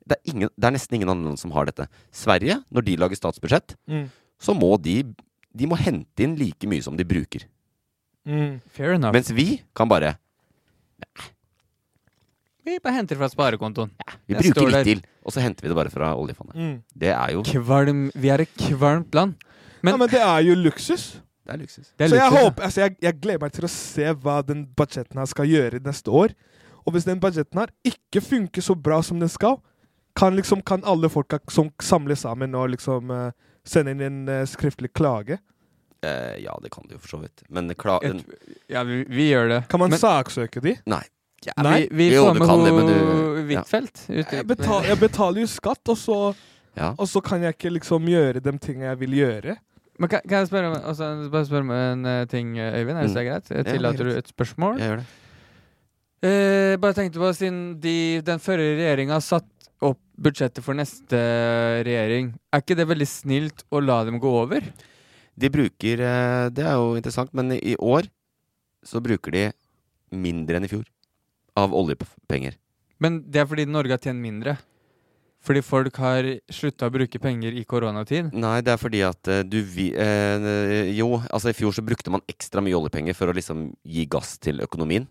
Speaker 4: det, er ingen, det er nesten ingen andre land som har dette. Sverige, når de lager statsbudsjett,
Speaker 8: Mm.
Speaker 4: så må de, de må hente inn like mye som de bruker.
Speaker 8: mm,
Speaker 5: Fair enough.
Speaker 4: Mens vi kan bare
Speaker 5: vi bare henter fra sparekontoen.
Speaker 4: Vi
Speaker 5: Jeg
Speaker 4: bruker
Speaker 5: står der.
Speaker 4: litt til, og så henter vi det bare fra oljefondet.
Speaker 5: Mm.
Speaker 4: Det er jo
Speaker 5: Kvalm, vi er et kvalmt land. Men,
Speaker 8: ja, men det er jo luksus.
Speaker 4: Det er luksus.
Speaker 5: Det er
Speaker 8: så jeg,
Speaker 5: luksus, ja.
Speaker 8: håper, altså jeg, jeg gleder meg til å se hva den budsjetten her skal gjøre neste år. Og hvis den budsjetten her ikke funker så bra som den skal, kan, liksom, kan alle folka som samles sammen og liksom eh, sende inn en eh, skriftlig klage?
Speaker 4: eh, Ja, det kan du jo for så vidt. Men kla...
Speaker 5: Jeg Ja, vi, vi gjør det.
Speaker 8: Kan man
Speaker 5: Men-
Speaker 8: saksøke de?
Speaker 4: Nei. Ja,
Speaker 5: Nei, vi, vi
Speaker 4: Jo,
Speaker 5: får
Speaker 4: du
Speaker 5: med
Speaker 4: kan
Speaker 5: ho
Speaker 4: det, men du- ja.
Speaker 5: Huitfeldt. ut-
Speaker 8: Jeg, betal, jeg betaler jo skatt, og så,
Speaker 4: Ja.
Speaker 8: og så kan jeg ikke liksom gjøre de tingene jeg vil gjøre.
Speaker 5: Men kan, kan jeg spørre om, altså, bare spørre om en eh, ting, Øyvind? Er det
Speaker 4: Mm.
Speaker 5: greit? Jeg
Speaker 4: Ja, det er
Speaker 5: tillater du
Speaker 4: greit.
Speaker 5: et spørsmål?
Speaker 4: Jeg gjør det.
Speaker 5: Eh, bare tenkte på, siden de, den førre regjeringa satt opp budsjettet for neste regjering, er ikke det veldig snilt å la dem gå over?
Speaker 4: De bruker eh, Det er jo interessant, men i år så bruker de mindre enn i fjor av oljepenger.
Speaker 5: Men det er fordi Norge har tjent mindre. Fordi folk har slutta å bruke penger i koronatid.
Speaker 4: Nei, det er fordi at eh, du vi, eh, Jo, altså i fjor så brukte man ekstra mye oljepenger for å liksom gi gass til økonomien.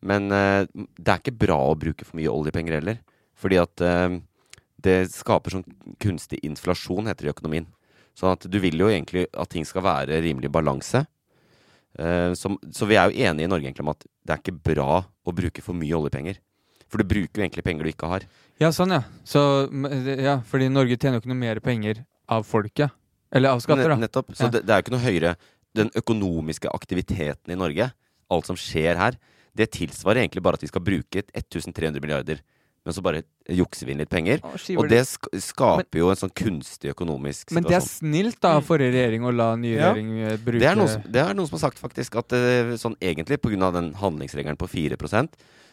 Speaker 4: Men eh, det er ikke bra å bruke for mye oljepenger heller. Fordi at eh, det skaper sånn kunstig inflasjon, heter det i økonomien. Sånn at du vil jo egentlig at ting skal være rimelig balanse. Eh, som, så vi er jo enige i Norge egentlig om at det er ikke bra å bruke for mye oljepenger. For du bruker jo egentlig penger du ikke har.
Speaker 5: Ja, sånn, ja. Så, m- ja. Fordi Norge tjener jo ikke noe mer penger av folket. Eller av skatter, da.
Speaker 4: Ne- Nettopp. Så
Speaker 5: Ja.
Speaker 4: det, det er jo ikke noe høyere Den økonomiske aktiviteten i Norge, alt som skjer her, det tilsvarer egentlig bare at vi skal bruke 1300 milliarder. Men så bare jukser vi inn litt penger.
Speaker 5: skiver
Speaker 4: Og
Speaker 5: det.
Speaker 4: det sk skaper jo en sånn kunstig økonomisk
Speaker 5: Men det er
Speaker 4: situasjon.
Speaker 5: snilt da av forrige regjering å la nye
Speaker 4: Ja.
Speaker 5: regjering eh, bruke
Speaker 4: Det er, noen som, det er noen som har sagt faktisk at eh, sånn egentlig pga. den handlingsregelen på 4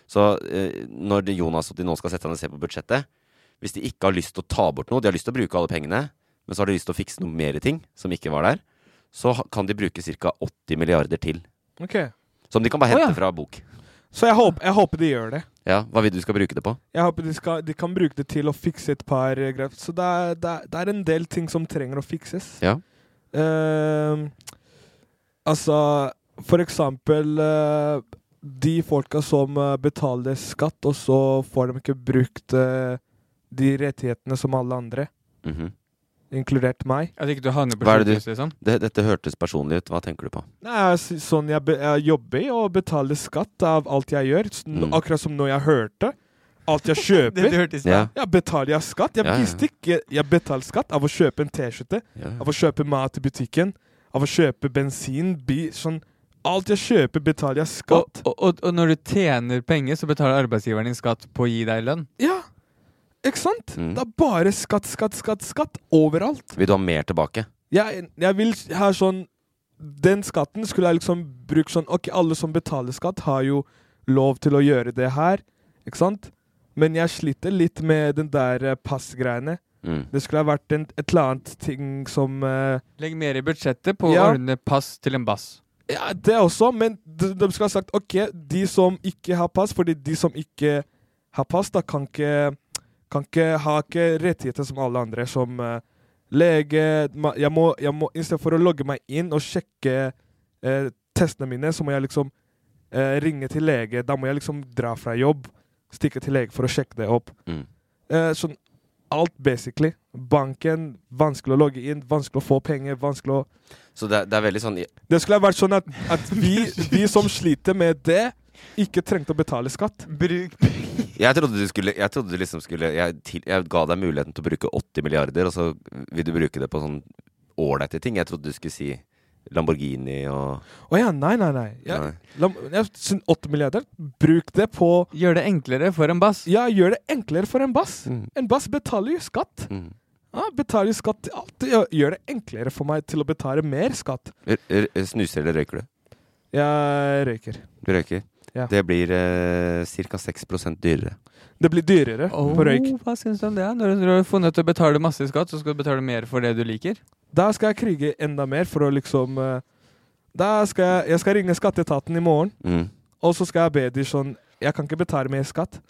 Speaker 4: Så eh, når det- Jonas og de nå skal sette seg ned og se på budsjettet Hvis de ikke har lyst til å ta bort noe, de har lyst til å bruke alle pengene, men så har de lyst til å fikse noe mer ting som ikke var der, så ha- kan de bruke ca. 80 milliarder til.
Speaker 8: Ok.
Speaker 4: Som de kan bare
Speaker 8: Å,
Speaker 4: hente
Speaker 8: ja.
Speaker 4: fra bok.
Speaker 8: Så jeg håper, jeg håper de gjør det.
Speaker 4: Ja, Hva vil du skal bruke det på?
Speaker 8: Jeg håper de, skal, de kan bruke det til å fikse et par eh, grep. Så det er, det, er, det er en del ting som trenger å fikses.
Speaker 4: Ja.
Speaker 8: Ehm, altså, for eksempel eh, de folka som eh, betaler skatt, og så får de ikke brukt eh, de rettighetene som alle andre,
Speaker 4: Mhm.
Speaker 8: inkludert meg.
Speaker 5: At ikke du havner på
Speaker 4: Hva er det
Speaker 5: sjukehus,
Speaker 4: du
Speaker 5: liksom.
Speaker 4: det, Dette hørtes personlig ut. Hva tenker du på?
Speaker 8: Nei, jeg sy- sånn jeg, be, jeg jobber i og betaler skatt av alt jeg gjør. S- n-
Speaker 4: Mm.
Speaker 8: Akkurat som når jeg hørte. Alt jeg kjøper.
Speaker 5: Det du hørte i sted.
Speaker 8: ja.
Speaker 5: Ja.
Speaker 8: betaler jeg skatt? Jeg
Speaker 4: Ja, ja.
Speaker 8: visste ikke jeg betaler skatt av å kjøpe en T-skjorte,
Speaker 4: Ja, ja.
Speaker 8: av å kjøpe mat i butikken, av å kjøpe bensin, bil sånn. Alt jeg kjøper, betaler jeg skatt.
Speaker 5: Og, og, og når du tjener penger, så betaler arbeidsgiveren din skatt på å gi deg lønn.
Speaker 8: Ja, ikke sant?
Speaker 4: Mm.
Speaker 8: Det er bare skatt, skatt, skatt, skatt overalt.
Speaker 4: Mhm. Vil du ha mer tilbake?
Speaker 8: Jeg, jeg vil ha sånn Den skatten skulle jeg liksom bruke sånn Ok, alle som betaler skatt, har jo lov til å gjøre det her, ikke sant? Men jeg sliter litt med den der eh, passgreiene.
Speaker 4: Mm.
Speaker 8: Det skulle ha vært en, et eller annet ting som eh,
Speaker 5: Legg mer i budsjettet på
Speaker 8: Ja.
Speaker 5: å ordne pass til en bass.
Speaker 8: Ja, det også, men de, de skulle ha sagt OK, de som ikke har pass, fordi de som ikke har pass, da kan ikke kan ikke ha ikke rettigheter som alle andre, som eh, lege ma- jeg må, jeg må, I stedet for å logge meg inn og sjekke eh, testene mine, så må jeg liksom eh, ringe til lege. Da må jeg liksom dra fra jobb, stikke til lege for å sjekke det opp.
Speaker 4: Mm.
Speaker 8: Eh, sånn alt, basically. Banken, vanskelig å logge inn, vanskelig å få penger, vanskelig å
Speaker 4: Så det, er- det er veldig sånn
Speaker 8: det skulle ha vært sånn at, at vi, vi som sliter med det, ikke trengte å betale skatt.
Speaker 5: Bruk
Speaker 4: Jeg trodde du skulle Jeg, trodde du liksom skulle, jeg, til, jeg ga deg muligheten til å bruke 80 milliarder, og så vil du bruke det på sånn ålreite ting. Jeg trodde du skulle si Lamborghini og
Speaker 8: Å ja, nei, nei, nei. Jeg,
Speaker 4: Nei.
Speaker 8: la, jeg syns 8 milliarder Bruk det på
Speaker 5: Gjør det enklere for en bass.
Speaker 8: Ja, gjør det enklere for en bass.
Speaker 4: Mm.
Speaker 8: En bass betaler jo skatt.
Speaker 4: Mm.
Speaker 8: Ja, betaler jo skatt til alt. Det gjør- Gjør det enklere for meg til å betale mer skatt.
Speaker 4: R r Snuser eller røyker du?
Speaker 8: Jeg røyker.
Speaker 4: Du røyker.
Speaker 8: Ja.
Speaker 4: Det blir eh, ca. 6 dyrere.
Speaker 8: Det blir dyrere
Speaker 5: Oh.
Speaker 8: på røyk.
Speaker 5: Hva syns du om det? er? Når du har funnet ut å betale masse i skatt, så skal du betale mer for det du liker?
Speaker 8: Da skal jeg krige enda mer for å liksom eh, Da skal jeg Jeg skal ringe skatteetaten i morgen.
Speaker 4: Mm.
Speaker 8: Og så skal jeg be de sånn Jeg kan ikke betale mer skatt.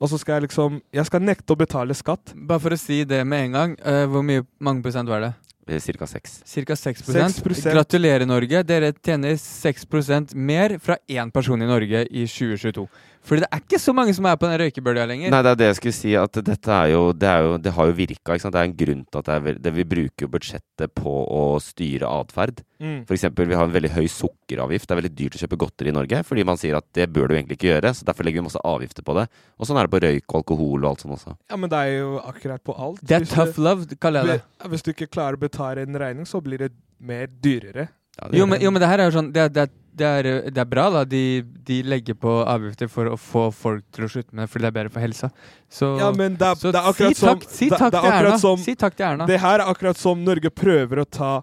Speaker 8: Og så skal jeg liksom Jeg skal nekte å betale skatt.
Speaker 5: Bare for å si det med en gang, eh, hvor mye, mange prosent var det?
Speaker 4: Eh, Cirka seks.
Speaker 5: Cirka 6, 6
Speaker 8: 6%.
Speaker 5: Gratulerer, Norge. Dere tjener 6 mer fra én person i Norge i 2022. Fordi det er ikke så mange som er på den røykebølga lenger.
Speaker 4: Nei, det er det jeg skulle si, at dette er jo Det, er jo, det har jo virka. Ikke sant? Det er en grunn til at det er vel- det, vi bruker jo budsjettet på å styre atferd.
Speaker 8: Mm.
Speaker 4: For eksempel, vi har en veldig høy sukkeravgift. Det er veldig dyrt å kjøpe godteri i Norge, fordi man sier at det bør du egentlig ikke gjøre, så derfor legger vi masse avgifter på det. Og sånn er det på røyk og alkohol og alt sånn også.
Speaker 8: Ja, men det er jo akkurat på alt.
Speaker 5: Det er
Speaker 8: Hvis
Speaker 5: tough love, kaller jeg det.
Speaker 8: Hvis- Hvis du ikke klarer å betale en regning, så blir det mer dyrere.
Speaker 5: Jo, men, jo, men det her er jo sånn Det, er- det, er- det, er, eh, det er bra, da. De, de legger på avgifter for å få folk til å slutte med det fordi det er bedre for helsa. Så,
Speaker 8: Ja, men det er,
Speaker 5: så
Speaker 8: det er akkurat
Speaker 5: si takk,
Speaker 8: som,
Speaker 5: si
Speaker 8: det-
Speaker 5: takk
Speaker 8: det er
Speaker 5: til
Speaker 8: akkurat
Speaker 5: Erna.
Speaker 8: som-
Speaker 5: si takk til Erna.
Speaker 8: Det her er akkurat som Norge prøver å ta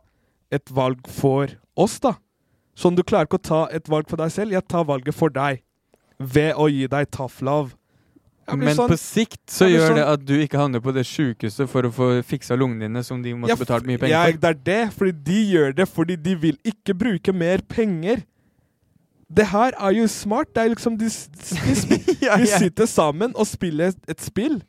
Speaker 8: et valg for oss, da. Sånn du klarer ikke å ta et valg for deg selv. Jeg tar valget for deg. Ved å gi deg tough love. Jeg blir
Speaker 5: men
Speaker 8: sånn-
Speaker 5: på sikt så
Speaker 8: jeg blir
Speaker 5: gjør
Speaker 8: sånn-
Speaker 5: det at du ikke havner på det sjukehuset for å få fiksa lungene dine, som de måtte
Speaker 8: Ja,
Speaker 5: betalt mye penger
Speaker 8: ja,
Speaker 5: for.
Speaker 8: Det er det, fordi de gjør det fordi de vil ikke bruke mer penger. Det her er jo smart. Det er liksom de, s- de,
Speaker 5: [LAUGHS]
Speaker 8: sp- de sitter sammen og spiller et- et spill.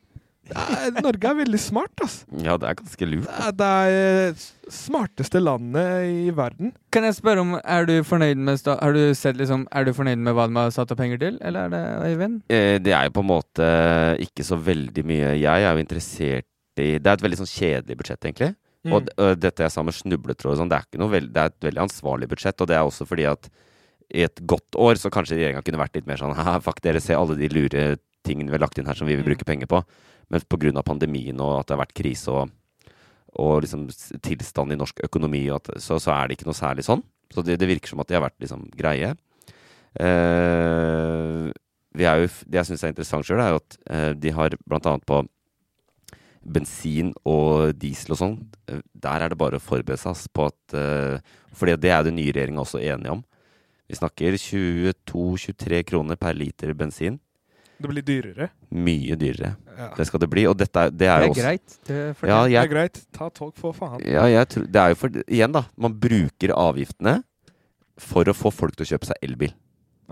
Speaker 8: Det er, Norge er veldig smart, altså.
Speaker 4: Ja, det er ganske lurt.
Speaker 8: Det er det er, eh, s- smarteste landet i verden.
Speaker 5: Kan jeg spørre om Er du fornøyd med, sta har du sett, liksom, er du fornøyd med hva de har satt av penger til, eller er det Øyvind?
Speaker 4: Eh, Det er jo på en måte ikke så veldig mye Jeg er jo interessert i Det er et veldig sånn kjedelig budsjett, egentlig.
Speaker 5: Mm.
Speaker 4: Og d- ø, dette jeg sa med snubletråd og sånn, det er, ikke noe veld, det er et veldig ansvarlig budsjett. Og det er også fordi at i et godt år så kanskje regjeringa kunne vært litt mer sånn Haha, fuck dere, se alle de lure tingene vi har lagt inn her som vi vil bruke penger på. Men pga. pandemien og at det har vært krise og, og liksom s- tilstanden i norsk økonomi, og at, så, så er det ikke noe særlig sånn. Så det, det virker som at de har vært liksom greie. Eh, vi er jo, f- det jeg syns er interessant sjøl, er jo at eh, de har blant annet på bensin og diesel og sånn, eh, der er det bare å forberede seg ass, på at eh, fordi det er den nye regjeringa også enige om. Vi snakker 22-23 kroner per liter bensin.
Speaker 8: Det blir dyrere.
Speaker 4: Mye dyrere.
Speaker 8: Ja.
Speaker 4: Det skal det bli. Og dette er, det er,
Speaker 5: Det er
Speaker 4: jo også,
Speaker 5: greit. Det fortjener-
Speaker 4: ja,
Speaker 8: Det er
Speaker 4: jeg,
Speaker 8: greit. Ta tog, for faen.
Speaker 4: ja, jeg tror, det er jo for, igjen, da. Man bruker avgiftene for å få folk til å kjøpe seg elbil.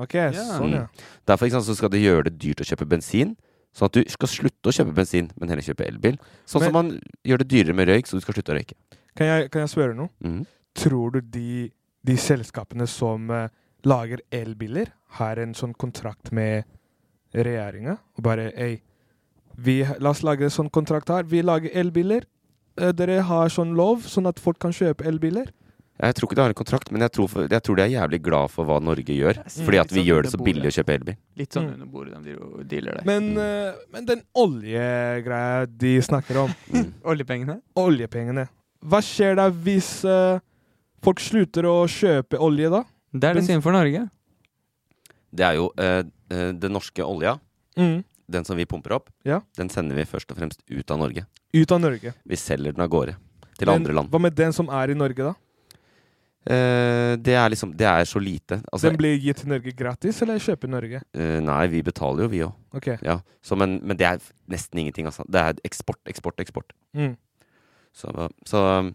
Speaker 8: OK, sånn, ja.
Speaker 4: Mm. Derfor ikke sant, så skal de gjøre det dyrt å kjøpe bensin. Sånn at du skal slutte å kjøpe bensin, men heller kjøpe elbil. Sånn som man gjør det dyrere med røyk, så du skal slutte å røyke.
Speaker 8: Kan jeg, kan jeg spørre noe?
Speaker 4: Mhm.
Speaker 8: Tror du de, de selskapene som eh, lager elbiler, har en sånn kontrakt med regjeringa? Og bare Ei, vi, la oss lage en sånn kontrakt her. Vi lager elbiler. Eh, Dere har sånn lov, sånn at folk kan kjøpe elbiler.
Speaker 4: Jeg tror ikke de har en kontrakt, men jeg tror, for, jeg tror de er jævlig glad for hva Norge gjør. Fordi at vi
Speaker 5: Sånn
Speaker 4: gjør det så
Speaker 5: under
Speaker 4: billig å
Speaker 5: bordet.
Speaker 4: kjøpe elbil.
Speaker 5: Litt sånn under bordet de driver og dealer der.
Speaker 8: Men, eh, men den oljegreia de snakker
Speaker 4: [LAUGHS]
Speaker 8: om
Speaker 4: Mm.
Speaker 5: Oljepengene?
Speaker 8: Oljepengene. Hva skjer da hvis eh, folk slutter å kjøpe olje, da?
Speaker 5: Det er det synd for Norge.
Speaker 4: Det er jo eh, eh, den norske olja,
Speaker 8: Mhm.
Speaker 4: den som vi pumper opp,
Speaker 8: Ja.
Speaker 4: den sender vi først og fremst ut av Norge.
Speaker 8: Ut av Norge.
Speaker 4: Vi selger den av gårde til
Speaker 8: Men
Speaker 4: andre land.
Speaker 8: Hva med den som er i Norge, da?
Speaker 4: Eh, det er liksom Det er så lite. Altså,
Speaker 8: den blir gitt til Norge gratis, eller kjøper Norge?
Speaker 4: Eh, nei, vi betaler jo, vi òg.
Speaker 8: Ok.
Speaker 4: Ja. så Men, men det er f- nesten ingenting, altså. Det er eksport, eksport, eksport.
Speaker 8: Mm.
Speaker 4: Så, så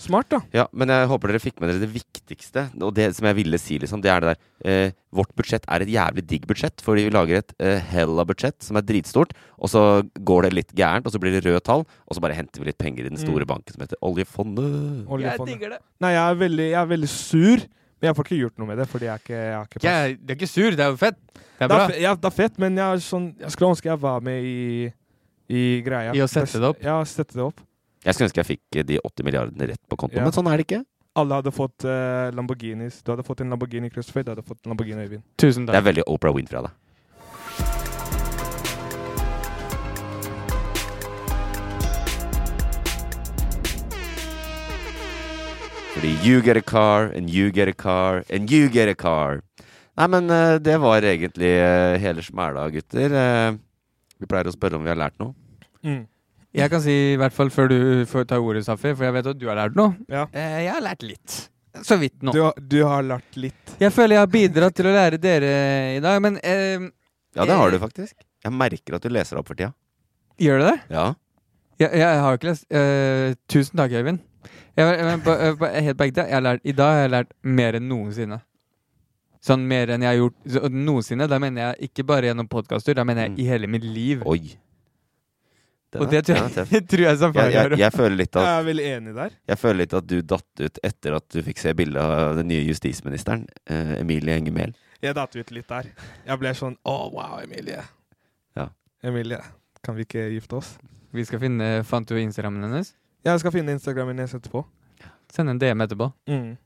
Speaker 8: Smart, da.
Speaker 4: Ja, men jeg håper dere fikk med dere det viktigste, og det som jeg ville si, liksom, det er det der eh, Vårt budsjett er et jævlig digg budsjett, fordi vi lager et eh, hella budsjett som er dritstort, og så går det litt gærent, og så blir det røde tall, og så bare henter vi litt penger i den store
Speaker 8: Mm.
Speaker 4: banken som heter oljefondet.
Speaker 8: Oljefondet. Nei, jeg er, veldig, jeg er veldig sur, men jeg får ikke gjort noe med det. Fordi jeg, er ikke, jeg har ikke
Speaker 5: Jeg, det er ikke sur, det er jo fett. Det er bra.
Speaker 8: fe- ja, det er fett, men jeg, er sånn, jeg skulle ønske jeg var med i, i greia.
Speaker 5: I å sette det opp?
Speaker 8: Ja, sette det opp.
Speaker 4: Jeg skulle ønske jeg fikk eh, de 80 milliardene rett på konto,
Speaker 8: Ja.
Speaker 4: men sånn er det ikke.
Speaker 8: Alle hadde fått eh, Lamborghinis. Du hadde fått en Lamborghini Christopher, du hadde fått en Lamborghini Øyvind.
Speaker 5: Tusen
Speaker 4: Det er veldig Oprah Winfrey av deg. Fordi you get a car, and you get a car, and you get a car. Nei, men eh, det var egentlig eh, hele smæla, gutter. Eh, vi pleier å spørre om vi har lært noe.
Speaker 8: Mm.
Speaker 5: Jeg kan si, i hvert fall før du får ta ordet, Safi, for jeg vet at du har lært noe.
Speaker 8: Ja.
Speaker 5: Eh, jeg har lært litt. Så vidt nå.
Speaker 8: Du, har- du har lært litt.
Speaker 5: Jeg føler jeg har bidratt til å lære dere i dag, men eh,
Speaker 4: Ja, det har du faktisk. Jeg merker at du leser opp for tida.
Speaker 5: gjør du det?
Speaker 4: Ja.
Speaker 5: Jeg, jeg har ikke lest eh, Tusen takk, Øyvind. Jeg, var- jeg, var på, jeg, var på, helt på ekte, jeg har lært, I dag har jeg lært mer enn noensinne. Sånn mer enn jeg har gjort så- noensinne. Da mener jeg ikke bare gjennom podkaster, da
Speaker 8: Mm.
Speaker 5: mener jeg i hele mitt liv.
Speaker 4: Oi. Den
Speaker 5: Og
Speaker 4: er-
Speaker 5: det tror
Speaker 4: den
Speaker 5: jeg,
Speaker 4: er tøff.
Speaker 5: [LAUGHS] det tror jeg Safari
Speaker 4: jeg, jeg, jeg føler litt at
Speaker 8: Jeg er veldig enig der.
Speaker 4: Jeg føler litt at du datt ut etter at du fikk se bildet av den nye justisministeren, eh, Emilie Enger Mehl.
Speaker 8: Jeg datt ut litt der. Jeg ble sånn Å, wow, Emilie.
Speaker 4: Ja.
Speaker 8: Emilie, kan vi ikke gifte oss?
Speaker 5: Vi skal finne Fant du Instagrammen hennes?
Speaker 8: Jeg skal finne Instagramen hennes etterpå.
Speaker 5: Send en DM etterpå.
Speaker 8: Mm.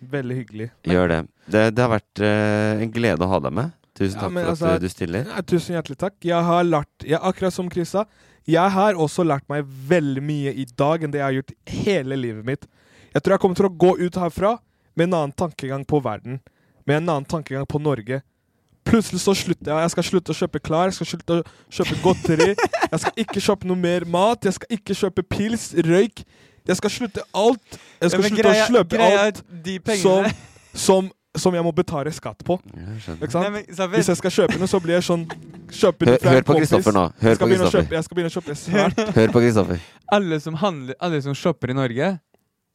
Speaker 8: Veldig hyggelig.
Speaker 4: Gjør det. det. Det har vært eh, en glede å ha deg med. Tusen
Speaker 8: Ja,
Speaker 4: takk
Speaker 8: men
Speaker 4: for
Speaker 8: altså,
Speaker 4: at du- du stiller.
Speaker 8: Ja, tusen hjertelig takk. Jeg har lært, jeg, akkurat som Krista, jeg har også lært meg veldig mye i dag enn det jeg har gjort hele livet mitt. Jeg tror jeg kommer til å gå ut herfra med en annen tankegang på verden. Med en annen tankegang på Norge. Plutselig så slutter jeg. Jeg skal slutte å kjøpe klær, jeg skal slutte å kjøpe godteri. Jeg skal ikke kjøpe noe mer mat, jeg skal ikke kjøpe pils, røyk. Jeg skal slutte alt. Jeg skal
Speaker 5: Ja, men
Speaker 8: slutte
Speaker 5: greia-
Speaker 8: å sløpe
Speaker 5: greia er
Speaker 8: alt
Speaker 5: de pengene- [LAUGHS]
Speaker 8: som, som, som jeg må betale skatt på. Ikke sant?
Speaker 5: Nei, men, Safer-
Speaker 8: Hvis jeg skal kjøpe noe, så blir jeg sånn kjøpe
Speaker 4: Hør-
Speaker 8: det fra en
Speaker 4: hør på
Speaker 8: kompis.
Speaker 4: Kristoffer nå. Hør
Speaker 8: jeg, skal
Speaker 4: på
Speaker 8: begynne å
Speaker 4: Kristoffer.
Speaker 8: kjøpe, jeg skal begynne å kjøpe snart.
Speaker 4: Hør på Kristoffer.
Speaker 5: alle som handler, alle som shopper i Norge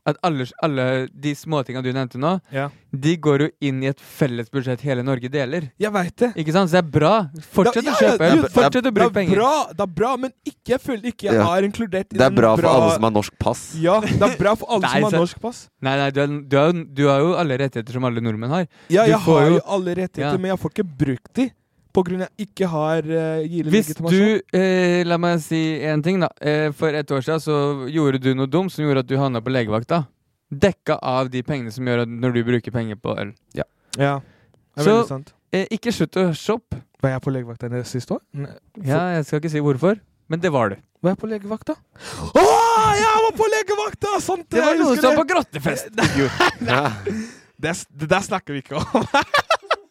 Speaker 5: at alle, alle de småtinga du nevnte nå,
Speaker 8: Ja.
Speaker 5: de går jo inn i et felles budsjett hele Norge deler.
Speaker 8: [LAUGHS] Jeg vet det.
Speaker 5: Ikke sant? Så det er bra. Fortsett
Speaker 8: Ja,
Speaker 5: å
Speaker 8: ja,
Speaker 5: kjøpe.
Speaker 8: ja, ja,
Speaker 5: Fortsett å bruke
Speaker 8: det er
Speaker 5: penger.
Speaker 8: Bra, det er bra, men ikke, jeg føler ikke jeg
Speaker 4: Ja.
Speaker 8: er inkludert i
Speaker 4: Det er
Speaker 8: den
Speaker 4: bra for alle som har norsk pass.
Speaker 8: Ja, det er bra for alle
Speaker 5: Nei,
Speaker 8: som har
Speaker 5: så-
Speaker 8: norsk pass.
Speaker 5: Nei, nei, du, er, du, er, du har jo alle rettigheter som alle nordmenn har.
Speaker 8: Ja,
Speaker 5: Du
Speaker 8: jeg
Speaker 5: får
Speaker 8: har jo alle rettigheter,
Speaker 5: Ja.
Speaker 8: men jeg får ikke brukt de på grunn av at jeg ikke har uh, gyldig
Speaker 5: Hvis
Speaker 8: legitimasjon.
Speaker 5: du eh, La meg si én ting, da. Eh, for et år siden så gjorde du noe dumt som gjorde at du havna på legevakta. Dekka av de pengene som gjør at når du bruker penger på øl.
Speaker 4: Ja.
Speaker 8: Ja, det er
Speaker 5: Så
Speaker 8: veldig sant.
Speaker 5: eh, ikke slutt å shoppe.
Speaker 8: Var jeg på legevakta det siste år? Nei.
Speaker 5: Ja, jeg skal ikke si hvorfor, men det var du.
Speaker 8: Var jeg på legevakta? Åh, jeg var på legevakta! Sant
Speaker 5: Det var
Speaker 8: jeg
Speaker 5: noen
Speaker 8: husker
Speaker 5: som
Speaker 8: det.
Speaker 5: var på grottefest!
Speaker 8: Det, s- det der snakker vi ikke om.
Speaker 4: [LAUGHS]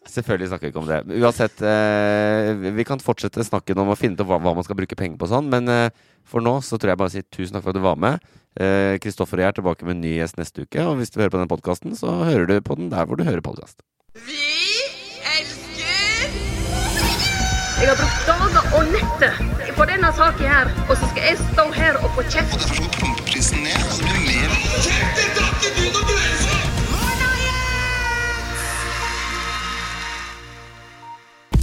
Speaker 4: Selvfølgelig snakker vi ikke om det. Uansett, eh, vi kan fortsette snakken om å finne ut hva, hva man skal bruke penger på og sånn, men eh, for nå så tror jeg bare å si tusen takk for at du var med. Eh, Kristoffer og jeg er tilbake med en ny gjest neste uke, og hvis du hører på den podkasten, så hører du på den der hvor du hører podkast.
Speaker 2: Jeg har brukt dager og netter på denne saken her, og så skal jeg stå her og få kjeft.